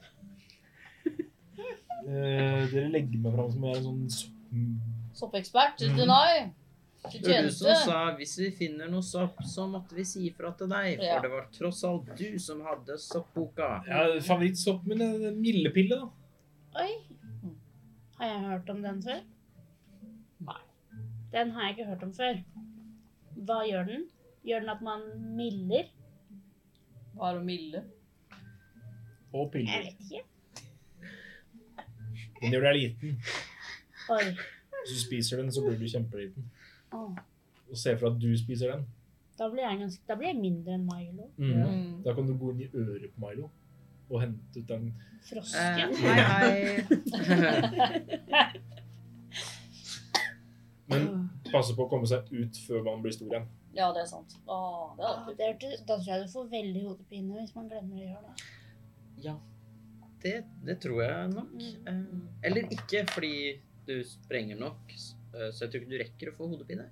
Speaker 2: Eh, dere legger meg fram som jeg er en sånn sopp...
Speaker 3: Soppekspert,
Speaker 2: Mhm.
Speaker 3: Denai. Til
Speaker 5: Mm. Det var du som
Speaker 3: tjeneste.
Speaker 5: sa hvis vi finner noe sopp, så måtte vi si ifra til deg. For
Speaker 3: Ja.
Speaker 5: det var tross alt du som hadde soppboka. Eh,
Speaker 2: Ja, Favorittsoppen min er den mildepille, da.
Speaker 9: Oi. Har jeg hørt om den før?
Speaker 1: Nei.
Speaker 9: Den har jeg ikke hørt om før. Hva gjør den? Gjør den at man miller?
Speaker 3: Hva er å mille?
Speaker 2: Og
Speaker 9: Jeg
Speaker 2: piller.
Speaker 9: vet ikke.
Speaker 2: Men når du er liten,
Speaker 9: Oi.
Speaker 2: hvis du spiser den, så blir du kjempeliten.
Speaker 9: Åh.
Speaker 2: Og se for deg at du spiser den.
Speaker 9: Da blir jeg, ganske, da blir jeg mindre enn Milo.
Speaker 3: Mm.
Speaker 2: Da kan du gå inn i øret på Milo og hente ut den.
Speaker 5: Eh,
Speaker 9: Frosken.
Speaker 5: hei, hei.
Speaker 2: Men passe på å komme seg ut før man blir stor igjen.
Speaker 3: Ja, det er sant. Å, det er
Speaker 9: Ah,
Speaker 3: alltid.
Speaker 9: det hørte- da tror jeg du får veldig hodepine hvis man glemmer å gjøre det.
Speaker 5: Ja, det, det tror jeg nok. Eh, eller ikke, fordi du sprenger nok. s- eh, Så jeg tror ikke du rekker å få hodepine.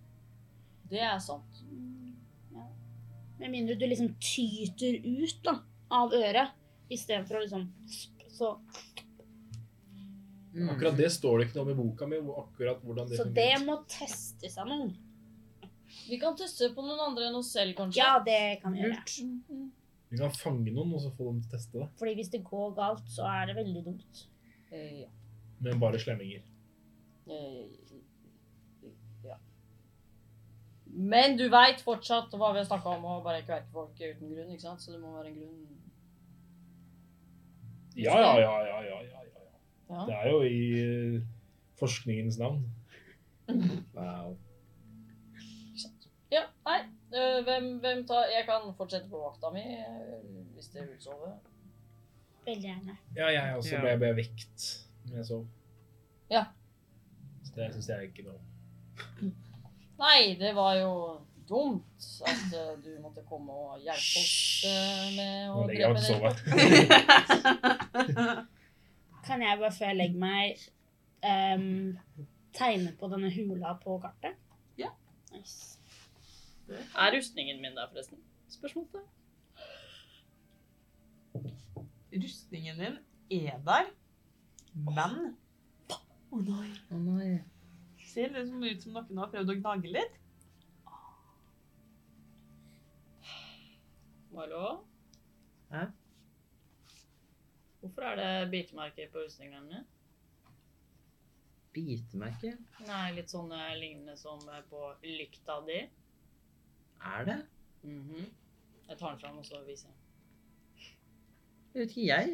Speaker 3: Det er sant.
Speaker 9: Mm, Ja. Med mindre du liksom tyter ut da, av øret, istedenfor å liksom så,
Speaker 2: Akkurat det står det ikke noe om i boka mi. hvor- akkurat hvordan det
Speaker 9: Mm. så det må testes av noen.
Speaker 3: Vi kan teste på noen andre enn oss selv, kanskje.
Speaker 9: Ja, det kan vi gjøre.
Speaker 3: Mm.
Speaker 2: Du kan fange noen og så få dem til å teste det.
Speaker 9: Fordi hvis det går galt, så er det veldig dumt.
Speaker 3: Eh, ja.
Speaker 2: Men bare slemminger.
Speaker 3: Eh, ja. Men du veit fortsatt hva vi har snakka om, og bare ikke verke folk uten grunn, ikke sant? Så det må være en grunn.
Speaker 2: Ja, ja, ja, ja, ja, ja, ja.
Speaker 3: Ja.
Speaker 2: Det er jo i eh, forskningens navn.
Speaker 5: Wow.
Speaker 3: Ja, nei. Eh, hvem, hvem tar Jeg kan fortsette på vakta mi eh, hvis dere vil sove.
Speaker 9: Veldig gjerne.
Speaker 2: Ja, jeg også
Speaker 5: Ja.
Speaker 2: ble, ble vekt når jeg sov.
Speaker 3: Ja.
Speaker 2: Så det syns jeg ikke noe om.
Speaker 3: Nei, det var jo dumt at eh, du måtte komme og hjelpe oss eh, med å
Speaker 2: Nå legger jeg meg
Speaker 3: drepe
Speaker 2: til å
Speaker 3: den.
Speaker 2: sove.
Speaker 9: Kan jeg bare før jeg legger meg, ehm, tegne på denne hula på kartet?
Speaker 1: Ja.
Speaker 9: Nice.
Speaker 3: Er rustningen min der, forresten? Spørsmål til deg.
Speaker 1: eh, rustningen din er der, men Å nei. Ser liksom ut som noen har prøvd å gnage litt.
Speaker 3: Marlo?
Speaker 5: Hæ?
Speaker 3: Hvorfor er det bitemerker på rustningene mine?
Speaker 5: Bitemerke?
Speaker 3: Nei, litt sånn eh, lignende som eh, på lykta di.
Speaker 5: Er det?
Speaker 3: Jeg tar den fram og så viser jeg.
Speaker 5: Det vet ikke jeg.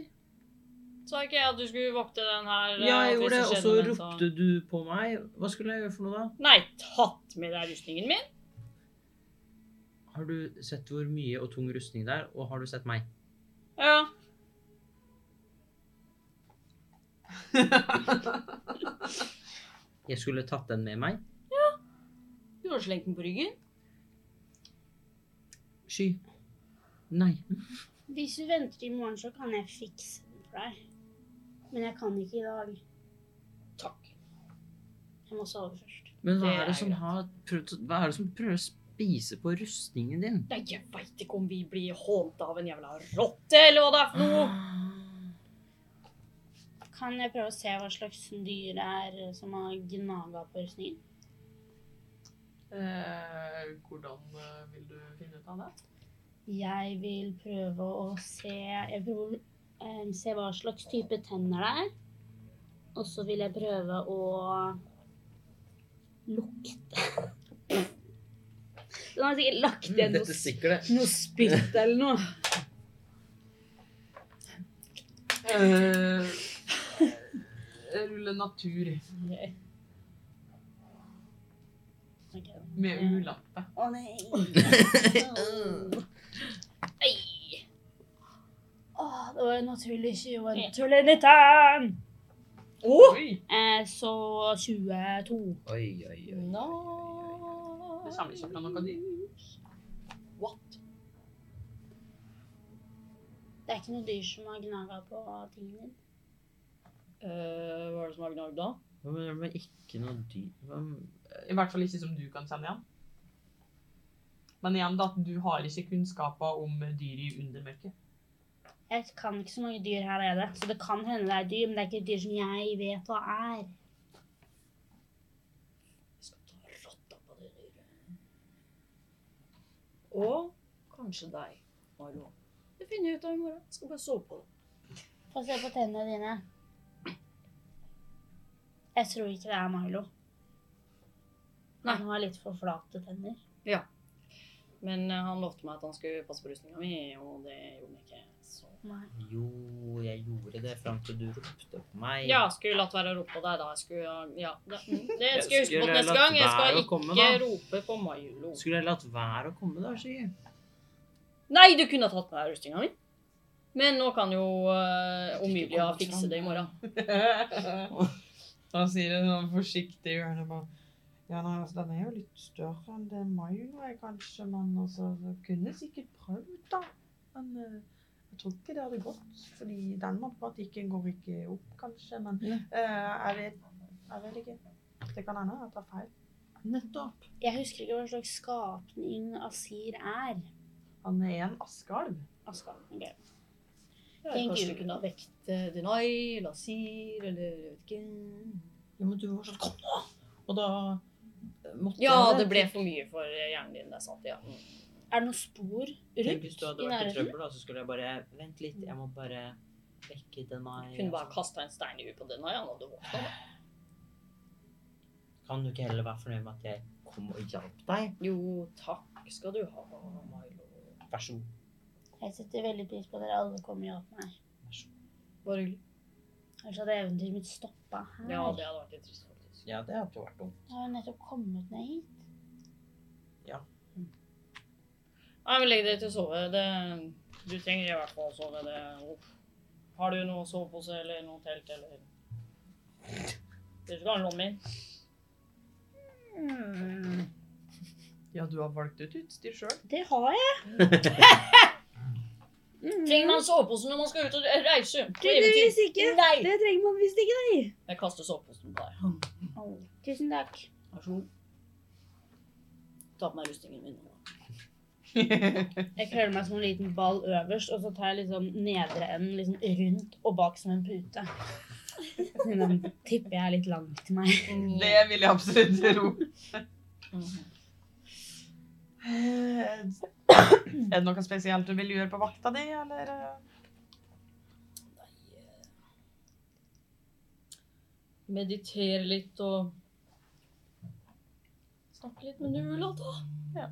Speaker 3: Sa ikke jeg at du skulle vokte den her? eh,
Speaker 5: Ja,
Speaker 3: at
Speaker 5: jeg
Speaker 3: hvis
Speaker 5: gjorde det, og så
Speaker 3: skjedde noe,
Speaker 5: ropte du på meg. Hva skulle jeg gjøre for noe da?
Speaker 3: Nei, tatt med deg rustningen min?
Speaker 5: Har du sett hvor mye og tung rustning det er, og har du sett meg?
Speaker 3: Ja.
Speaker 5: Jeg skulle tatt den med meg.
Speaker 3: Du har slengt den på ryggen.
Speaker 5: Sky. Nei.
Speaker 9: Hvis du venter i morgen, så kan jeg fikse den for deg. Men jeg kan ikke i dag.
Speaker 3: Takk.
Speaker 9: Jeg må sove først.
Speaker 5: Men hva
Speaker 3: Det
Speaker 5: er det
Speaker 3: er
Speaker 5: som
Speaker 3: greit.
Speaker 5: har prøvd, å- hva er det som prøver å spise på rustningen din?
Speaker 3: Nei, jeg veit ikke om vi blir hånta av en jævla rotte, eller hva det er for noe.
Speaker 9: Kan jeg prøve å se hva slags dyr det er som har gnaga på rustningen?
Speaker 1: Eh, hvordan eh, vil du finne ut av det?
Speaker 9: Jeg vil prøve å se Jeg prøver å eh, se hva slags type tenner det er. Og så vil jeg prøve å lukte. Den har sikkert lagt igjen noe,
Speaker 5: siklet.
Speaker 9: noe spytt eller noe.
Speaker 1: Eh, rulle natur
Speaker 9: Ok, da.
Speaker 1: med ulempe.
Speaker 9: Å nei. Ei. Åh, det var en naturlig 20 og en naturlig 19.
Speaker 1: Oi!
Speaker 9: Eh, så 22.
Speaker 8: Oi, oi, oi.
Speaker 1: Det kommer ikke fra noe dyr.
Speaker 9: Det er ikke noe dyr som har gnaga på tingen din.
Speaker 3: Eh, hva er det som har gnagd da?
Speaker 5: Hva mener du med ikke noe dyr? Hva,
Speaker 1: I hvert fall ikke som du kan kjenne igjen. Men igjen, da, du har ikke kunnskaper om dyr i undermørket.
Speaker 9: Jeg kan ikke så mange dyr her nede, så det kan hende det er dyr, men det er ikke dyr som jeg vet hva er.
Speaker 3: Jeg skal ta rotta på det dyret. Og kanskje deg, Marlo. Det finner jeg ut av i morgen. Jeg skal bare sove på det.
Speaker 9: Få se på tennene dine. Jeg tror ikke det er Milo.
Speaker 3: Nei.
Speaker 9: Han har litt for flate tenner.
Speaker 3: Men eh, han lovte meg at han skulle passe på rustninga mi, og det gjorde han ikke. Så.
Speaker 5: jo, jeg gjorde det fram til du ropte på meg.
Speaker 3: Ja, skulle latt være å rope på deg da. Jeg skulle, ja, det, mm, det
Speaker 5: Jeg
Speaker 3: skal jeg huske på
Speaker 5: skulle
Speaker 3: til neste
Speaker 5: latt
Speaker 3: gang. Jeg skal
Speaker 5: være å
Speaker 3: ikke
Speaker 5: komme, da.
Speaker 3: rope på Marlo.
Speaker 5: Skulle jeg latt være å komme da, Sky?
Speaker 3: Nei, du kunne ha tatt med deg rustninga mi. Men nå kan jo uh, Omilia fikse det i morgen.
Speaker 1: Da sier hun sånn forsiktig i hjørnet bare Ja, nei, altså, den er jo litt større enn det Mayo er, kanskje, men altså Jeg kunne sikkert prøvd, da. Men eh, jeg tror ikke det hadde gått, fordi den matematikken går ikke opp, kanskje. Men eh, jeg vet Jeg vet ikke. Det kan hende jeg tar feil.
Speaker 5: Nettopp.
Speaker 9: Jeg husker ikke hva slags skapning Asir er.
Speaker 1: Han er en askealv.
Speaker 9: Aska. ok. Tenk
Speaker 3: Kanskje du
Speaker 9: ut.
Speaker 3: kunne ha vekt eh, Denai, Lasir eller jeg vet ikke.
Speaker 5: Ja, men du var sånn Kom nå! Og da eh, måtte
Speaker 3: Ja,
Speaker 5: jeg
Speaker 3: det Mm, ble for mye for hjernen din. Det er sant, ja.
Speaker 9: Er det noen spor
Speaker 5: Tenk hvis
Speaker 9: rundt
Speaker 5: du hadde vært
Speaker 9: i
Speaker 5: i
Speaker 9: nærheten?
Speaker 5: trøbbel, da, så skulle jeg bare Vent litt, jeg må bare vekke altså. Denai.
Speaker 3: Kunne bare kasta en stein i huet på Denai. Han hadde våkna. da.
Speaker 5: Kan du ikke heller være fornøyd med at jeg kom og hjalp deg?
Speaker 3: Jo, takk skal du ha, Milo.
Speaker 5: Vær så god.
Speaker 9: Jeg setter veldig pris på at dere alle kommer og hjelper meg.
Speaker 3: Bare hyggelig.
Speaker 9: Kanskje hadde eventyret mitt stoppa her.
Speaker 3: Ja, det hadde vært litt trist, faktisk.
Speaker 5: Ja, det hadde jo vært dumt.
Speaker 9: Jeg har jo nettopp kommet ned hit.
Speaker 3: Nei, men legg deg til å sove. Det, du trenger i hvert fall å sove. Det. Uff. Har du noe sovepose eller noe telt eller Du skal ha en lommi. Mm.
Speaker 1: Ja, du har valgt ut utstyr sjøl.
Speaker 9: Det har jeg. Mm.
Speaker 3: Trenger man sovepose når man skal ut og reise? På
Speaker 9: Tydeligvis
Speaker 3: eventyr?
Speaker 9: ikke.
Speaker 3: Nei!
Speaker 9: Det trenger man visst ikke, nei.
Speaker 3: Jeg kaster soveposen på deg.
Speaker 9: Tusen takk.
Speaker 3: Vær så god. Ta på meg rustningen min. nå.
Speaker 9: Jeg krøller meg som en liten ball øverst, og så tar jeg liksom nedre enden liksom rundt og bak som en pute. Men den tipper jeg er litt langt til meg.
Speaker 1: Det vil jeg absolutt tro. Mm. Eh, Er det noe spesielt du vil gjøre på vakta di, eller? eh,
Speaker 3: Meditere litt og snakke litt med Nula, da.
Speaker 1: Ja.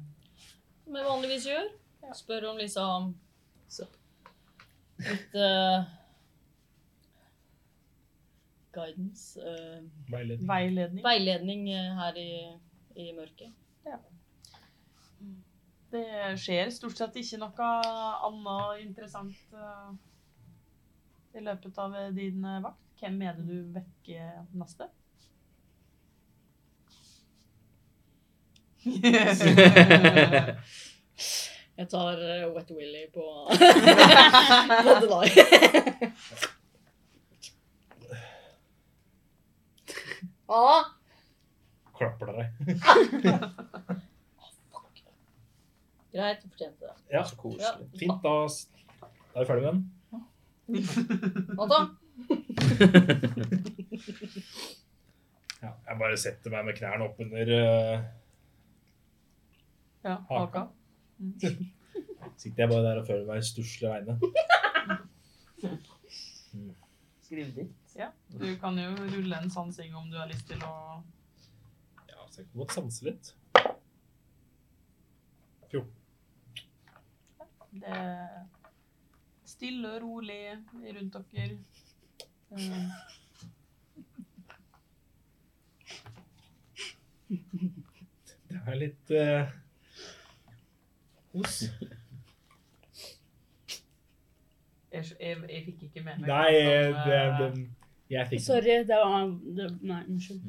Speaker 3: Som jeg vanligvis gjør. Spør om liksom
Speaker 5: Så.
Speaker 3: litt eh, guidance. eh,
Speaker 2: Veiledning.
Speaker 1: Veiledning?
Speaker 3: veiledning eh, her i, i mørket.
Speaker 1: Det skjer stort sett ikke noe annet interessant eh, i løpet av din eh, vakt. Hvem er det du vekker neste?
Speaker 3: Jeg tar eh, Wet Willy på på Delay. ah,
Speaker 2: Klapper deg.
Speaker 3: greit, du fortjente det.
Speaker 2: Ja,
Speaker 4: Så koselig.
Speaker 2: fint. Da s- da er vi ferdig med den.
Speaker 3: Natta.
Speaker 2: Ja, jeg bare setter meg med knærne oppunder uh,
Speaker 1: ja, haka.
Speaker 2: Sitter jeg bare der og føler meg stusslig aleine.
Speaker 5: Skriv ditt.
Speaker 1: Du kan jo rulle en sansing om du har lyst til å
Speaker 2: Ja, så jeg kan godt sanse litt.
Speaker 1: Det er stille og rolig rundt dere. Eh,
Speaker 2: Det er litt eh, hos.
Speaker 1: Jeg, jeg, jeg fikk ikke med meg
Speaker 2: Nei,
Speaker 1: hvordan,
Speaker 2: det,
Speaker 1: eh,
Speaker 2: sånn, det, jeg fikk den.
Speaker 9: Sorry, det var det, Nei, unnskyld.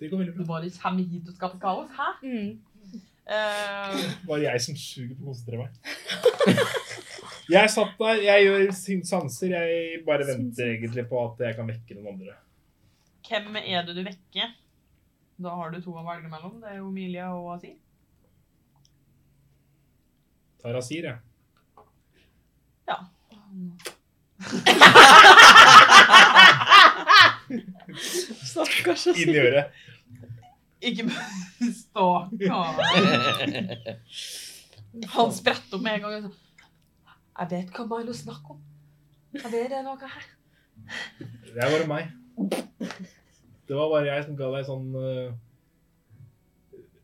Speaker 2: Det går veldig
Speaker 1: Du
Speaker 2: bra.
Speaker 1: bare kommer hit og skaper kaos? Hæ?
Speaker 9: Mm.
Speaker 1: Eh,
Speaker 2: Det var jeg som suger på å konsentrere meg. Jeg satt der, jeg gjør sin- sanser, jeg bare venter egentlig på at jeg kan vekke noen andre.
Speaker 1: hvem er det du vekker? Da har du to å velge mellom. Det er jo Emilia og Asir.
Speaker 2: Tara sier jeg.
Speaker 5: Stakkars.
Speaker 2: Inn i øret.
Speaker 1: Ikke bare stakkar. Han spretter opp med en gang. og så, Jeg vet hva Milo snakker om. Jeg vet det er noe her.
Speaker 2: Det er bare meg. Det var bare jeg som ga deg sånn eh,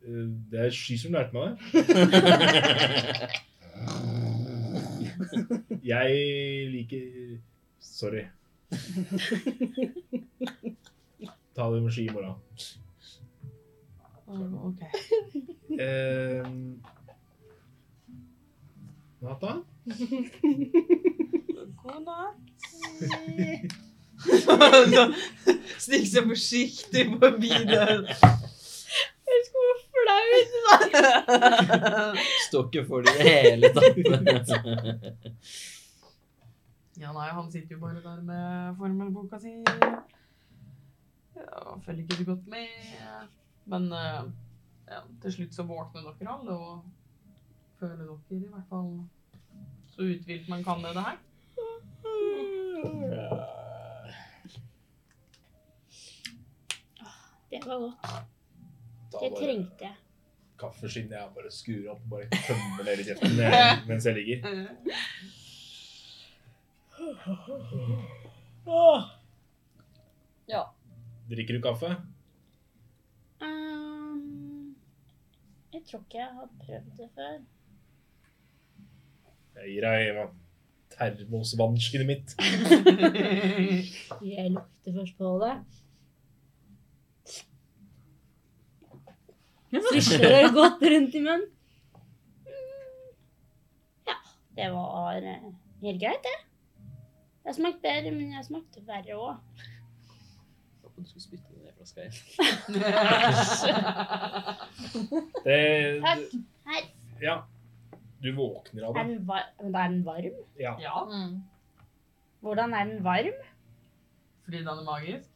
Speaker 2: eh, Det er sky som lærte meg det. Jeg liker Sorry. Ta det med ski i morgen.
Speaker 1: Å, ok.
Speaker 2: Eh, Nata?
Speaker 1: God natt. Så Snik seg forsiktig forbi døren. Jeg skulle flaut.
Speaker 4: Står ikke for det i det hele tatt.
Speaker 1: Ja, nei, han sitter jo bare der med formelboka si. Ja, følger ikke så godt med. Men eh, ja, til slutt så våkner dere alle, og føler dere i hvert fall så uthvilt man kan med det her.
Speaker 9: Det var godt.
Speaker 2: Da
Speaker 9: Det
Speaker 2: bare
Speaker 9: trengte jeg.
Speaker 2: Kaffeskinnet jeg bare skrur opp og bare tømmer ned i kjeften jeg- mens jeg ligger.
Speaker 3: Ja.
Speaker 2: Drikker du kaffe?
Speaker 9: Ehm, jeg tror ikke jeg har prøvd det før.
Speaker 2: Jeg gir deg hva, termosvansken mitt.
Speaker 9: Jeg lukter først på det. Svisjer det godt rundt i munnen. Mm, Ja, det var eh, helt greit, det. Jeg smakte bedre, men jeg smakte verre òg.
Speaker 4: Du skulle spytte ned flaska igjen.
Speaker 2: Det, det,
Speaker 9: Takk. Her.
Speaker 2: ja. Du våkner av
Speaker 9: Er
Speaker 2: det.
Speaker 9: den, var men er den varm?
Speaker 2: Ja.
Speaker 1: ja,
Speaker 9: Hvordan er den varm?
Speaker 1: fordi den er magisk.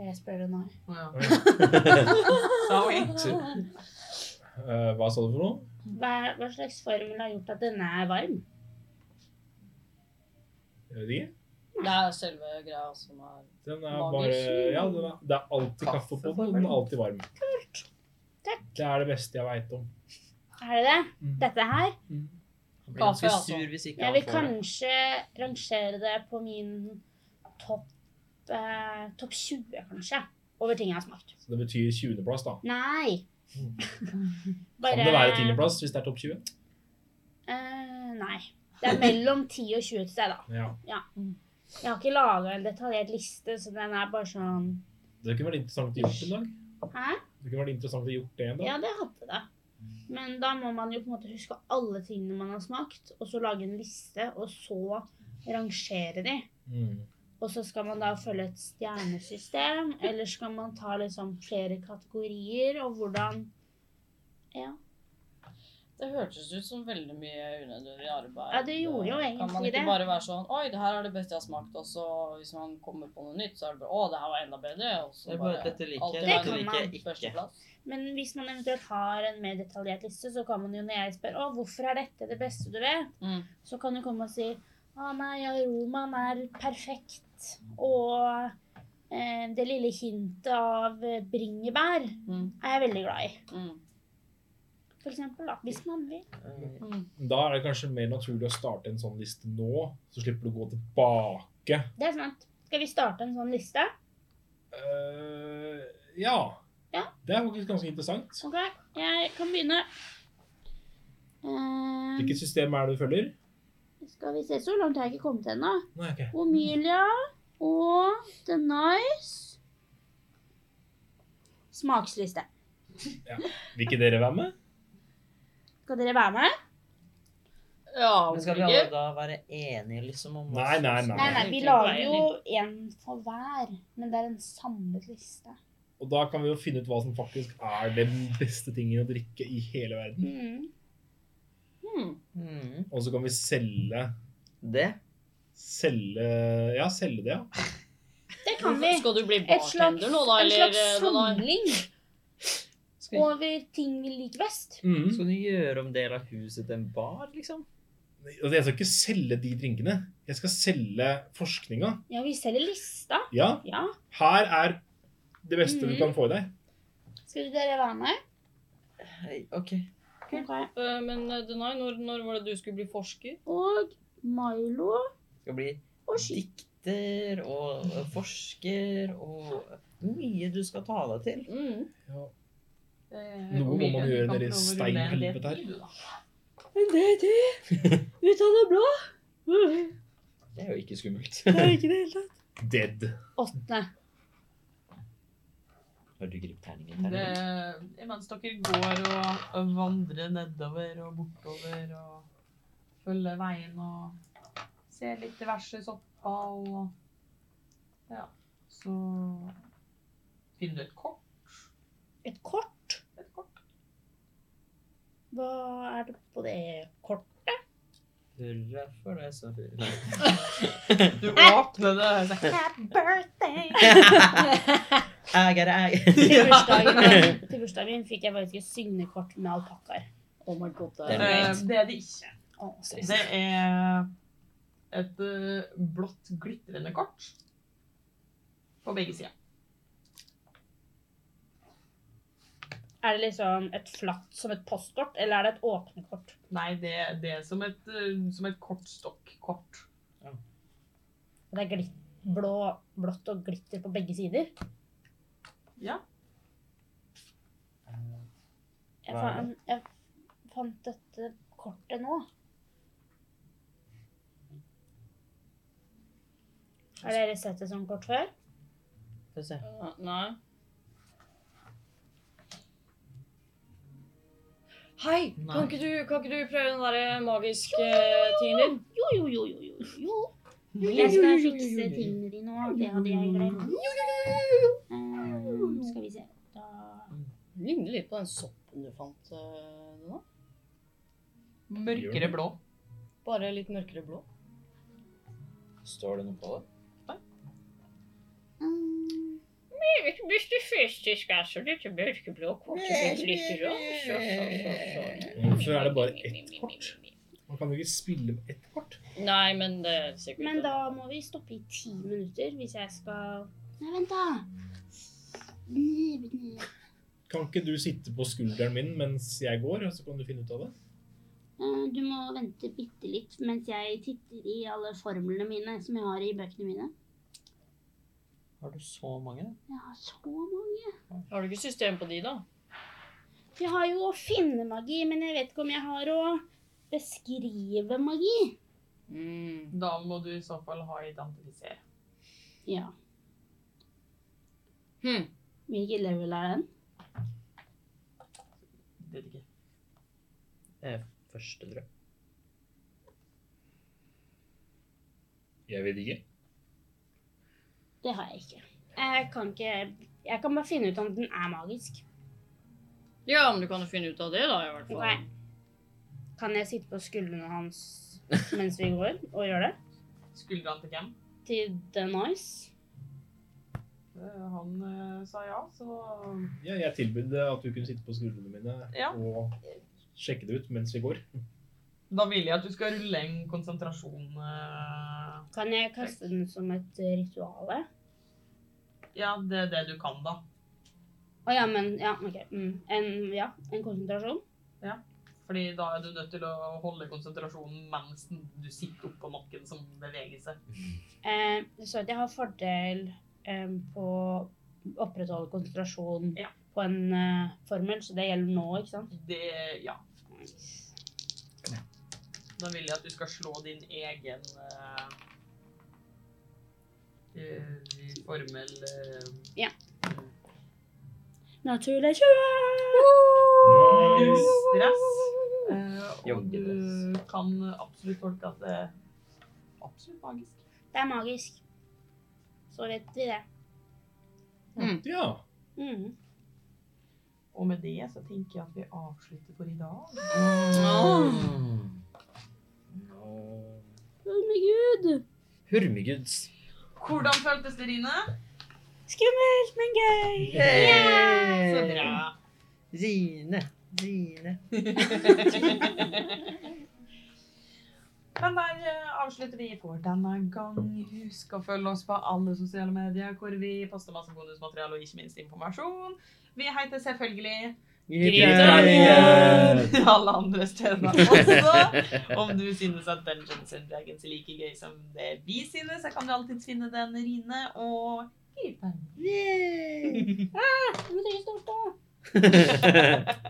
Speaker 9: Jeg spør det nå.
Speaker 1: Å, Ja.
Speaker 2: Oi.
Speaker 1: Sorry.
Speaker 2: Eh, hva sa du for noe?
Speaker 9: Hva, hva slags formel har gjort at denne er varm?
Speaker 2: Jeg vet ikke.
Speaker 3: Det er selve greia som er
Speaker 2: Den er
Speaker 3: Magisk.
Speaker 2: bare Ja, den er, det er alltid kaffe på den, og den er alltid varm.
Speaker 9: Takk. Mm.
Speaker 2: Det er det beste jeg veit om.
Speaker 9: Er det det? Dette her?
Speaker 5: Han blir ganske
Speaker 3: Kaffe, altså.
Speaker 5: sur hvis ikke
Speaker 9: Jeg
Speaker 5: han
Speaker 9: vil
Speaker 5: får det.
Speaker 9: kanskje rangere det på min topp eh, topp 20, kanskje. Over ting jeg har smakt.
Speaker 2: Så det betyr 20.-plass, da.
Speaker 9: Nei.
Speaker 2: Kan det være 10.-plass hvis det er topp 20?
Speaker 9: Eh, nei. Det er mellom 10 og 20 et sted, da.
Speaker 2: Ja.
Speaker 9: Jeg har ikke laga en detaljert liste, så den er bare sånn
Speaker 2: Det kunne vært interessant å gjort en dag.
Speaker 9: Hæ?
Speaker 2: Det kunne vært interessant å gjort det en dag.
Speaker 9: Ja, det hadde det. Men da må man jo på en måte huske alle tingene man har smakt, og så lage en liste, og så rangere de.
Speaker 2: Mm.
Speaker 9: Og så skal man da følge et stjernesystem, eller skal man ta liksom flere kategorier, og hvordan Ja.
Speaker 3: Det hørtes ut som veldig mye unødvendig arbeid.
Speaker 9: Ja, det gjorde jo
Speaker 3: Kan man
Speaker 9: egentlig
Speaker 3: ikke
Speaker 9: det.
Speaker 3: bare være sånn Oi, det her er det beste jeg har smakt, og så hvis man kommer på noe nytt, så er det bare Å, det her var enda bedre. Og
Speaker 5: Det
Speaker 3: så
Speaker 5: er bare
Speaker 3: bare
Speaker 5: at dette liker
Speaker 3: alltid
Speaker 5: jeg,
Speaker 9: Det
Speaker 3: være
Speaker 5: dette
Speaker 9: kan
Speaker 3: den
Speaker 9: man.
Speaker 5: liker jeg ikke.
Speaker 3: Førsteplass.
Speaker 9: Men hvis man eventuelt har en mer detaljert liste, så kan man jo når jeg spør å, hvorfor er dette det beste du vet,
Speaker 3: Mm.
Speaker 9: så kan du komme og si å nei, aromaen er perfekt, og eh, det lille hintet av eh, bringebær
Speaker 3: Mm.
Speaker 9: er jeg veldig glad i.
Speaker 3: Mm.
Speaker 9: For eksempel, da, hvis man vil.
Speaker 3: Mm.
Speaker 2: Da er det kanskje mer naturlig å starte en sånn liste nå, så slipper du å gå tilbake.
Speaker 9: Det er sant. Skal vi starte en sånn liste?
Speaker 2: Eh, ja.
Speaker 9: Ja.
Speaker 2: Det er faktisk ganske interessant.
Speaker 9: Ok, jeg kan begynne. Eh,
Speaker 2: Hvilket system er det du følger?
Speaker 9: skal vi se, så langt har jeg ikke kommet ennå.
Speaker 2: Nei, ok.
Speaker 9: Omilia og The Nice. Smaksliste.
Speaker 2: Vil ikke dere være med?
Speaker 9: Skal dere være med?
Speaker 3: Ja,
Speaker 5: Men skal vi alle da være enige liksom om hva
Speaker 2: Nei,
Speaker 5: som-
Speaker 2: nei,
Speaker 9: Nei, nei,
Speaker 3: vi
Speaker 9: vi
Speaker 3: kan
Speaker 9: lager
Speaker 3: være
Speaker 9: jo en for hver, men det er en samlet liste.
Speaker 2: Og da kan vi jo finne ut hva som faktisk er den beste tingen å drikke i hele verden.
Speaker 9: Mm.
Speaker 3: Hmm.
Speaker 5: Mm,
Speaker 2: Og så kan vi selge
Speaker 5: det.
Speaker 2: Selge Ja, selge det, ja.
Speaker 9: Det kan vi.
Speaker 3: Skal du bli
Speaker 9: Et slags,
Speaker 3: bartender nå, da?
Speaker 9: en
Speaker 3: Eller
Speaker 9: slags
Speaker 3: eh, noe da?
Speaker 9: samling
Speaker 5: Skal vi,
Speaker 9: over ting vi liker best.
Speaker 2: Mm.
Speaker 5: skal du gjøre om del av huset til en bar, liksom?
Speaker 2: Altså, jeg skal ikke selge de drinkene. Jeg skal selge forskninga.
Speaker 9: Ja, vi selger lista.
Speaker 2: Ja,
Speaker 9: Ja.
Speaker 2: her er det beste du
Speaker 9: Mhm.
Speaker 2: kan få i deg.
Speaker 9: Skal dere være med?
Speaker 5: Hei, OK.
Speaker 9: Ok.
Speaker 3: Eh, Men eh, Denai, når, når var det du skulle bli forsker?
Speaker 9: Og Milo
Speaker 5: Skal bli
Speaker 9: og Sky.
Speaker 5: dikter og forsker og mye du skal ta deg til.
Speaker 3: Mm.
Speaker 2: Ja.
Speaker 3: Eh,
Speaker 2: Noe må man
Speaker 3: Omelia,
Speaker 2: gjøre
Speaker 3: du kan
Speaker 2: nede i
Speaker 3: prøve å rulle en
Speaker 2: steinhelvete her.
Speaker 3: D10, du, da.
Speaker 9: En DT ut av det blå.
Speaker 5: Det er jo ikke skummelt.
Speaker 9: er ikke det hele tatt.
Speaker 2: Dead.
Speaker 9: Åtte.
Speaker 5: Har du gripet terningen?
Speaker 1: Det,
Speaker 5: terningen?
Speaker 1: imens dere går og vandrer nedover og bortover og følger veien og ser litt diverse sopper og Ja. Så finner du et kort.
Speaker 9: Et kort.
Speaker 1: Et kort.
Speaker 9: Hva er det på det kort?
Speaker 5: Hurra for deg, sa du. Nei.
Speaker 1: Du åpner det og sier Happy birthday!
Speaker 5: Æger,
Speaker 9: Til
Speaker 5: æger.
Speaker 9: bursdagen min, til bursdagen min fikk jeg faktisk et sygnekort med alpakkaer.
Speaker 6: Oh my god, det
Speaker 5: Det
Speaker 6: er
Speaker 5: er
Speaker 1: Eh,
Speaker 5: greit.
Speaker 1: Det er det ikke.
Speaker 9: Å, stress.
Speaker 1: Det er et eh, blått glitrende kort på begge sider.
Speaker 9: Er det liksom et flatt som et postkort, eller er det et åpne kort?
Speaker 1: Nei, det, det er som et, eh, som et kortstokkort.
Speaker 9: Og Det er glitt, blå, blått og glitter på begge sider.
Speaker 1: Ja.
Speaker 5: Hva er
Speaker 9: Jeg, fan, jeg fant dette kortet nå. Har dere sett et sånt kort før?
Speaker 5: Få se.
Speaker 3: Eh, Nei. Hei, kan ikke, du, kan ikke du prøve den der eh, magiske eh, tingen din?
Speaker 9: Jo, jo, jo, jo, jo, jo. Jeg skal fikse tingene dine òg. Det hadde jeg glemt. Eh, skal vi se. Da
Speaker 3: Ligner litt på den soppen du fant eh, nå.
Speaker 1: Mørkere blå.
Speaker 3: Bare litt mørkere blå.
Speaker 5: Står det noe på det?
Speaker 9: Mm.
Speaker 10: Meget mystifistisk, altså. Dette mørkeblå kortet mitt lytter opp. Så, så, så, så.
Speaker 2: Hvorfor er det bare ett kort? Man kan jo ikke spille med ett kort.
Speaker 10: Nei, men det er sikkert
Speaker 9: Men da må vi stoppe i ti minutter hvis jeg skal Nei, vent, da. Eh,
Speaker 2: Kan ikke du sitte på skulderen min mens jeg går, og så kan du finne ut av det?
Speaker 9: Eh, Du må vente bitte litt mens jeg titter i alle formlene mine som jeg har i bøkene mine.
Speaker 4: Har du så mange?
Speaker 9: Jeg har så mange.
Speaker 10: Har du ikke system på de, da?
Speaker 9: Jeg har jo å finne magi, men jeg vet ikke om jeg har å beskrive magi.
Speaker 10: Mm.
Speaker 1: Da må du i så fall ha identifisere.
Speaker 9: Ja.
Speaker 10: Hmm.
Speaker 9: Hvilket level er den?
Speaker 1: Det er ikke.
Speaker 4: Eh, Første drøm.
Speaker 2: Jeg vet ikke.
Speaker 9: Det har jeg ikke. Jeg kan ikke Jeg kan bare finne ut om den er magisk.
Speaker 10: Ja, men du kan jo finne ut av det, da, i hvert fall.
Speaker 9: Nei. Kan jeg sitte på skuldrene hans mens vi går, og gjøre det?
Speaker 1: Skuldrene til hvem?
Speaker 9: Til The Noise?
Speaker 1: Eh, Han eh, sa ja, så
Speaker 2: Ja, jeg tilbød at du kunne sitte på skuldrene mine
Speaker 1: Ja.
Speaker 2: og sjekke det ut mens vi går.
Speaker 1: Da vil jeg at du skal rulle en konsentrasjon eh,
Speaker 9: Kan jeg kaste den som et rituale?
Speaker 1: Ja, det er det du kan, da.
Speaker 9: Å ja, men Ja, OK. Mm. En, ja, en konsentrasjon?
Speaker 1: Fordi da er du nødt til å holde konsentrasjonen mens du sitter oppå noen som beveger seg.
Speaker 9: Eh, så at jeg har fordel eh, på å opprettholde konsentrasjon
Speaker 1: Ja.
Speaker 9: på en eh, formel, så det gjelder nå, ikke sant?
Speaker 1: Det Ja. Da vil jeg at du skal slå din egen eh, eh, formel eh,
Speaker 9: Naturlig 20!
Speaker 1: stress. eh, og
Speaker 4: Joggedress.
Speaker 1: du kan absolutt tolke at det er absolutt magisk.
Speaker 9: Det er magisk. Så vet vi det.
Speaker 2: Ja.
Speaker 9: Mm.
Speaker 1: Og med det så tenker jeg at vi avslutter for i dag.
Speaker 4: Nå-
Speaker 9: Å, min gud!
Speaker 4: Hurmiguds.
Speaker 1: Hvordan føltes det, Rine?
Speaker 9: Skummelt, men gøy!
Speaker 1: Så bra.
Speaker 5: Rine, Rine.
Speaker 1: Men der eh, avslutter vi for denne gang. Husk å følge oss på alle sosiale medier, hvor vi poster masse bonusmateriale og ikke minst informasjon. Vi heter selvfølgelig
Speaker 5: Grønland!
Speaker 1: alle andre steder også. Om du synes at Dungeons and Dragons er like gøy som det vi synes, så kan du alltid finne den Rine og Gripen.
Speaker 9: Nå må du ikke stoppe.
Speaker 4: Grønland!